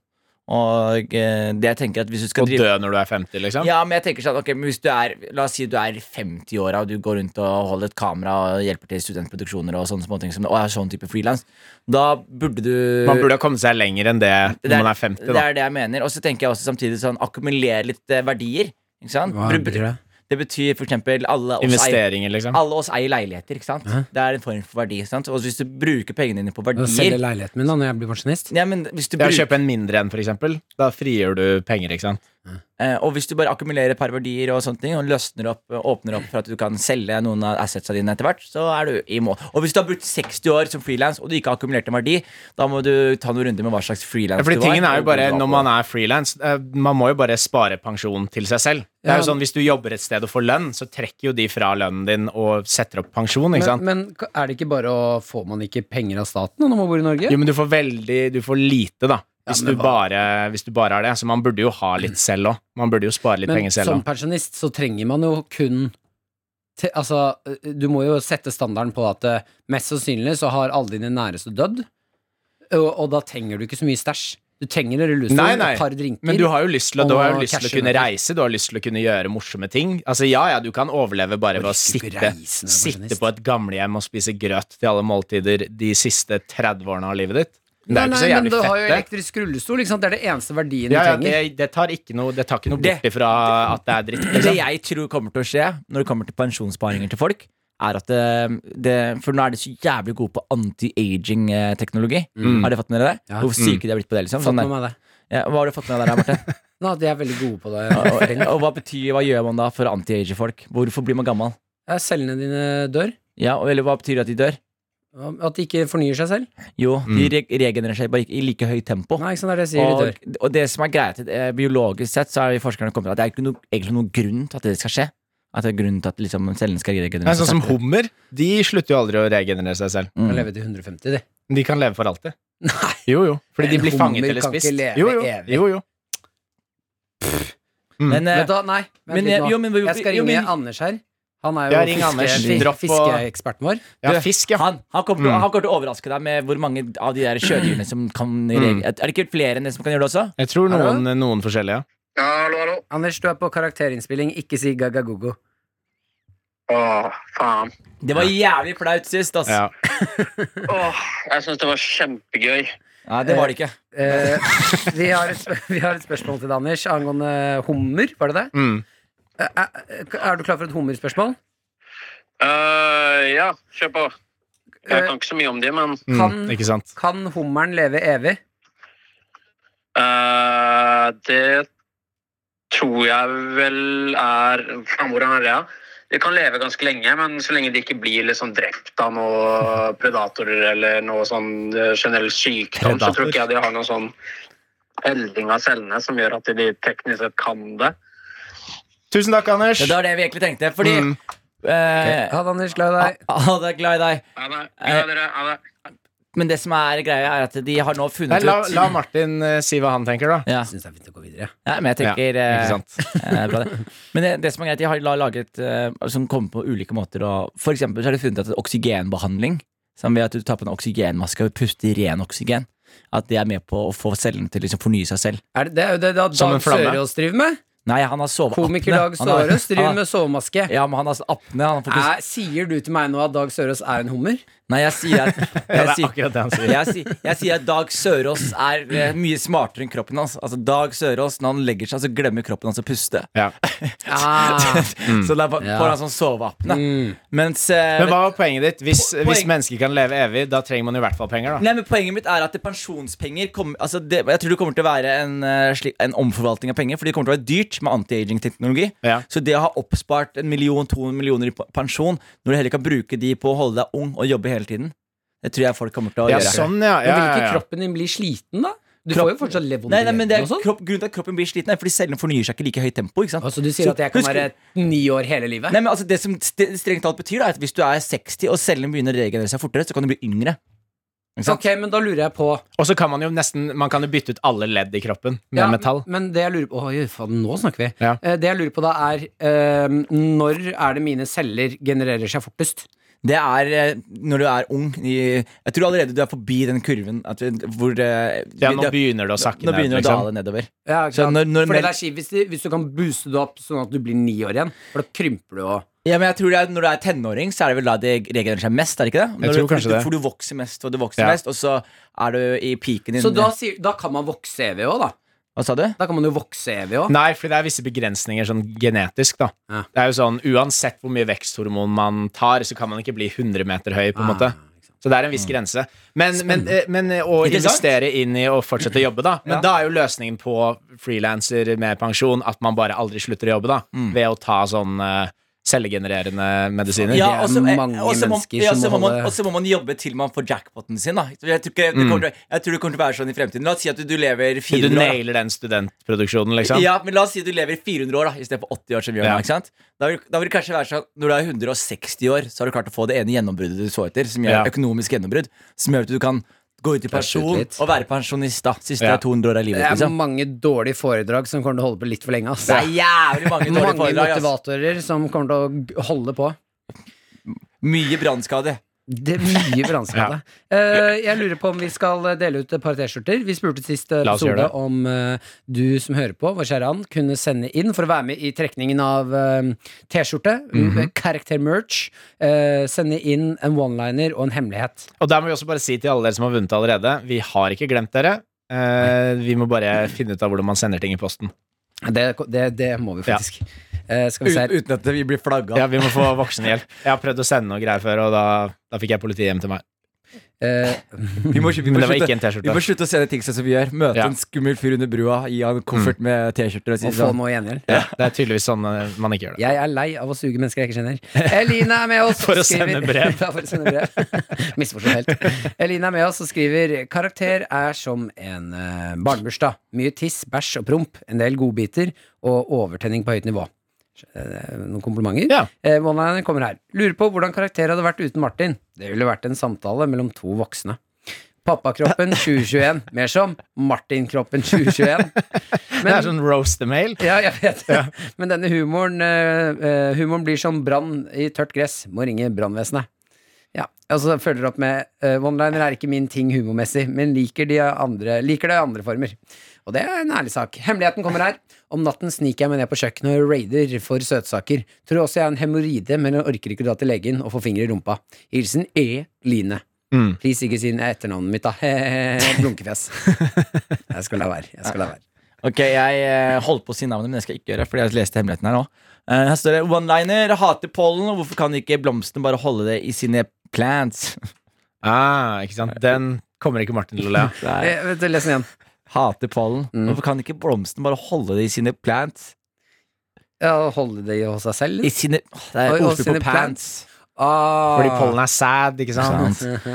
[SPEAKER 4] Og eh, det jeg tenker at hvis du skal
[SPEAKER 5] Og
[SPEAKER 4] drive
[SPEAKER 5] dø når du er 50, liksom?
[SPEAKER 4] ja, men jeg tenker sånn, ok, men hvis du er La oss si du er 50-åra og du går rundt og holder et kamera og hjelper til i studentproduksjoner og sånne småting som det, og er sånn type frilans, da burde du
[SPEAKER 5] Man burde ha kommet seg lenger enn det når man er 50,
[SPEAKER 4] Det
[SPEAKER 5] da.
[SPEAKER 4] er det jeg mener. Og så tenker jeg også samtidig sånn akkumulere litt eh, verdier. Ikke sant?
[SPEAKER 2] Hva
[SPEAKER 4] Bru-
[SPEAKER 2] betyr det?
[SPEAKER 4] Det betyr for eksempel alle oss eier
[SPEAKER 5] Investeringer, liksom.
[SPEAKER 4] alle oss eier leiligheter, ikke sant? Det er en form for verdi. ikke sant? Og hvis du bruker pengene dine på
[SPEAKER 2] Selge
[SPEAKER 4] verdier
[SPEAKER 2] leiligheten min da når jeg blir pensjonist?
[SPEAKER 4] ja, men hvis du
[SPEAKER 5] Ja,
[SPEAKER 4] bruker,
[SPEAKER 5] kjøpe en mindre en, for eksempel. Da frigjør du penger, ikke sant?
[SPEAKER 4] Eh, og hvis du bare akkumulerer et par verdier og sånne ting Og løsner opp, eh, åpner opp for at du kan selge noen av assetsa dine etter hvert, så er du i mål. Og hvis du har brukt 60 år som frilans og du ikke har akkumulert en verdi, da må du ta noen runder med hva slags frilans
[SPEAKER 5] Ja,
[SPEAKER 4] du
[SPEAKER 5] fordi
[SPEAKER 4] var.
[SPEAKER 5] tingen er jo bare Når man er frilans, man må jo bare spare pensjon til seg selv. Det er jo
[SPEAKER 2] Ja.
[SPEAKER 5] sånn, Hvis du jobber et sted og får lønn, så trekker jo de fra lønnen din og setter opp pensjon.
[SPEAKER 2] Men,
[SPEAKER 5] ikke sant?
[SPEAKER 2] men er det ikke bare å Får man ikke penger av staten når man bor i Norge?
[SPEAKER 5] Jo, men du får veldig Du får lite, da. Hvis,
[SPEAKER 2] men
[SPEAKER 5] du bare, hvis du bare har det. Så man burde jo ha litt selv òg. Man burde jo spare litt
[SPEAKER 2] Men
[SPEAKER 5] penger selv
[SPEAKER 2] som
[SPEAKER 5] òg.
[SPEAKER 2] pensjonist så trenger man jo kun te, Altså, du må jo sette standarden på at eh, mest sannsynlig så har alle dine næreste dødd, og, og da trenger du ikke så mye stæsj. Du trenger en rullestol,
[SPEAKER 5] Nei, nei,
[SPEAKER 2] et par drinker
[SPEAKER 5] Men du har jo lyst til, å- du
[SPEAKER 2] Og
[SPEAKER 5] har jo lyst til å
[SPEAKER 2] cashe
[SPEAKER 5] kunne
[SPEAKER 2] noe.
[SPEAKER 5] reise, du har lyst til å kunne gjøre morsomme ting. Altså Ja, ja, du kan overleve bare ved å
[SPEAKER 2] Orker ikke sånn
[SPEAKER 5] sitte,
[SPEAKER 2] reise når du er
[SPEAKER 5] sitte
[SPEAKER 2] pensjonist.
[SPEAKER 5] på et gamlehjem og spise grøt til alle måltider de siste 30 årene av livet ditt. Men det
[SPEAKER 2] Nei,
[SPEAKER 5] er jo
[SPEAKER 2] nei,
[SPEAKER 5] ikke så
[SPEAKER 2] men
[SPEAKER 5] jævlig
[SPEAKER 2] du har
[SPEAKER 5] fett,
[SPEAKER 2] jo
[SPEAKER 5] det.
[SPEAKER 2] elektrisk rullestol, ikke sant? Det er det eneste verdien
[SPEAKER 5] Ja, ja,
[SPEAKER 2] du
[SPEAKER 5] det,
[SPEAKER 2] trenger.
[SPEAKER 5] det, tar ikke noe, det tar ikke noe
[SPEAKER 4] Det-
[SPEAKER 5] bort ifra at det er dritt.
[SPEAKER 4] Det
[SPEAKER 5] Liksom.
[SPEAKER 4] jeg tror kommer til å skje når det kommer til pensjonssparinger til folk, er at det, det For nå er de så jævlig gode på anti-aging-teknologi.
[SPEAKER 5] Mm.
[SPEAKER 4] Har dere fått med dere det?
[SPEAKER 2] Ja.
[SPEAKER 4] Hvor syke de har blitt på det? liksom
[SPEAKER 2] Fått
[SPEAKER 4] sånn
[SPEAKER 2] med
[SPEAKER 4] der.
[SPEAKER 2] meg det.
[SPEAKER 4] ja, Hva har du fått med deg der, Marte?
[SPEAKER 2] Nå at de er veldig gode på det.
[SPEAKER 4] og, og hva betyr, hva gjør man da for å anti-age folk? Hvorfor blir man gammel?
[SPEAKER 2] Ja, Cellene dine dør.
[SPEAKER 4] Ja, og- Eller hva betyr det at de dør?
[SPEAKER 2] At de ikke fornyer seg selv.
[SPEAKER 4] Jo,
[SPEAKER 5] Mm.
[SPEAKER 4] de re regenererer seg bare ikke i like høyt tempo.
[SPEAKER 2] Nei, ikke sant, det er det jeg sier. De
[SPEAKER 4] Og,
[SPEAKER 2] dør.
[SPEAKER 4] og det som er greit, eh, biologisk sett, så er forskerne kommet til at det er ikke noe, egentlig noen grunn til at det skal skje. At det er grunnen til at liksom, cellene skal regenerere
[SPEAKER 5] Men sånn som
[SPEAKER 4] saktere.
[SPEAKER 5] hummer, de slutter jo aldri å regenerere seg selv.
[SPEAKER 2] De
[SPEAKER 4] Mm.
[SPEAKER 2] kan leve til 150, de.
[SPEAKER 5] De kan leve for alltid. Jo, jo.
[SPEAKER 2] Men
[SPEAKER 5] Fordi de blir fanget
[SPEAKER 2] hummer
[SPEAKER 5] eller
[SPEAKER 2] kan ikke
[SPEAKER 5] spist.
[SPEAKER 2] leve
[SPEAKER 5] Jo, jo.
[SPEAKER 2] evig.
[SPEAKER 5] jo, jo. Mm.
[SPEAKER 4] Men, eh,
[SPEAKER 2] Men da, nei, vent
[SPEAKER 4] men,
[SPEAKER 2] litt nå.
[SPEAKER 4] jo, men-
[SPEAKER 2] jeg skal
[SPEAKER 4] jo,
[SPEAKER 2] ringe
[SPEAKER 4] men-
[SPEAKER 2] Anders her. Han er jo
[SPEAKER 5] Ja, ring Anders.
[SPEAKER 2] fiske-
[SPEAKER 5] Dropp å-
[SPEAKER 2] fiskeeksperten vår.
[SPEAKER 5] Ja,
[SPEAKER 4] Du,
[SPEAKER 5] fisk, ja.
[SPEAKER 4] Han, han, kommer, til-
[SPEAKER 5] Mm.
[SPEAKER 4] han kommer til å overraske deg med hvor mange av de der sjødyrene som kan
[SPEAKER 5] Mm.
[SPEAKER 4] reagere. Er det ikke flere enn det som kan gjøre det også?
[SPEAKER 5] Jeg tror
[SPEAKER 2] Hallo?
[SPEAKER 5] noen, noen forskjellige. ja.
[SPEAKER 7] Ja, hallo, hallo.
[SPEAKER 2] Anders, du er på karakterinnspilling. Ikke si gagagogo.
[SPEAKER 7] Åh, faen.
[SPEAKER 4] Det var jævlig flaut sist, ass.
[SPEAKER 5] Ja.
[SPEAKER 7] Åh, jeg synes det var kjempegøy.
[SPEAKER 4] Nei, det var det ikke.
[SPEAKER 2] Eh, vi, har et, sp- vi har et spørsmål til deg, Anders, angående hummer. Var det det?
[SPEAKER 5] Mm.
[SPEAKER 2] Eh, eh, Er du klar for et hummerspørsmål?
[SPEAKER 7] Øh, ja, kjør på. Jeg kan ikke så mye om de, men
[SPEAKER 5] Mm.
[SPEAKER 2] Kan-
[SPEAKER 5] Ikke sant?
[SPEAKER 2] Eh, Kan hummeren leve evig?
[SPEAKER 7] øh, det tror jeg vel er Faen, hvordan er det? da? De kan leve ganske lenge, men så lenge de ikke blir liksom drept av noen predatorer eller noe sånn øh, generell sykdom, så tror ikke jeg de har noen sånn helling av cellene som gjør at de teknisk sett kan det.
[SPEAKER 5] Tusen takk, Anders.
[SPEAKER 4] Det var det vi egentlig tenkte. Fordi
[SPEAKER 5] Mm.
[SPEAKER 4] eh,
[SPEAKER 2] Ha det, Anders. Glad i deg.
[SPEAKER 4] ah, det er glad i deg.
[SPEAKER 7] Ha det. Ja, dere. Ha det.
[SPEAKER 4] Men det som er greia, er at de har nå
[SPEAKER 5] Nei,
[SPEAKER 4] funnet
[SPEAKER 5] la,
[SPEAKER 4] ut
[SPEAKER 5] la Martin eh, si hva han tenker, da.
[SPEAKER 4] ja.
[SPEAKER 2] Jeg syns det er fint å gå videre.
[SPEAKER 4] ja, men jeg tenker
[SPEAKER 5] ja,
[SPEAKER 4] eh,
[SPEAKER 5] ikke sant?
[SPEAKER 4] Eh, bra det. Men det, det som er greit, de har la- laget eh, som kommer på ulike måter. Og for eksempel så har de funnet at oksygenbehandling, som ved at du tar på en oksygenmaske og puster i ren oksygen, at det er med på å få cellene til å liksom fornye seg selv.
[SPEAKER 2] Er det, det er jo det da
[SPEAKER 5] Som en
[SPEAKER 2] Dag
[SPEAKER 5] flamme.
[SPEAKER 2] Sørås driver med.
[SPEAKER 4] Nei, han har soveapne.
[SPEAKER 2] Komiker Dag
[SPEAKER 4] Han har-
[SPEAKER 2] Sørås driver
[SPEAKER 4] han har-
[SPEAKER 2] med sovemaske.
[SPEAKER 4] Ja, men han har sånn apne. Han får pust-
[SPEAKER 2] Er, sier du til meg nå at Dag Sørås er en hummer?
[SPEAKER 4] Nei, jeg sier at
[SPEAKER 5] Ja,
[SPEAKER 4] jeg
[SPEAKER 5] det er
[SPEAKER 4] sier,
[SPEAKER 5] akkurat det han sier.
[SPEAKER 4] jeg, sier, jeg sier at Dag Sørås er eh, mye smartere enn kroppen hans. Altså Dag Sørås, når han legger seg, så glemmer kroppen hans å puste.
[SPEAKER 5] Ja.
[SPEAKER 2] Ah.
[SPEAKER 4] Så da får
[SPEAKER 2] Ja.
[SPEAKER 4] får han sånn
[SPEAKER 2] Mm.
[SPEAKER 4] soveapne. Mens eh,
[SPEAKER 5] Men hva var poenget ditt? Hvis,
[SPEAKER 4] Po-
[SPEAKER 5] hvis
[SPEAKER 4] poeng-
[SPEAKER 5] mennesker kan leve evig, da trenger man i hvert fall penger, da.
[SPEAKER 4] Nei, men Poenget mitt er at det pensjonspenger kommer, altså det, Jeg tror det kommer til å være en, eh, slik- en omforvaltning av penger. For det kommer til å være dyrt med anti-aging-teknologi.
[SPEAKER 5] Ja.
[SPEAKER 4] Så det å ha oppspart en million, to millioner i pa- pensjon, når du heller kan bruke de på å holde deg ung og jobbe hele tiden, det tror jeg folk kommer til å
[SPEAKER 5] Ja,
[SPEAKER 4] gjøre.
[SPEAKER 5] sånn, ja.
[SPEAKER 2] Men
[SPEAKER 5] ja,
[SPEAKER 2] vil
[SPEAKER 5] ja,
[SPEAKER 2] ikke
[SPEAKER 5] ja.
[SPEAKER 2] kroppen din bli sliten, da? Du
[SPEAKER 4] Kropp-
[SPEAKER 2] får jo fortsatt
[SPEAKER 4] Nei, nei, men det
[SPEAKER 2] leverdiabetes
[SPEAKER 4] er
[SPEAKER 2] og sånn.
[SPEAKER 4] kropp, Grunnen til at kroppen blir sliten, er fordi cellene fornyer seg ikke i like høyt tempo. ikke sant?
[SPEAKER 2] Altså, du sier
[SPEAKER 4] Så
[SPEAKER 2] at jeg kan
[SPEAKER 4] husk-
[SPEAKER 2] være ni år hele livet?
[SPEAKER 4] Nei, men altså Det som st strengt talt betyr, da, er at hvis du er 60 og cellene begynner å regenerere seg fortere, så kan du bli yngre. Ikke sant?
[SPEAKER 2] ok, men da lurer jeg på
[SPEAKER 5] Og så kan man jo nesten Man kan jo bytte ut alle ledd i kroppen med
[SPEAKER 2] Ja,
[SPEAKER 5] metall.
[SPEAKER 2] Men det jeg lurer på Oi, faen, nå snakker vi.
[SPEAKER 5] Ja.
[SPEAKER 2] Eh, Det jeg lurer på da, er eh, når er det mine celler genererer seg fortest?
[SPEAKER 4] Det er eh, når du er ung i, Jeg tror allerede du er forbi den kurven at, du- hvor eh,
[SPEAKER 5] Ja, nå
[SPEAKER 4] det-
[SPEAKER 5] begynner det å sakke
[SPEAKER 4] nå begynner
[SPEAKER 5] ned.
[SPEAKER 4] det å
[SPEAKER 5] Liksom.
[SPEAKER 4] dale nedover.
[SPEAKER 2] Ja, ikke
[SPEAKER 4] Så
[SPEAKER 2] sant?
[SPEAKER 4] når- når-
[SPEAKER 2] Fordi det er kjipt hvis, du- hvis du kan booste det opp sånn at du blir ni år igjen, for da krymper du og
[SPEAKER 4] Ja, men jeg tror det er, Når du er tenåring, så er det vel da det regenererer seg mest? er det ikke det? Når
[SPEAKER 5] tror
[SPEAKER 4] du,
[SPEAKER 5] kanskje
[SPEAKER 4] du,
[SPEAKER 5] det.
[SPEAKER 4] For du vokser mest, og du vokser
[SPEAKER 5] Ja.
[SPEAKER 4] mest, og så er du i piken din
[SPEAKER 2] Så da, sier, da kan man vokse evig òg, da.
[SPEAKER 4] Hva sa du?
[SPEAKER 2] Da kan man jo vokse evig òg.
[SPEAKER 5] Nei, fordi det er visse begrensninger sånn genetisk, da.
[SPEAKER 2] Ja.
[SPEAKER 5] Det er jo sånn, Uansett hvor mye veksthormon man tar, så kan man ikke bli 100 meter høy, på en måte. Så det er en viss grense. Men, men, eh, men eh, å
[SPEAKER 4] Interessant.
[SPEAKER 5] investere inn i å fortsette å jobbe, da. Men da er jo løsningen på frilanser med pensjon at man bare aldri slutter å jobbe, da. Ved å ta sånn eh, cellegenererende medisiner.
[SPEAKER 4] Ja,
[SPEAKER 2] er
[SPEAKER 4] og så- eh,
[SPEAKER 2] mange
[SPEAKER 4] og så må-
[SPEAKER 2] mennesker
[SPEAKER 4] ja,
[SPEAKER 2] som
[SPEAKER 4] så
[SPEAKER 2] må
[SPEAKER 4] må man-
[SPEAKER 2] holde-
[SPEAKER 4] Og så må man jobbe til man får jackpoten sin. Da. Så Jeg, tror ikke, det kommer, til- jeg tror det kommer til å være sånn i fremtiden. La oss si at du, du lever
[SPEAKER 5] Mm. Du
[SPEAKER 4] 400 år. da.
[SPEAKER 5] nailer den studentproduksjonen, liksom.
[SPEAKER 4] Ja, men la oss si at du lever 400 år da istedenfor 80 år. som vi gjør
[SPEAKER 5] Ja.
[SPEAKER 4] nå, ikke sant? Da vil, da vil det kanskje være sånn Når du er 160 år, så har du klart å få det ene gjennombruddet du så etter. Som gjør
[SPEAKER 5] Ja.
[SPEAKER 4] økonomisk gjennombrudd Som gjør at du kan gå ut i
[SPEAKER 2] Flashe ut
[SPEAKER 4] pensjon
[SPEAKER 2] litt.
[SPEAKER 4] og være pensjonist da siste
[SPEAKER 5] Ja.
[SPEAKER 4] 200 år av
[SPEAKER 2] Det
[SPEAKER 4] livet.
[SPEAKER 2] er
[SPEAKER 4] Liksom.
[SPEAKER 2] mange dårlige foredrag som kommer til å holde på litt for lenge. ass.
[SPEAKER 4] Det er jævlig mange
[SPEAKER 2] Mange
[SPEAKER 4] dårlige foredrag. ass.
[SPEAKER 2] motivatorer som kommer til å g- holde på.
[SPEAKER 4] Mye brannskade.
[SPEAKER 2] Det er mye brannskade. Eh, jeg lurer på om vi skal dele ut et par T-skjorter. Vi spurte sist
[SPEAKER 5] La oss gjøre
[SPEAKER 2] episode
[SPEAKER 5] det.
[SPEAKER 2] om eh, du som hører på, vår kjære Ann, kunne sende inn for å være med i trekningen av eh, T-skjorte. Mhm. Karakter-merch. eh, sende inn en one-liner og en hemmelighet.
[SPEAKER 5] Og der må vi også bare si til alle dere som har vunnet allerede, vi har ikke glemt dere. Eh, vi må bare finne ut av hvordan man sender ting i posten.
[SPEAKER 2] Det, det, det må vi faktisk. Eh, skal vi se her.
[SPEAKER 4] Ut, uten at vi blir flagga.
[SPEAKER 5] Ja, Vi må få voksenhjelp. Jeg har prøvd å sende noe greier før, og da, da fikk jeg politiet hjem til meg.
[SPEAKER 2] Eh,
[SPEAKER 4] Vi må, vi må
[SPEAKER 5] Men det var
[SPEAKER 4] slutte-
[SPEAKER 5] ikke en T-skjorte.
[SPEAKER 4] Vi må slutte å se det ting som vi gjør. Møte
[SPEAKER 5] Ja.
[SPEAKER 4] en skummel fyr under brua, gi han en
[SPEAKER 5] Mm.
[SPEAKER 4] koffert med T-skjorter og si
[SPEAKER 2] og få
[SPEAKER 4] sånn.
[SPEAKER 2] noe gjengjeld.
[SPEAKER 5] Det er tydeligvis sånn eh, man ikke gjør det.
[SPEAKER 2] Jeg er lei av å suge mennesker jeg ikke kjenner. Eline er med oss
[SPEAKER 5] For å
[SPEAKER 2] skriver-
[SPEAKER 5] sende brev.
[SPEAKER 2] ja, for å sende brev. Misforstått helt. Eline er med oss og skriver Karakter er som en eh, barnebursdag. Mye tiss, bæsj og promp. En del godbiter og overtenning på høyt nivå. Eh, Noen komplimenter.
[SPEAKER 5] Ja.
[SPEAKER 2] Eh, One-lineren kommer her. Lurer på hvordan karakter hadde vært uten Martin. Det ville vært en samtale mellom to voksne. Pappakroppen 2021. Mer som Martin-kroppen 2021.
[SPEAKER 5] det er sånn roast the mail.
[SPEAKER 2] Ja, jeg vet det. Men denne humoren eh, eh, Humoren blir som brann i tørt gress. Må ringe brannvesenet. Ja, og så følger det opp med eh, One-liner er ikke min ting humormessig, men liker, de andre, liker det i andre former. Og det er en ærlig sak. Hemmeligheten kommer her. Om natten sniker jeg meg ned på kjøkkenet og raider for søtsaker. Tror også jeg har en hemoroide, men jeg orker ikke dra til legen og få finger i rumpa. Hilsen E. Line.
[SPEAKER 5] Mm.
[SPEAKER 2] Please ikke si etternavnet mitt, da. Blunkefjes. Jeg skal la være. Jeg skal la være.
[SPEAKER 4] Ok, jeg eh, holdt på å si navnet, men det skal jeg ikke gjøre. Fordi jeg leste hemmeligheten her nå Eh, Her står det one-liner, hater pollen, og hvorfor kan ikke blomstene bare holde det i sine plants?
[SPEAKER 5] Ah, ikke sant? Den kommer ikke Martin til å le av.
[SPEAKER 4] Nei,
[SPEAKER 2] Eh, Vent, les den igjen.
[SPEAKER 4] hater pollen.
[SPEAKER 2] Mm.
[SPEAKER 4] Hvorfor kan ikke blomstene bare holde det i sine plants?
[SPEAKER 2] Ja, holde det hos seg selv?
[SPEAKER 4] I sine Åh, Det er
[SPEAKER 2] Og- og
[SPEAKER 4] ordspill
[SPEAKER 2] sine
[SPEAKER 4] på pants.
[SPEAKER 2] Ah.
[SPEAKER 5] Fordi pollen er sad, ikke sant?
[SPEAKER 4] Sant.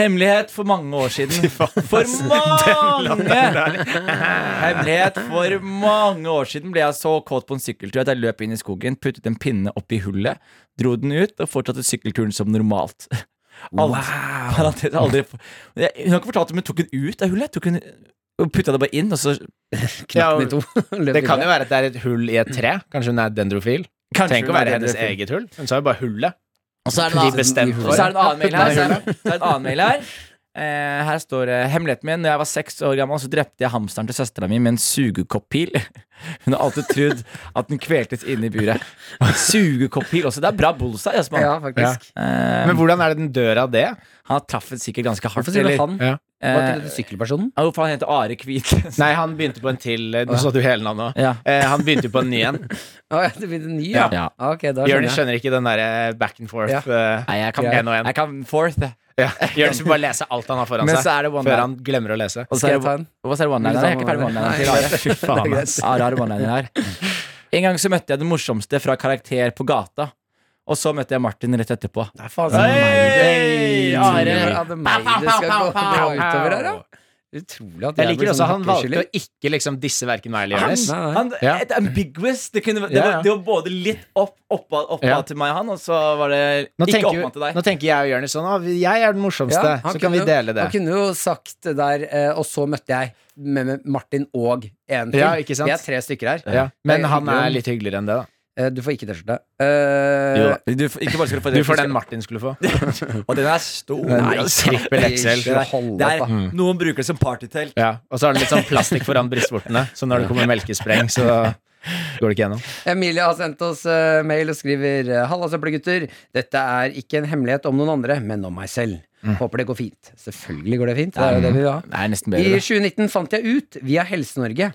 [SPEAKER 4] Hemmelighet for mange år siden. For mange! Hemmelighet for mange år siden ble jeg så kåt på en sykkeltur at jeg løp inn i skogen, puttet en pinne oppi hullet, dro den ut og fortsatte sykkelturen som normalt. Aldri, aldri, aldri, jeg, hun har ikke fortalt om hun tok den ut av hullet. Tok hun, hun putta det bare inn, og så
[SPEAKER 5] Ja,
[SPEAKER 2] Knapp den i to.
[SPEAKER 5] det kan jo være at det er et hull i et tre. Kanskje hun er dendrofil.
[SPEAKER 4] Kanskje
[SPEAKER 5] Trenger ikke
[SPEAKER 4] hun er
[SPEAKER 5] å være hennes
[SPEAKER 4] dendrofil.
[SPEAKER 5] eget hull. Hun sa jo bare hullet.
[SPEAKER 4] Og så er det en
[SPEAKER 5] De
[SPEAKER 4] annen-
[SPEAKER 5] bestemte
[SPEAKER 4] Og så er det en annen mail her.
[SPEAKER 5] Nei,
[SPEAKER 4] Så er det, så er det en annen mail her. Eh, her står det hemmeligheten min. Når jeg var seks år gammel, så drepte jeg hamsteren til søstera mi med en sugekoppil. Hun har alltid trodd at den kveltes inne i buret. Sugekoppil også. Det er bra bullseye. Jasmin.
[SPEAKER 2] Ja, faktisk.
[SPEAKER 4] Eh,
[SPEAKER 5] Men hvordan er det den dør av det?
[SPEAKER 4] han traff den sikkert ganske hardt.
[SPEAKER 2] Hvorfor sier du
[SPEAKER 4] eller?
[SPEAKER 2] han?
[SPEAKER 5] Ja.
[SPEAKER 2] Var ikke
[SPEAKER 4] Eh,
[SPEAKER 2] dette sykkelpersonen?
[SPEAKER 4] ja, hvorfor han heter Are Kvit?
[SPEAKER 5] Nei, han begynte på en til. eh, Nå sa du hele navnet òg.
[SPEAKER 4] ja.
[SPEAKER 5] Eh, han begynte jo på en ny en.
[SPEAKER 2] Å, ja, det blir en ny, ja.
[SPEAKER 4] Ja.
[SPEAKER 2] Ah, Ok, da
[SPEAKER 5] Jørnis
[SPEAKER 2] skjønner jeg.
[SPEAKER 5] skjønner ikke den derre back and forth.
[SPEAKER 2] Ja.
[SPEAKER 5] eh,
[SPEAKER 4] Nei, jeg kan,
[SPEAKER 5] En og en.
[SPEAKER 4] jeg kan fourth. jeg.
[SPEAKER 5] Ja. Jørnis vil bare lese alt han har foran
[SPEAKER 4] Men
[SPEAKER 5] seg,
[SPEAKER 4] så er det one
[SPEAKER 5] før
[SPEAKER 4] line.
[SPEAKER 5] han glemmer å lese.
[SPEAKER 4] Og så
[SPEAKER 2] Skal
[SPEAKER 4] er
[SPEAKER 2] jeg
[SPEAKER 4] det
[SPEAKER 2] ta en?
[SPEAKER 4] Hva er one-liner? Jeg er ikke ferdig med one-liner til Are.
[SPEAKER 5] Fy faen, ass.
[SPEAKER 4] Ja, rar one-liner her. En gang så møtte jeg den morsomste fra Karakter på gata. Og så møtte jeg Martin rett etterpå.
[SPEAKER 2] Det er faen så
[SPEAKER 4] Hei,
[SPEAKER 2] meg.
[SPEAKER 4] Are.
[SPEAKER 2] Ja, det er meg det skal gå bra utover her, da. Utrolig at
[SPEAKER 5] Jeg liker
[SPEAKER 2] blir
[SPEAKER 5] også
[SPEAKER 2] sånn
[SPEAKER 5] at han valgte å
[SPEAKER 2] hakkeskylling.
[SPEAKER 5] ikke liksom disse verken meg eller
[SPEAKER 2] Nei,
[SPEAKER 5] Jørnis.
[SPEAKER 2] nei, nei.
[SPEAKER 4] Han,
[SPEAKER 5] Ja.
[SPEAKER 4] Et ambiguous. Det, kunne, det,
[SPEAKER 5] Ja,
[SPEAKER 4] var,
[SPEAKER 5] ja.
[SPEAKER 4] det var både litt opp, oppa, oppa
[SPEAKER 5] Ja.
[SPEAKER 4] til meg, han, og så var det
[SPEAKER 5] Nå
[SPEAKER 4] ikke
[SPEAKER 5] tenker,
[SPEAKER 4] oppa til deg.
[SPEAKER 5] nå tenker jeg og Jørnis sånn «Å, vi- Jeg er den morsomste,
[SPEAKER 2] Ja, han
[SPEAKER 5] så kan vi
[SPEAKER 2] kunne jo-
[SPEAKER 5] dele
[SPEAKER 2] Han
[SPEAKER 5] det.
[SPEAKER 2] kunne jo sagt det der, eh, og så møtte jeg med med Martin og en til.
[SPEAKER 5] Ja, ikke sant?
[SPEAKER 2] Vi er tre stykker her.
[SPEAKER 5] Ja. Men
[SPEAKER 2] Det er
[SPEAKER 5] han
[SPEAKER 2] hyggelig.
[SPEAKER 5] er litt hyggeligere enn det, da.
[SPEAKER 2] Eh, Du får ikke T-skjorte. Eh,
[SPEAKER 4] Du, f- ikke bare skal du få
[SPEAKER 5] Du får den Martin skulle få.
[SPEAKER 4] Og den er stor.
[SPEAKER 5] Nei,
[SPEAKER 4] altså.
[SPEAKER 5] trippel Mm. XL.
[SPEAKER 4] Det er-
[SPEAKER 2] Hold
[SPEAKER 4] det er,
[SPEAKER 2] opp, da.
[SPEAKER 4] noen bruker det som partytelt.
[SPEAKER 5] Ja, og så har den litt sånn plastikk foran brystvortene, så når det kommer melkespreng, så går det ikke gjennom.
[SPEAKER 2] Emilie har sendt oss eh, mail og skriver eh, Halla, søppelgutter. Dette er ikke en hemmelighet om noen andre, men om meg selv. Håper det går fint. Selvfølgelig går det fint. Det er jo det vi vil ha.
[SPEAKER 4] Det er nesten
[SPEAKER 2] I
[SPEAKER 4] bedre.
[SPEAKER 2] 2019 fant jeg ut, via Helse-Norge,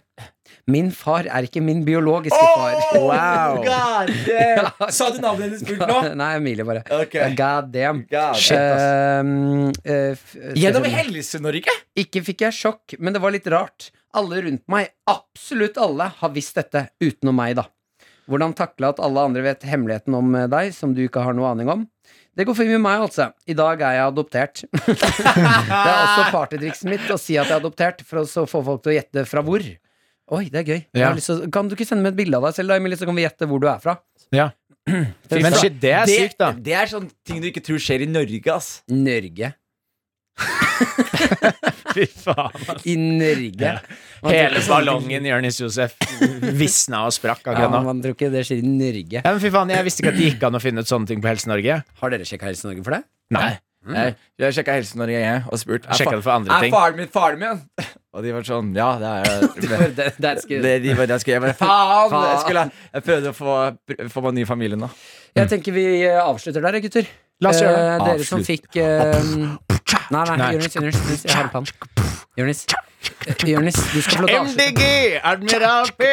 [SPEAKER 2] Min far er ikke min biologiske far.
[SPEAKER 4] Wow. God damn. Sa du navnet hennes fullt nå?
[SPEAKER 2] Nei, Emilie bare.
[SPEAKER 4] Ok.
[SPEAKER 2] God damn.
[SPEAKER 4] God
[SPEAKER 2] Shit,
[SPEAKER 4] damn.
[SPEAKER 2] ass. Eh, f-
[SPEAKER 4] Gjennom
[SPEAKER 2] eh,
[SPEAKER 4] Helse-Norge?
[SPEAKER 2] Ikke fikk jeg sjokk, men det var litt rart. Alle rundt meg, absolutt alle, har visst dette, utenom meg, da. Hvordan takle at alle andre vet hemmeligheten om eh, deg, som du ikke har noe aning om? Det går fint med meg, altså. I dag er jeg adoptert. det er også partytrikset mitt å si at jeg er adoptert, for å så få folk til å gjette fra hvor. Oi, det er gøy. Jeg
[SPEAKER 5] Ja.
[SPEAKER 2] har lyst til å, kan du ikke sende meg et bilde av deg selv, da, Emilie, så kan vi gjette hvor du er fra?
[SPEAKER 5] Ja. Men shit, det er sykt, da.
[SPEAKER 4] Det er sånn ting du ikke tror skjer i Norge, ass.
[SPEAKER 2] Norge.
[SPEAKER 5] Fy faen.
[SPEAKER 2] I Norge. Man tror ikke
[SPEAKER 5] Hele
[SPEAKER 2] sånne ting-
[SPEAKER 5] ballongen Jonis Josef visna og sprakk
[SPEAKER 2] Ja,
[SPEAKER 5] akkurat nå.
[SPEAKER 2] man tror ikke det skjer i Norge.
[SPEAKER 5] Ja, men fy faen, Jeg visste ikke at det gikk an å finne ut sånne ting på Helse-Norge.
[SPEAKER 2] Har dere sjekka Helse Norge for det?
[SPEAKER 5] Nei,
[SPEAKER 4] Jeg, jeg sjekka Helse-Norge Mm. jeg, og spurt er,
[SPEAKER 5] Sjekka
[SPEAKER 4] fa
[SPEAKER 5] det for andre
[SPEAKER 4] er
[SPEAKER 5] ting.
[SPEAKER 4] faren min faren min. Og de var sånn Ja, det er
[SPEAKER 2] Det, det er skummelt.
[SPEAKER 4] det, de var, jeg, skulle, jeg bare Faen! Jeg, skulle, jeg prøvde å få, få meg ny familie nå.
[SPEAKER 2] Jeg tenker vi eh, avslutter der, gutter.
[SPEAKER 5] La oss gjøre det.
[SPEAKER 2] Eh, dere som
[SPEAKER 4] Avslutt.
[SPEAKER 2] fikk eh, Nei, nei,
[SPEAKER 5] Nei.
[SPEAKER 2] Jonis, Jonis, Jonis, jeg har planen. Jonis, eh, Jonis, du skal få lov til å avslutte.
[SPEAKER 5] MDG, Admiral P!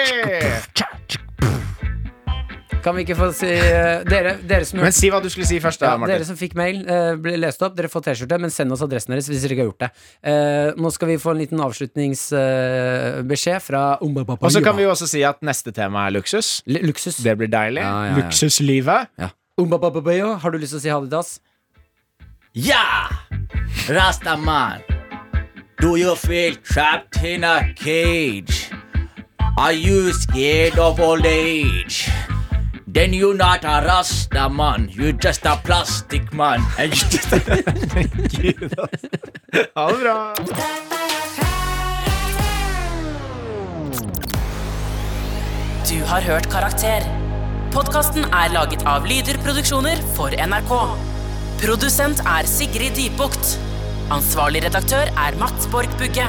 [SPEAKER 2] Kan vi ikke få si eh, Dere, dere som
[SPEAKER 5] Men si hva du skulle si først,
[SPEAKER 2] ja,
[SPEAKER 5] da,
[SPEAKER 2] dere
[SPEAKER 5] Martin.
[SPEAKER 2] som fikk mail, eh, ble lest opp. Dere får T-skjorte, men send oss adressen deres hvis dere ikke har gjort det. Eh, nå skal vi få en liten avslutningsbeskjed fra
[SPEAKER 5] Og så kan vi jo også si at neste tema er luksus.
[SPEAKER 2] L- Luksus.
[SPEAKER 5] Det blir deilig.
[SPEAKER 2] Ja, ja, ja.
[SPEAKER 5] Luksuslivet.
[SPEAKER 2] Umbabababayo, har du lyst til å si ha det til oss?
[SPEAKER 4] Ja! Rastaman. Do you feel trapped in a cage? Are you scared of old age? Then you're not a Rastaman, you're just a plastic man. And you just
[SPEAKER 5] Ha det bra.
[SPEAKER 8] Du har hørt Karakter. Podkasten er laget av Lyder Produksjoner for NRK. Produsent er Sigrid Dybukt. Ansvarlig redaktør er Mats Borg Bugge.